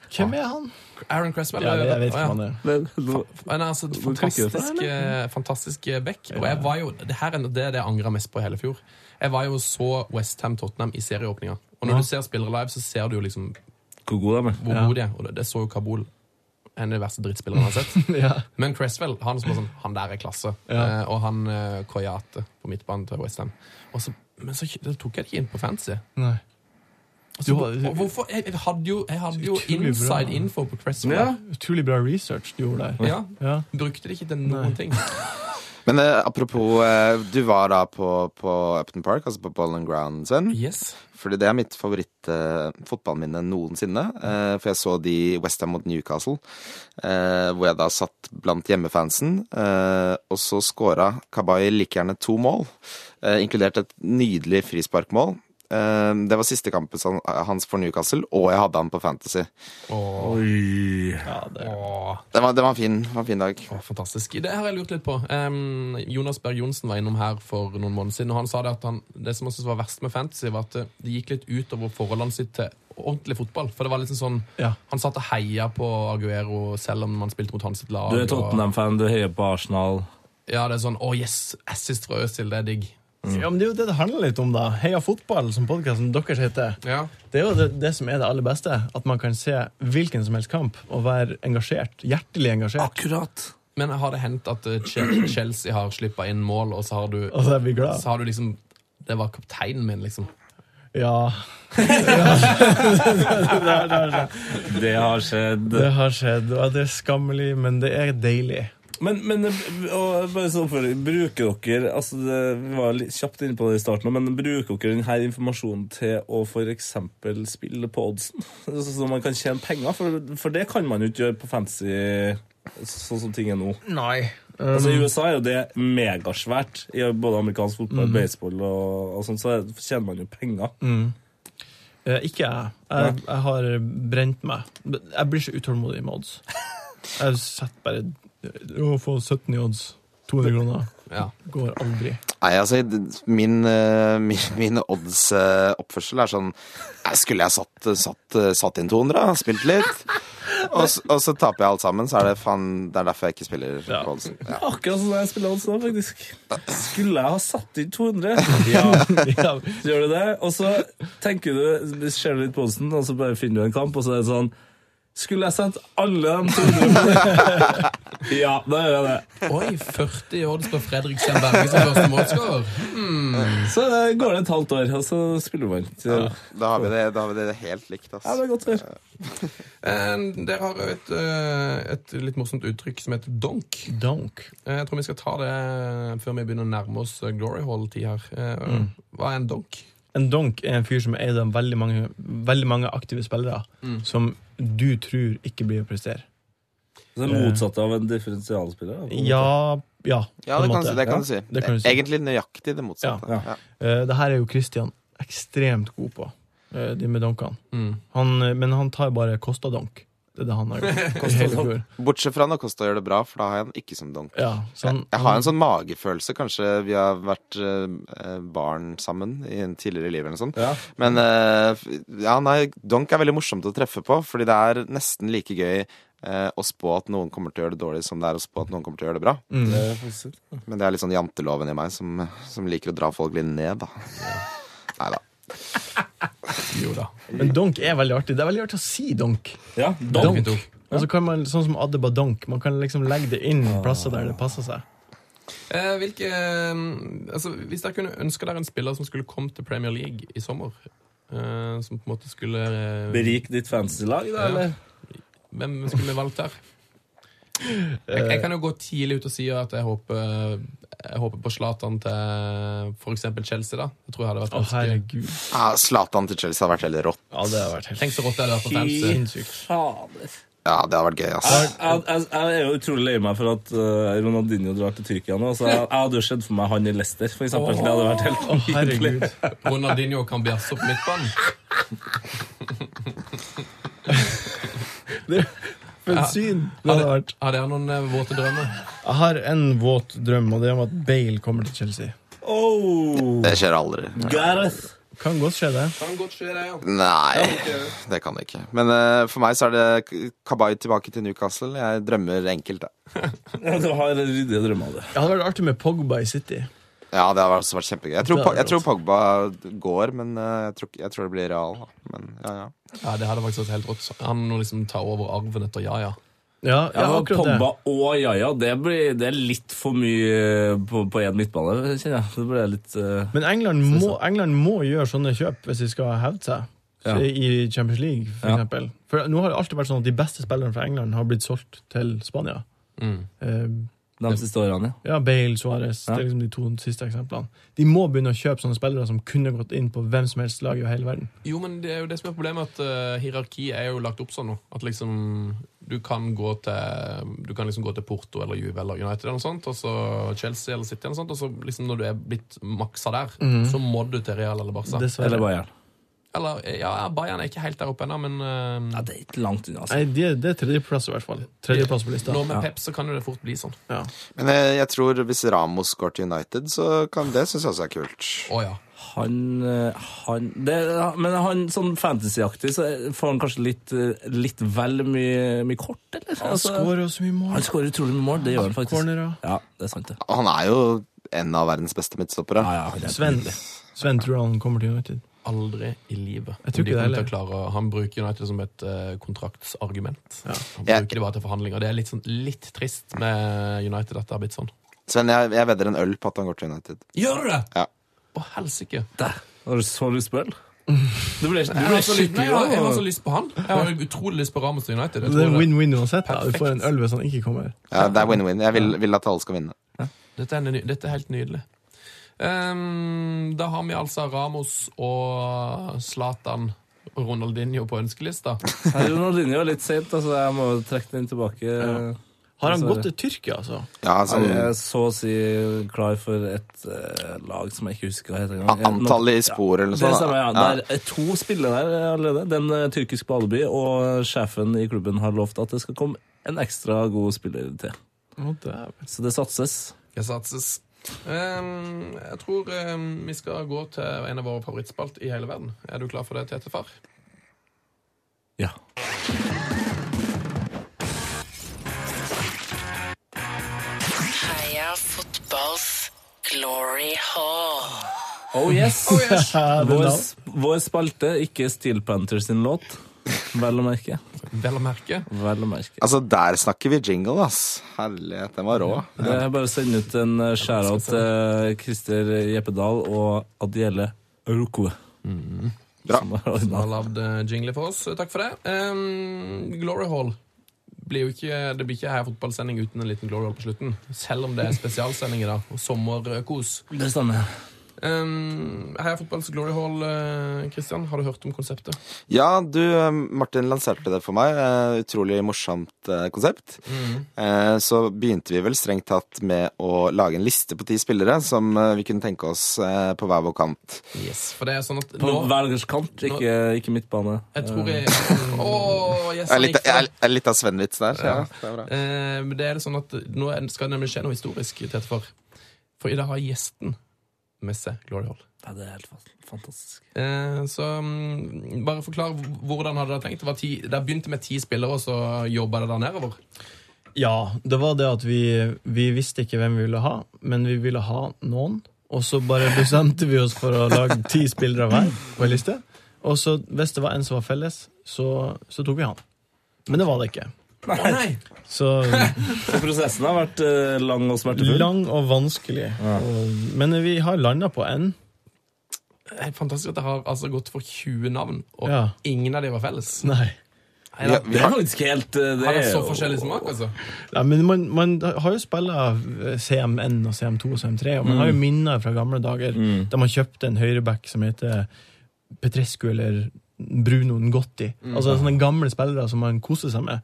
Speaker 5: Hvem er han?
Speaker 4: Aaron Cresswell.
Speaker 5: Ja,
Speaker 4: er
Speaker 5: det,
Speaker 4: det-
Speaker 5: jeg
Speaker 4: Å,
Speaker 5: vet ikke hvem han er.
Speaker 3: Men, nå-
Speaker 4: Men altså,
Speaker 3: Hvor trykker du på
Speaker 4: fantastisk,
Speaker 3: den,
Speaker 4: eh, fantastisk eh, back. Og jeg var jo, det her er det, er det jeg angrer mest på i hele fjor. Jeg var jo så Westham Tottenham i serieåpninga. Og når du ser spillere live, så ser du jo liksom
Speaker 3: Hvor god de er.
Speaker 4: hvor gode de er. Og det, det så jo Kabul. En av de verste drittspillerne jeg har
Speaker 5: (laughs)
Speaker 4: sett.
Speaker 5: (laughs) Ja.
Speaker 4: Men Cresswell, han som var sånn, han der er klasse.
Speaker 5: Ja.
Speaker 4: Eh, og han eh, Koyate på midtbanen til Westham. Men så da tok jeg det ikke inn på fancy.
Speaker 5: Nei. Du har
Speaker 4: Og hvorfor? Jeg, jeg hadde jo, jeg hadde jo
Speaker 5: Utrolig bra.
Speaker 4: inside info på Cresswell.
Speaker 3: Ja.
Speaker 5: utrolig bra research du gjorde der.
Speaker 4: Ja.
Speaker 5: Ja.
Speaker 4: Brukte det ikke til noen
Speaker 5: (laughs)
Speaker 4: ting.
Speaker 6: Men eh, apropos, eh, du var da på, på Upton Park, altså på Ball and Ground, Sven.
Speaker 4: Yes.
Speaker 6: Fordi det er mitt favoritt-fotballminne noensinne. Eh, for jeg så de Westham mot Newcastle, eh, hvor jeg da satt blant hjemmefansen. Eh, og så scora Kabay like gjerne to mål, eh, inkludert et nydelig frisparkmål. Eh, det var siste kampen san- hans for Newcastle, og jeg hadde han på Fantasy.
Speaker 5: Ja, det er
Speaker 4: Åh.
Speaker 6: Det var, det var en fin, var en fin dag.
Speaker 4: Å, fantastisk. Det har jeg lurt litt på. Em, Jonas Berg Johnsen var innom her for noen måneder siden, og han sa det at han, det som han syntes var verst med fantasy, var at eh, det gikk litt utover forholdene sitt til ordentlig fotball. For det var liksom sånn
Speaker 5: Ja.
Speaker 4: Han satt og heia på Aguero selv om man spilte mot hans sitt lag.
Speaker 3: Du er
Speaker 4: og-
Speaker 3: Tottenham-fan, du heier på Arsenal.
Speaker 4: Ja, det er sånn Å, yes! Assist fra Øzil, det er digg.
Speaker 5: Ja, men Det er jo det det handler litt om, da. Heia fotball, som podkasten deres heter.
Speaker 4: Ja.
Speaker 5: Det er jo det, det som er det aller beste. At man kan se hvilken som helst kamp og være engasjert. Hjertelig engasjert.
Speaker 3: Akkurat.
Speaker 4: Men har det hendt at eh, Chel- Chelsea har slippa inn mål, og så har du,
Speaker 5: Og så er vi glad.
Speaker 4: så har du liksom Det var kapteinen min, liksom.
Speaker 5: Ja, (laughs)
Speaker 3: Det har skjedd.
Speaker 5: (laughs) det har skjedd. Og det er skammelig, men det er deilig.
Speaker 3: Men, men eh, og bare sånn for, bruker dere altså det, Vi var litt kjapt inne på det i starten, men bruker dere denne informasjonen til å f.eks. spille på oddsen? Så, så man kan tjene penger? For, for det kan man jo ikke gjøre på fancy sånn som ting er nå.
Speaker 5: Nei.
Speaker 3: Altså I USA er jo det megasvært. I både amerikansk fotball, baseball og, og sånn, så er- tjener man jo penger.
Speaker 5: Eh, Ikke jeg. Jeg, jeg har brent meg. Jeg blir så utålmodig med odds. Jeg setter bare Å få 17 i odds, 200 kroner,
Speaker 4: Ja.
Speaker 5: går aldri.
Speaker 6: Nei, altså, d- min, eh, mi- min odds-oppførsel er sånn nei, Skulle jeg satt, satt, eh, satt inn 200, da, spilt litt? Og, s- og så taper jeg alt sammen, så er det faen Det er derfor jeg ikke spiller
Speaker 5: Ja.
Speaker 6: på oddsen. Ja.
Speaker 3: Akkurat sånn jeg spiller odds nå, faktisk. Skulle jeg ha satt inn 200?
Speaker 5: (laughs) Ja.
Speaker 3: Så gjør du det, og så tenker du, ser du litt på oddsen, og så bare finner du en kamp, og så er det sånn Skulle jeg sendt alle de 200 (laughs) på Ja, da gjør jeg det.
Speaker 4: Oi, 40 i odds på Fredrik Sem Berge som første målskårer!
Speaker 3: Så eh, går det et halvt år, og så spiller man. Så, ja,
Speaker 6: Da har vi det, da har vi det helt likt, ass.
Speaker 3: det er godt å høre.
Speaker 4: Eh, Dere har jo et, eh, et litt morsomt uttrykk som heter donk.
Speaker 5: Donk.
Speaker 4: Eh, Jeg tror vi skal ta det eh, før vi begynner å nærme oss eh, glory hall-tid her. Eh,
Speaker 5: Mm.
Speaker 4: Hva er en donk?
Speaker 5: En donk er en fyr som er eid av veldig mange, veldig mange aktive spillere
Speaker 6: Mm.
Speaker 5: som du tror ikke blir å prestere.
Speaker 3: Så det er motsatt av en differensialspiller. da, på en måte.
Speaker 5: Ja, ja,
Speaker 6: Ja,
Speaker 5: på en
Speaker 6: det kan,
Speaker 5: måte.
Speaker 6: det kan du si.
Speaker 5: Ja, det kan du si.
Speaker 6: Egentlig nøyaktig det motsatte.
Speaker 3: Ja.
Speaker 6: Ja.
Speaker 5: Eh, det her er jo Christian ekstremt god på, eh, de med donkene.
Speaker 4: Mm.
Speaker 5: Han, eh, men han tar bare Costa-donk. Det er det han har
Speaker 6: (laughs)
Speaker 5: gjort. Hele fjor.
Speaker 6: Bortsett fra når Kosta gjør det bra, for da har jeg han ikke som donk.
Speaker 5: Ja, så han,
Speaker 6: Jeg har en sånn magefølelse, kanskje vi har vært eh, barn sammen i en tidligere i livet eller noe sånt.
Speaker 3: Ja.
Speaker 6: Men eh, ja, nei, donk er veldig morsomt å treffe på, fordi det er nesten like gøy eh, å spå at noen kommer til å gjøre det dårlig, som det er å spå at noen kommer til å gjøre det bra.
Speaker 3: Det er faktisk sant.
Speaker 6: Men det er litt sånn janteloven i meg som, som liker å dra folk litt ned, da. Nei da.
Speaker 4: Jo da.
Speaker 6: sånn-
Speaker 5: Men donk er veldig artig. Det er veldig artig å si donk.
Speaker 3: Ja,
Speaker 4: Donk.
Speaker 3: donk.
Speaker 4: donk.
Speaker 5: Og så kan man, sånn som Adde Badank, man kan liksom legge det inn
Speaker 6: Ah.
Speaker 5: plasser der det passer seg.
Speaker 4: Eh, hvilke, eh, altså, hvis dere kunne ønske dere en spiller som skulle komme til Premier League i sommer eh, Som på en måte skulle eh,
Speaker 3: Berik ditt fantasy-lag, da, eller?
Speaker 4: Hvem skulle vi valgt her? Jeg, jeg kan jo gå tidlig ut og si at jeg håper, jeg håper på Zlatan til f.eks. Chelsea. da Det tror jeg hadde vært
Speaker 5: Å,
Speaker 4: ganske-
Speaker 5: herregud.
Speaker 6: Ah, Zlatan til Chelsea har vært helt rått.
Speaker 5: Ja, det har vært helt
Speaker 4: Tenk så rått det hadde vært for Fancy.
Speaker 5: sinnssykt.
Speaker 3: Fader.
Speaker 6: Ja, det har vært gøy, ass.
Speaker 3: Jeg, jeg, jeg er jo utrolig lei meg for at eh, Ronaldinho drar til Tyrkia nå. Så jeg, jeg hadde jo sett for meg han i Leicester, for eksempel. Det hadde vært helt
Speaker 5: Å, herregud.
Speaker 4: Ronaldinho kan bjefse på midtbanen.
Speaker 5: (laughs) For et syn det hadde vært.
Speaker 4: Har dere noen eh, våte drømmer?
Speaker 5: Jeg har en våt drøm, og det er om at Bale kommer til Chelsea.
Speaker 3: Oh,
Speaker 6: Det skjer aldri.
Speaker 3: Gareth!
Speaker 5: Kan godt skje, det.
Speaker 4: Kan godt skje, det, ja.
Speaker 6: Nei, det kan det ikke. Men eh, for meg så er det K- Kabay tilbake til Newcastle. Jeg drømmer enkelt, jeg.
Speaker 3: Ja, Du har ryddige drømmer, du.
Speaker 5: Det hadde vært artig med Pogba i City.
Speaker 6: Ja, det har også vært kjempegøy. Jeg tror,
Speaker 5: Det
Speaker 6: Po-
Speaker 5: er
Speaker 6: jeg tror
Speaker 5: rått.
Speaker 6: Pogba går, men eh, jeg tror, ikke- jeg tror det blir real. da. Men ja, ja.
Speaker 4: ja. Det hadde faktisk vært helt rått. Han må liksom ta over arven etter Jaja.
Speaker 5: Ja, ja,
Speaker 3: Ja,
Speaker 5: akkurat det.
Speaker 3: Pogba og Jaja, det, blir, det er litt for mye eh, på én midtbane, kjenner jeg. Det ble litt eh,
Speaker 5: Men England må, England må gjøre sånne kjøp hvis de skal hevde seg.
Speaker 3: Ja.
Speaker 5: I Champions League, for
Speaker 3: Ja.
Speaker 5: eksempel. For nå har det alltid vært sånn at de beste spillerne fra England har blitt solgt til Spania. Eh,
Speaker 3: de siste årene, Mm. ja.
Speaker 5: Ja, Bale, Suárez. Det er liksom de to siste eksemplene. De må begynne å kjøpe sånne spillere som kunne gått inn på hvem som helst lag i hele verden.
Speaker 4: Jo, men det er jo det som er problemet, at eh, hierarki er jo lagt opp sånn nå. At liksom du kan gå til Du kan liksom gå til Porto eller Juve eller United eller noe sånt, og så Chelsea eller City eller noe sånt, og så liksom når du er blitt maksa der, så må du til Real eller Barca.
Speaker 5: Dessverre.
Speaker 3: Eller Bayern.
Speaker 4: Eller ja, Bayern er ikke helt der oppe ennå, men eh,
Speaker 3: Ja, det er ikke langt unna, altså.
Speaker 5: Nei, det, det er tredjeplass i hvert fall. Tredjeplass på lista.
Speaker 4: nå med Pep så kan jo det fort bli sånn.
Speaker 5: Ja.
Speaker 6: Men eh, jeg, jeg tror hvis Ramos går til United, så kan det synes jeg også er kult.
Speaker 4: Å ja.
Speaker 3: Han, eh, han det, Men han sånn fantasyaktig, så får han kanskje litt, eh, litt vel mye, mye kort, eller?
Speaker 5: Han
Speaker 3: Altså,
Speaker 5: skårer jo så mye
Speaker 3: han
Speaker 5: mål.
Speaker 3: skårer utrolig mye mål, det gjør han faktisk.
Speaker 5: Cornerer.
Speaker 3: Ja, det er sant, det.
Speaker 6: Han er jo en av verdens beste midtstoppere.
Speaker 3: Ja, ja, han er
Speaker 5: Sven, Sven tror han kommer til United.
Speaker 4: Aldri i livet.
Speaker 5: Jeg tror
Speaker 4: Om de
Speaker 5: ikke det
Speaker 4: kommer til
Speaker 5: heller.
Speaker 4: å klare, å- han bruker United som et eh, kontraktsargument. Han
Speaker 6: Jeg-
Speaker 4: bruker det bare til forhandlinger. Det er litt, sånn, litt trist med United at det har blitt sånn.
Speaker 6: Sven, jeg, jeg vedder en øl på at han går til United.
Speaker 4: Gjør du det?!
Speaker 6: Ja.
Speaker 4: Å, helsike!
Speaker 3: Der. Har du så lyst (laughs) på øl? Du ble, du
Speaker 4: Jeg
Speaker 3: ble
Speaker 4: har så lyst- nei,
Speaker 3: skikkelig
Speaker 4: jeg har- jeg har så
Speaker 3: glad.
Speaker 4: lyst på han. Jeg har utrolig lyst på Ramos til United. Jeg
Speaker 5: Det er
Speaker 4: tror det.
Speaker 5: win-win uansett. Da. Du får en
Speaker 4: Perfekt.
Speaker 5: øl hvis han ikke kommer.
Speaker 6: Ja, det er win-win. Jeg vil, vil at alle skal vinne.
Speaker 4: Dette, er, ny- dette er helt nydelig. Ehm, da har vi altså Ramos og Zlatan og Ronaldinho på ønskelista.
Speaker 3: Ronaldinho er litt sent, altså jeg må trekke den tilbake.
Speaker 5: Har han
Speaker 3: Dessverre.
Speaker 5: gått til Tyrkia, altså?
Speaker 6: Ja, sånn,
Speaker 3: Jeg er så å si klar for et eh, lag som jeg ikke husker hva heter. engang.
Speaker 6: a- antallet i sporet eller
Speaker 3: Det
Speaker 6: noe sånt.
Speaker 3: stemmer, ja.
Speaker 6: da.
Speaker 3: Det er eh, to spillere der allerede. Den eh, tyrkisk på Aleby, og sjefen i klubben har lovt at det skal komme en ekstra god spiller til.
Speaker 5: Å, dæven.
Speaker 3: Så det satses.
Speaker 4: Jeg satses. Ehm, jeg tror ehm, vi skal gå til en av våre favorittspalt i hele verden. Er du klar for det, Tete-far?
Speaker 3: Ja.
Speaker 7: Heia fotballs glory hall.
Speaker 3: Oh yes!
Speaker 5: Ja, den
Speaker 3: vår,
Speaker 5: da.
Speaker 3: sp- vår spalte, ikke Steel Panthers sin låt. Vel å merke.
Speaker 4: Vel å merke.
Speaker 3: Vel å merke.
Speaker 6: Altså, der snakker vi jingle, ass. Herlighet, den var rå.
Speaker 3: Det er bare å sende ut en eh, shout-out til Christer Jeppedal og Adiele Aurokwe.
Speaker 6: Bra.
Speaker 3: Mm. Som har ordnet
Speaker 4: Som har lagd eh, jingle for oss. Takk for det. Ehm, Glory Hall. Blir jo ikke, det blir ikke her fotballsending uten en liten Glory Hall på slutten. Selv om det er spesialsending i dag. Og sommerkos.
Speaker 3: Det stemmer.
Speaker 4: Um, Heia fotballs Glory Hall, eh, Christian. Har du hørt om konseptet?
Speaker 6: Ja, du, eh, Martin lanserte det for meg. Eh, Utrolig morsomt eh, konsept. Eh, Så begynte vi vel strengt tatt med å lage en liste på ti spillere som eh, vi kunne tenke oss eh, på hver vår kant.
Speaker 4: Yes. For det er sånn at
Speaker 3: På
Speaker 4: nå
Speaker 3: velgers kant, ikke, ikke midtbane. Eh,
Speaker 4: Jeg tror jeg Åh, yes,
Speaker 6: Jeg er
Speaker 4: han gikk for
Speaker 6: litt, jeg
Speaker 4: det.
Speaker 6: er- jeg er litt av Sven-vits der. så Ja, det er bra.
Speaker 4: Eh, men det er det sånn at nå er- skal det nemlig skje noe historisk, Tete Far. For i dag har gjesten med seg Glory Hall.
Speaker 3: Ja, det er helt fant- fantastisk.
Speaker 4: Eh, så mm, bare forklar h- hvordan hadde dere tenkt. Det, var ti, det begynte med ti spillere, og så jobba det der nedover.
Speaker 5: Ja, det var det at vi, vi visste ikke hvem vi ville ha, men vi ville ha noen. Og så bare bestemte vi oss for å lage ti spillere hver på en liste. Og så hvis det var en som var felles, så, så tok vi han. Men det var det ikke.
Speaker 4: Å nei!
Speaker 5: (laughs) Så
Speaker 3: For prosessen har vært eh, lang og smertefull.
Speaker 5: lang og vanskelig. Og, men vi har landa på N.
Speaker 4: Det er Fantastisk at det har altså gått for 20 navn, og
Speaker 5: Ja.
Speaker 4: ingen av dem var felles.
Speaker 5: Nei.
Speaker 4: Nei, da.
Speaker 3: Det er faktisk helt eh, det
Speaker 4: Har de
Speaker 3: er
Speaker 4: så
Speaker 3: jo-
Speaker 4: forskjellig smak, altså?
Speaker 5: Nei, men man, man har jo eh, spilla CM1 og CM2 og CM3, og man har jo minner fra gamle dager da man kjøpte en høyreback som heter Petrescu eller Bruno Ngotti. Altså sånne gamle spillere som man koser seg med.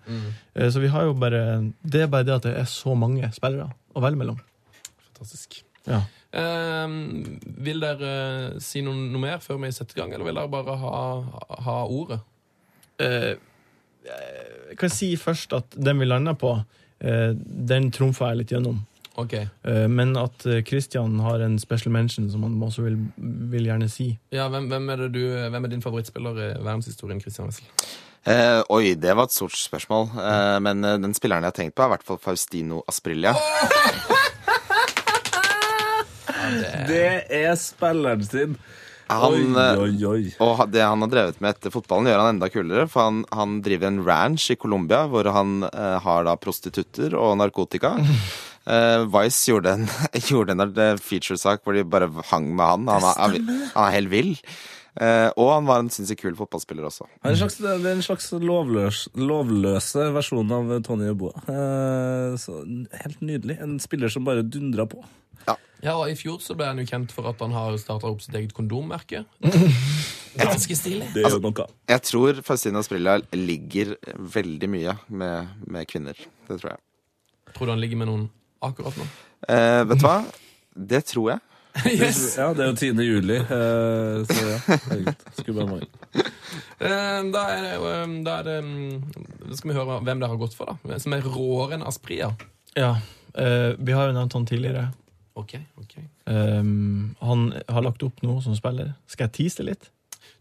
Speaker 5: Eh, Så vi har jo bare Det er bare det at det er så mange spillere å velge mellom.
Speaker 4: Fantastisk.
Speaker 5: Ja.
Speaker 4: Ehm, vil dere eh, si noe, noe mer før vi setter i gang, eller vil dere bare ha, ha ordet?
Speaker 5: Eh, Jeg kan si først at den vi landa på, eh, den trumfa jeg litt gjennom.
Speaker 4: Ok.
Speaker 5: Eh, Men at eh, Christian har en special mention som han også vil, vil gjerne si.
Speaker 4: Ja, hvem, hvem, er det du, hvem er din favorittspiller i verdenshistorien, Christian Wessel?
Speaker 6: Eh, oi, det var et stort spørsmål. Eh, men eh, den spilleren jeg har tenkt på, er i hvert fall Faustino Asprilla.
Speaker 3: Det er spilleren sin.
Speaker 6: Han, eh,
Speaker 3: oi, oi, oi.
Speaker 6: Og ha- det han har drevet med etter fotballen, gjør han enda kulere. For han, han driver en ranch i Colombia hvor han eh, har da prostitutter og narkotika. Eh, Vice gjorde en, (laughs) gjorde en eh, featuresak hvor de bare hang med han. Han, er- han, han er helt vill. Eh, og han var en sinnssykt kul fotballspiller også.
Speaker 3: Det er en slags, det er en slags lovløs, lovløse versjon av Tony Boa. Eh, så helt nydelig. En spiller som bare dundra på.
Speaker 4: Ja, og I fjor så ble han jo kjent for at han har starta opp sitt eget (laughs) kondommerke. Ganske stilig.
Speaker 3: Det er jo noe.
Speaker 6: Jeg tror Faustino Asprilla ligger veldig mye med, med kvinner. Det tror jeg.
Speaker 4: Tror du han ligger med noen akkurat nå?
Speaker 6: Eh, vet du hva? Det tror jeg.
Speaker 4: Yes!
Speaker 3: Ja, det er jo 10. juli, eh, så ja. herregud. Skulle bare mangle.
Speaker 4: Ehm, Da er det, jo, ehm, da er det ehm, Da skal vi høre hvem det har gått for, da. Som er råere enn Aspria.
Speaker 5: Ja, eh, vi har jo nevnt han tidligere.
Speaker 4: Ok, ok.
Speaker 5: Um, han har lagt opp noe som spiller. Skal jeg tease det litt?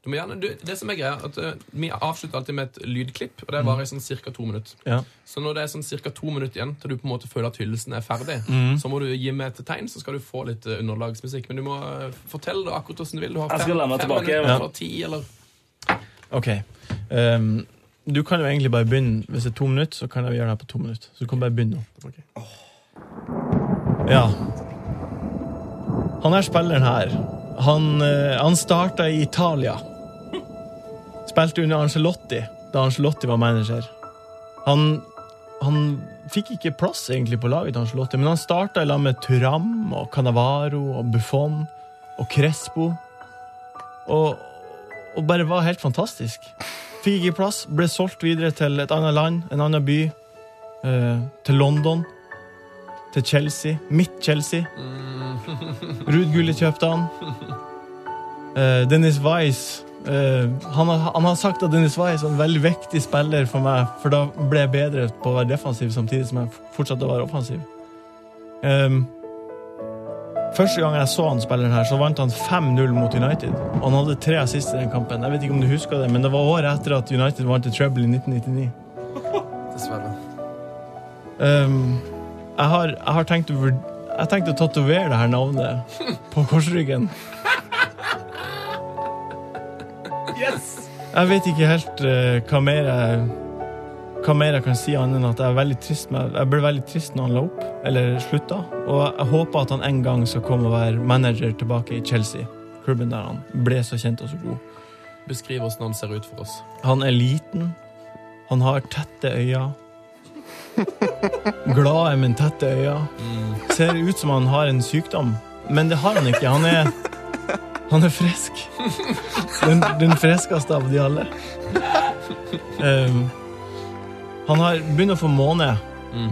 Speaker 4: Du må gjerne, du, det som er greia, er at eh, Vi avslutter alltid med et lydklipp, og det varer i sånn ca. to minutter.
Speaker 5: Ja.
Speaker 4: Så når det er sånn ca. to minutter igjen til du på en måte føler at hyllesten er ferdig,
Speaker 3: Mm.
Speaker 4: så må du gi meg et tegn, så skal du få litt eh, underlagsmusikk. Men du må eh, fortelle det akkurat hvordan du vil. Du har
Speaker 3: Jeg skal
Speaker 4: fem,
Speaker 3: lene meg
Speaker 4: fem
Speaker 3: tilbake,
Speaker 4: minutter
Speaker 5: ja.
Speaker 4: eller ti, eller
Speaker 5: Ok. Um, du kan jo egentlig bare begynne. Hvis det er to minutter, så kan jeg gjøre det her på to minutter. Så du kan bare begynne nå. Ja. Han er spilleren her. Han, eh, han starta i Italia. Spilte under Angelotti da Angelotti var manager. Han, han fikk ikke plass egentlig på laget til Angelotti, men han starta i lag med Turam og Canavaro og Buffon og Crespo. Og, og bare var helt fantastisk. Fikk ikke plass, ble solgt videre til et annet land, en annen by. eh, til London. Til Chelsea. Mitt Chelsea. Ruud Gulli kjøpte han. Eh, Dennis Wise eh, han, har, han har sagt at Dennis Wise er en veldig viktig spiller for meg, for da ble jeg bedre på å være defensiv samtidig som jeg fortsatte å være offensiv. Ehm, Første gang jeg så han spilleren her, så vant han 5-0 mot United. Og han hadde tre assist i den kampen. Jeg vet ikke om du husker det, men det var året etter at United vant i Treble i 1999.
Speaker 4: Dessverre.
Speaker 5: Ehm, jeg, har, jeg har tenkt å vurd- Jeg har tenkt å tatovere det her navnet på korsryggen. Jeg vet ikke helt eh, hva mer jeg hva mer jeg kan si annet enn at jeg, er veldig trist med, jeg ble veldig trist når han la opp, eller slutta. Og jeg håper at han en gang skal komme og være manager tilbake i Chelsea, klubben der han ble så kjent og så god.
Speaker 4: Beskriv hvordan han ser ut for oss.
Speaker 5: Han er liten, han har tette øyne. Glade, men tette øyne. Ser ut som han har en sykdom, men det har han ikke. Han er, han er frisk. Den, den friskeste av de alle. Um, han har begynner å få måne,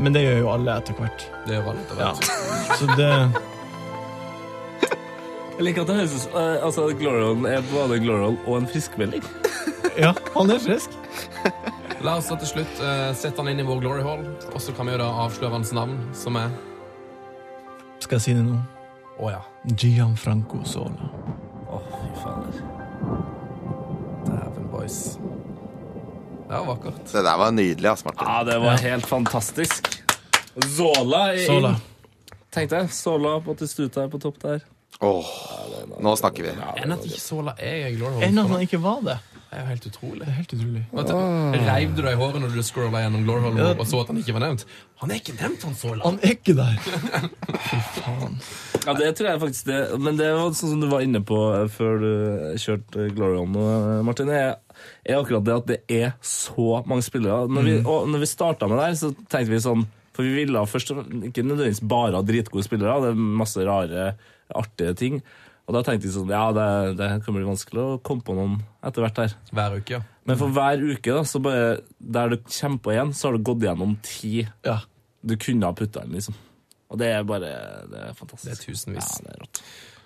Speaker 5: men det gjør jo alle etter hvert.
Speaker 4: Det gjør alle etter
Speaker 5: Ja.
Speaker 4: hvert.
Speaker 5: Så det
Speaker 3: Jeg liker at det høres ut som eh, altså, Glorion er både en Glorion og en friskmelding.
Speaker 5: Ja, han er frisk.
Speaker 4: La oss da til slutt eh, sette han inn i vår glory hall, og så kan vi jo da avsløre hans navn, som er
Speaker 5: Skal jeg si det nå?
Speaker 4: Å ja.
Speaker 5: Gianfranco Sola.
Speaker 3: Å, fy fader.
Speaker 4: Dæven, boys. Det var vakkert.
Speaker 6: Det der var nydelig, ass, Martin.
Speaker 3: Ja, det var helt fantastisk. Zola er inn.
Speaker 5: Sola.
Speaker 3: Tenkte jeg. Sola på Testuta er på topp der.
Speaker 6: Åh, nå snakker vi.
Speaker 4: Enn at ikke Sola er i glory hall.
Speaker 5: Enn at han ikke var det.
Speaker 4: Det er jo helt utrolig.
Speaker 5: Helt utrolig.
Speaker 4: Hva tenker du? Reiv du deg i håret når du scrolla gjennom Glory Hole og så at han ikke var nevnt? Han er ikke nevnt, han så langt.
Speaker 5: Han er ikke der! Fy faen.
Speaker 3: Ja, det tror jeg faktisk det. Men det var sånn som du var inne på eh, før du kjørte Glorion, eh, Martin. Er, er akkurat det at det er så mange spillere. Når vi, og når vi starta med det her, så tenkte vi sånn For vi ville først og fremst ikke nødvendigvis bare ha dritgode spillere, det er masse rare, artige ting. Og da tenkte vi sånn Ja, det, det kan bli vanskelig å komme på noen etter hvert her.
Speaker 4: Hver uke, ja.
Speaker 3: Men for hver uke, da, så bare der du kommer på igjen, så har du gått gjennom ti
Speaker 5: Ja.
Speaker 3: du kunne ha putta inn, liksom. Og det er bare Det er fantastisk.
Speaker 4: Det er tusenvis.
Speaker 3: Ja, det er rått.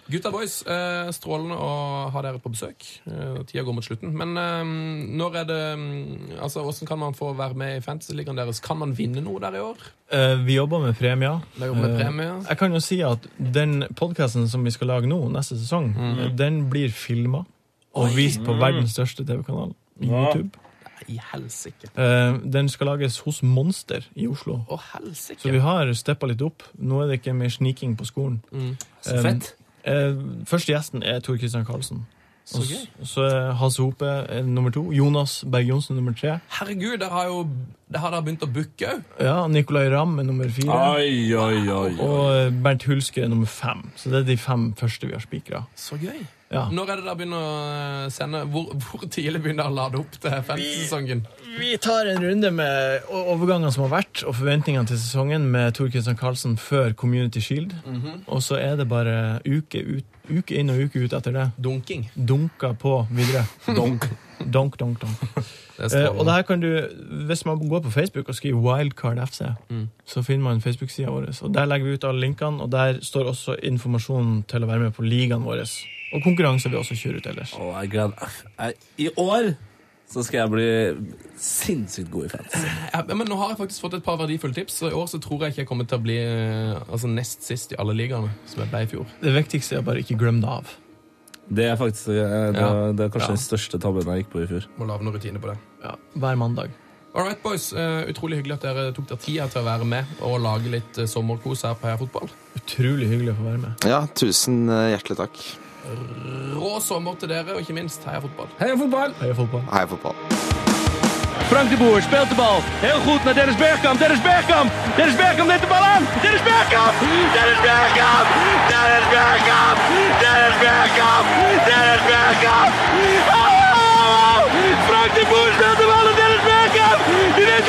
Speaker 4: Gutta boys, eh, strålende å ha dere på besøk. Eh, tida går mot slutten. Men eh, når er det mm, Altså, Hvordan kan man få være med i Fantasyligaen deres? Kan man vinne noe der i år?
Speaker 5: Eh, vi jobber med premier.
Speaker 4: Vi jobber med
Speaker 5: Eh,
Speaker 4: premier.
Speaker 5: jeg kan jo si at den podkasten som vi skal lage nå, neste sesong,
Speaker 4: Mm.
Speaker 5: eh, den blir filma og vist på verdens største TV-kanal, YouTube.
Speaker 4: I helsike.
Speaker 5: Eh, den skal lages hos Monster i Oslo.
Speaker 4: Å,
Speaker 5: Så
Speaker 4: helsike.
Speaker 5: vi har steppa litt opp. Nå er det ikke mer sniking på skolen.
Speaker 4: Mm.
Speaker 3: Så fett.
Speaker 5: Eh, første gjesten er Tor Christian Karlsen.
Speaker 4: Så
Speaker 5: Og s-
Speaker 4: gøy.
Speaker 5: Så er Hasse Hope eh, nummer to. Jonas Berg Johnsen nummer tre.
Speaker 4: Herregud, der har jo der har dere begynt å booke òg.
Speaker 5: Ja, Nicolay Ramm er nummer fire.
Speaker 3: Oi, oi, oi.
Speaker 5: Og eh, Bernt Hulske er nummer fem. Så det er de fem første vi har spikra.
Speaker 4: Så gøy.
Speaker 5: Ja.
Speaker 4: Når er det dere begynner å eh, sende? Hvor, hvor tidlig begynner dere å lade opp til fantasy-sesongen?
Speaker 5: Vi tar en runde med o- overgangene som har vært, og forventningene til sesongen med Tor Christian Karlsen før Community Shield.
Speaker 3: Mhm.
Speaker 5: Og så er det bare uke, ut, uke inn og uke ut etter det.
Speaker 4: Dunking.
Speaker 5: Dunka på videre.
Speaker 3: Donk.
Speaker 5: Donk, donk, donk.
Speaker 4: Det er
Speaker 5: Eh, og det
Speaker 4: strålende.
Speaker 5: her kan du, Hvis man går på Facebook og skriver Wildcard FC, så finner man Facebook-sida vår. Og Der legger vi ut alle linkene, og der står også informasjonen til å være med på ligaen vår. Og konkurranser vi også kjører ut ellers.
Speaker 3: Å, jeg gleder jeg, I år så skal jeg bli sinnssykt god i fantasy.
Speaker 4: Ja, Eh, men nå har jeg faktisk fått et par verdifulle tips, så i år så tror jeg ikke jeg kommer til å bli eh, altså, nest sist i alle ligaene, som jeg ble i fjor.
Speaker 5: Det viktigste er bare ikke glem det av.
Speaker 3: Det er faktisk eh, det,
Speaker 4: Ja.
Speaker 3: det er kanskje
Speaker 4: Ja.
Speaker 3: den største tabben jeg gikk på i fjor.
Speaker 4: Må lage noen rutine på det.
Speaker 5: Ja, hver mandag.
Speaker 4: All right, boys. Eh, utrolig hyggelig at dere tok dere tida til å være med og lage litt eh, sommerkos her på Heia Fotball.
Speaker 5: Utrolig hyggelig å få være med.
Speaker 6: Ja, tusen eh, hjertelig takk.
Speaker 4: Rå sommer til dere, og ikke minst Heia Fotball.
Speaker 3: Heia fotball!
Speaker 5: Heia fotball.
Speaker 6: Heia fotball.
Speaker 1: Frank de Boer speelt de bal. Heel goed naar Dennis Bergkamp. Dennis Bergkamp. Dennis Bergkamp neemt de bal aan. Dennis Bergkamp. Dennis Bergkamp. Dennis Bergkamp. Dennis Bergkamp. Dennis Bergkamp. Oh! Frank de Boer speelt de bal aan Dennis Bergkamp. Die neemt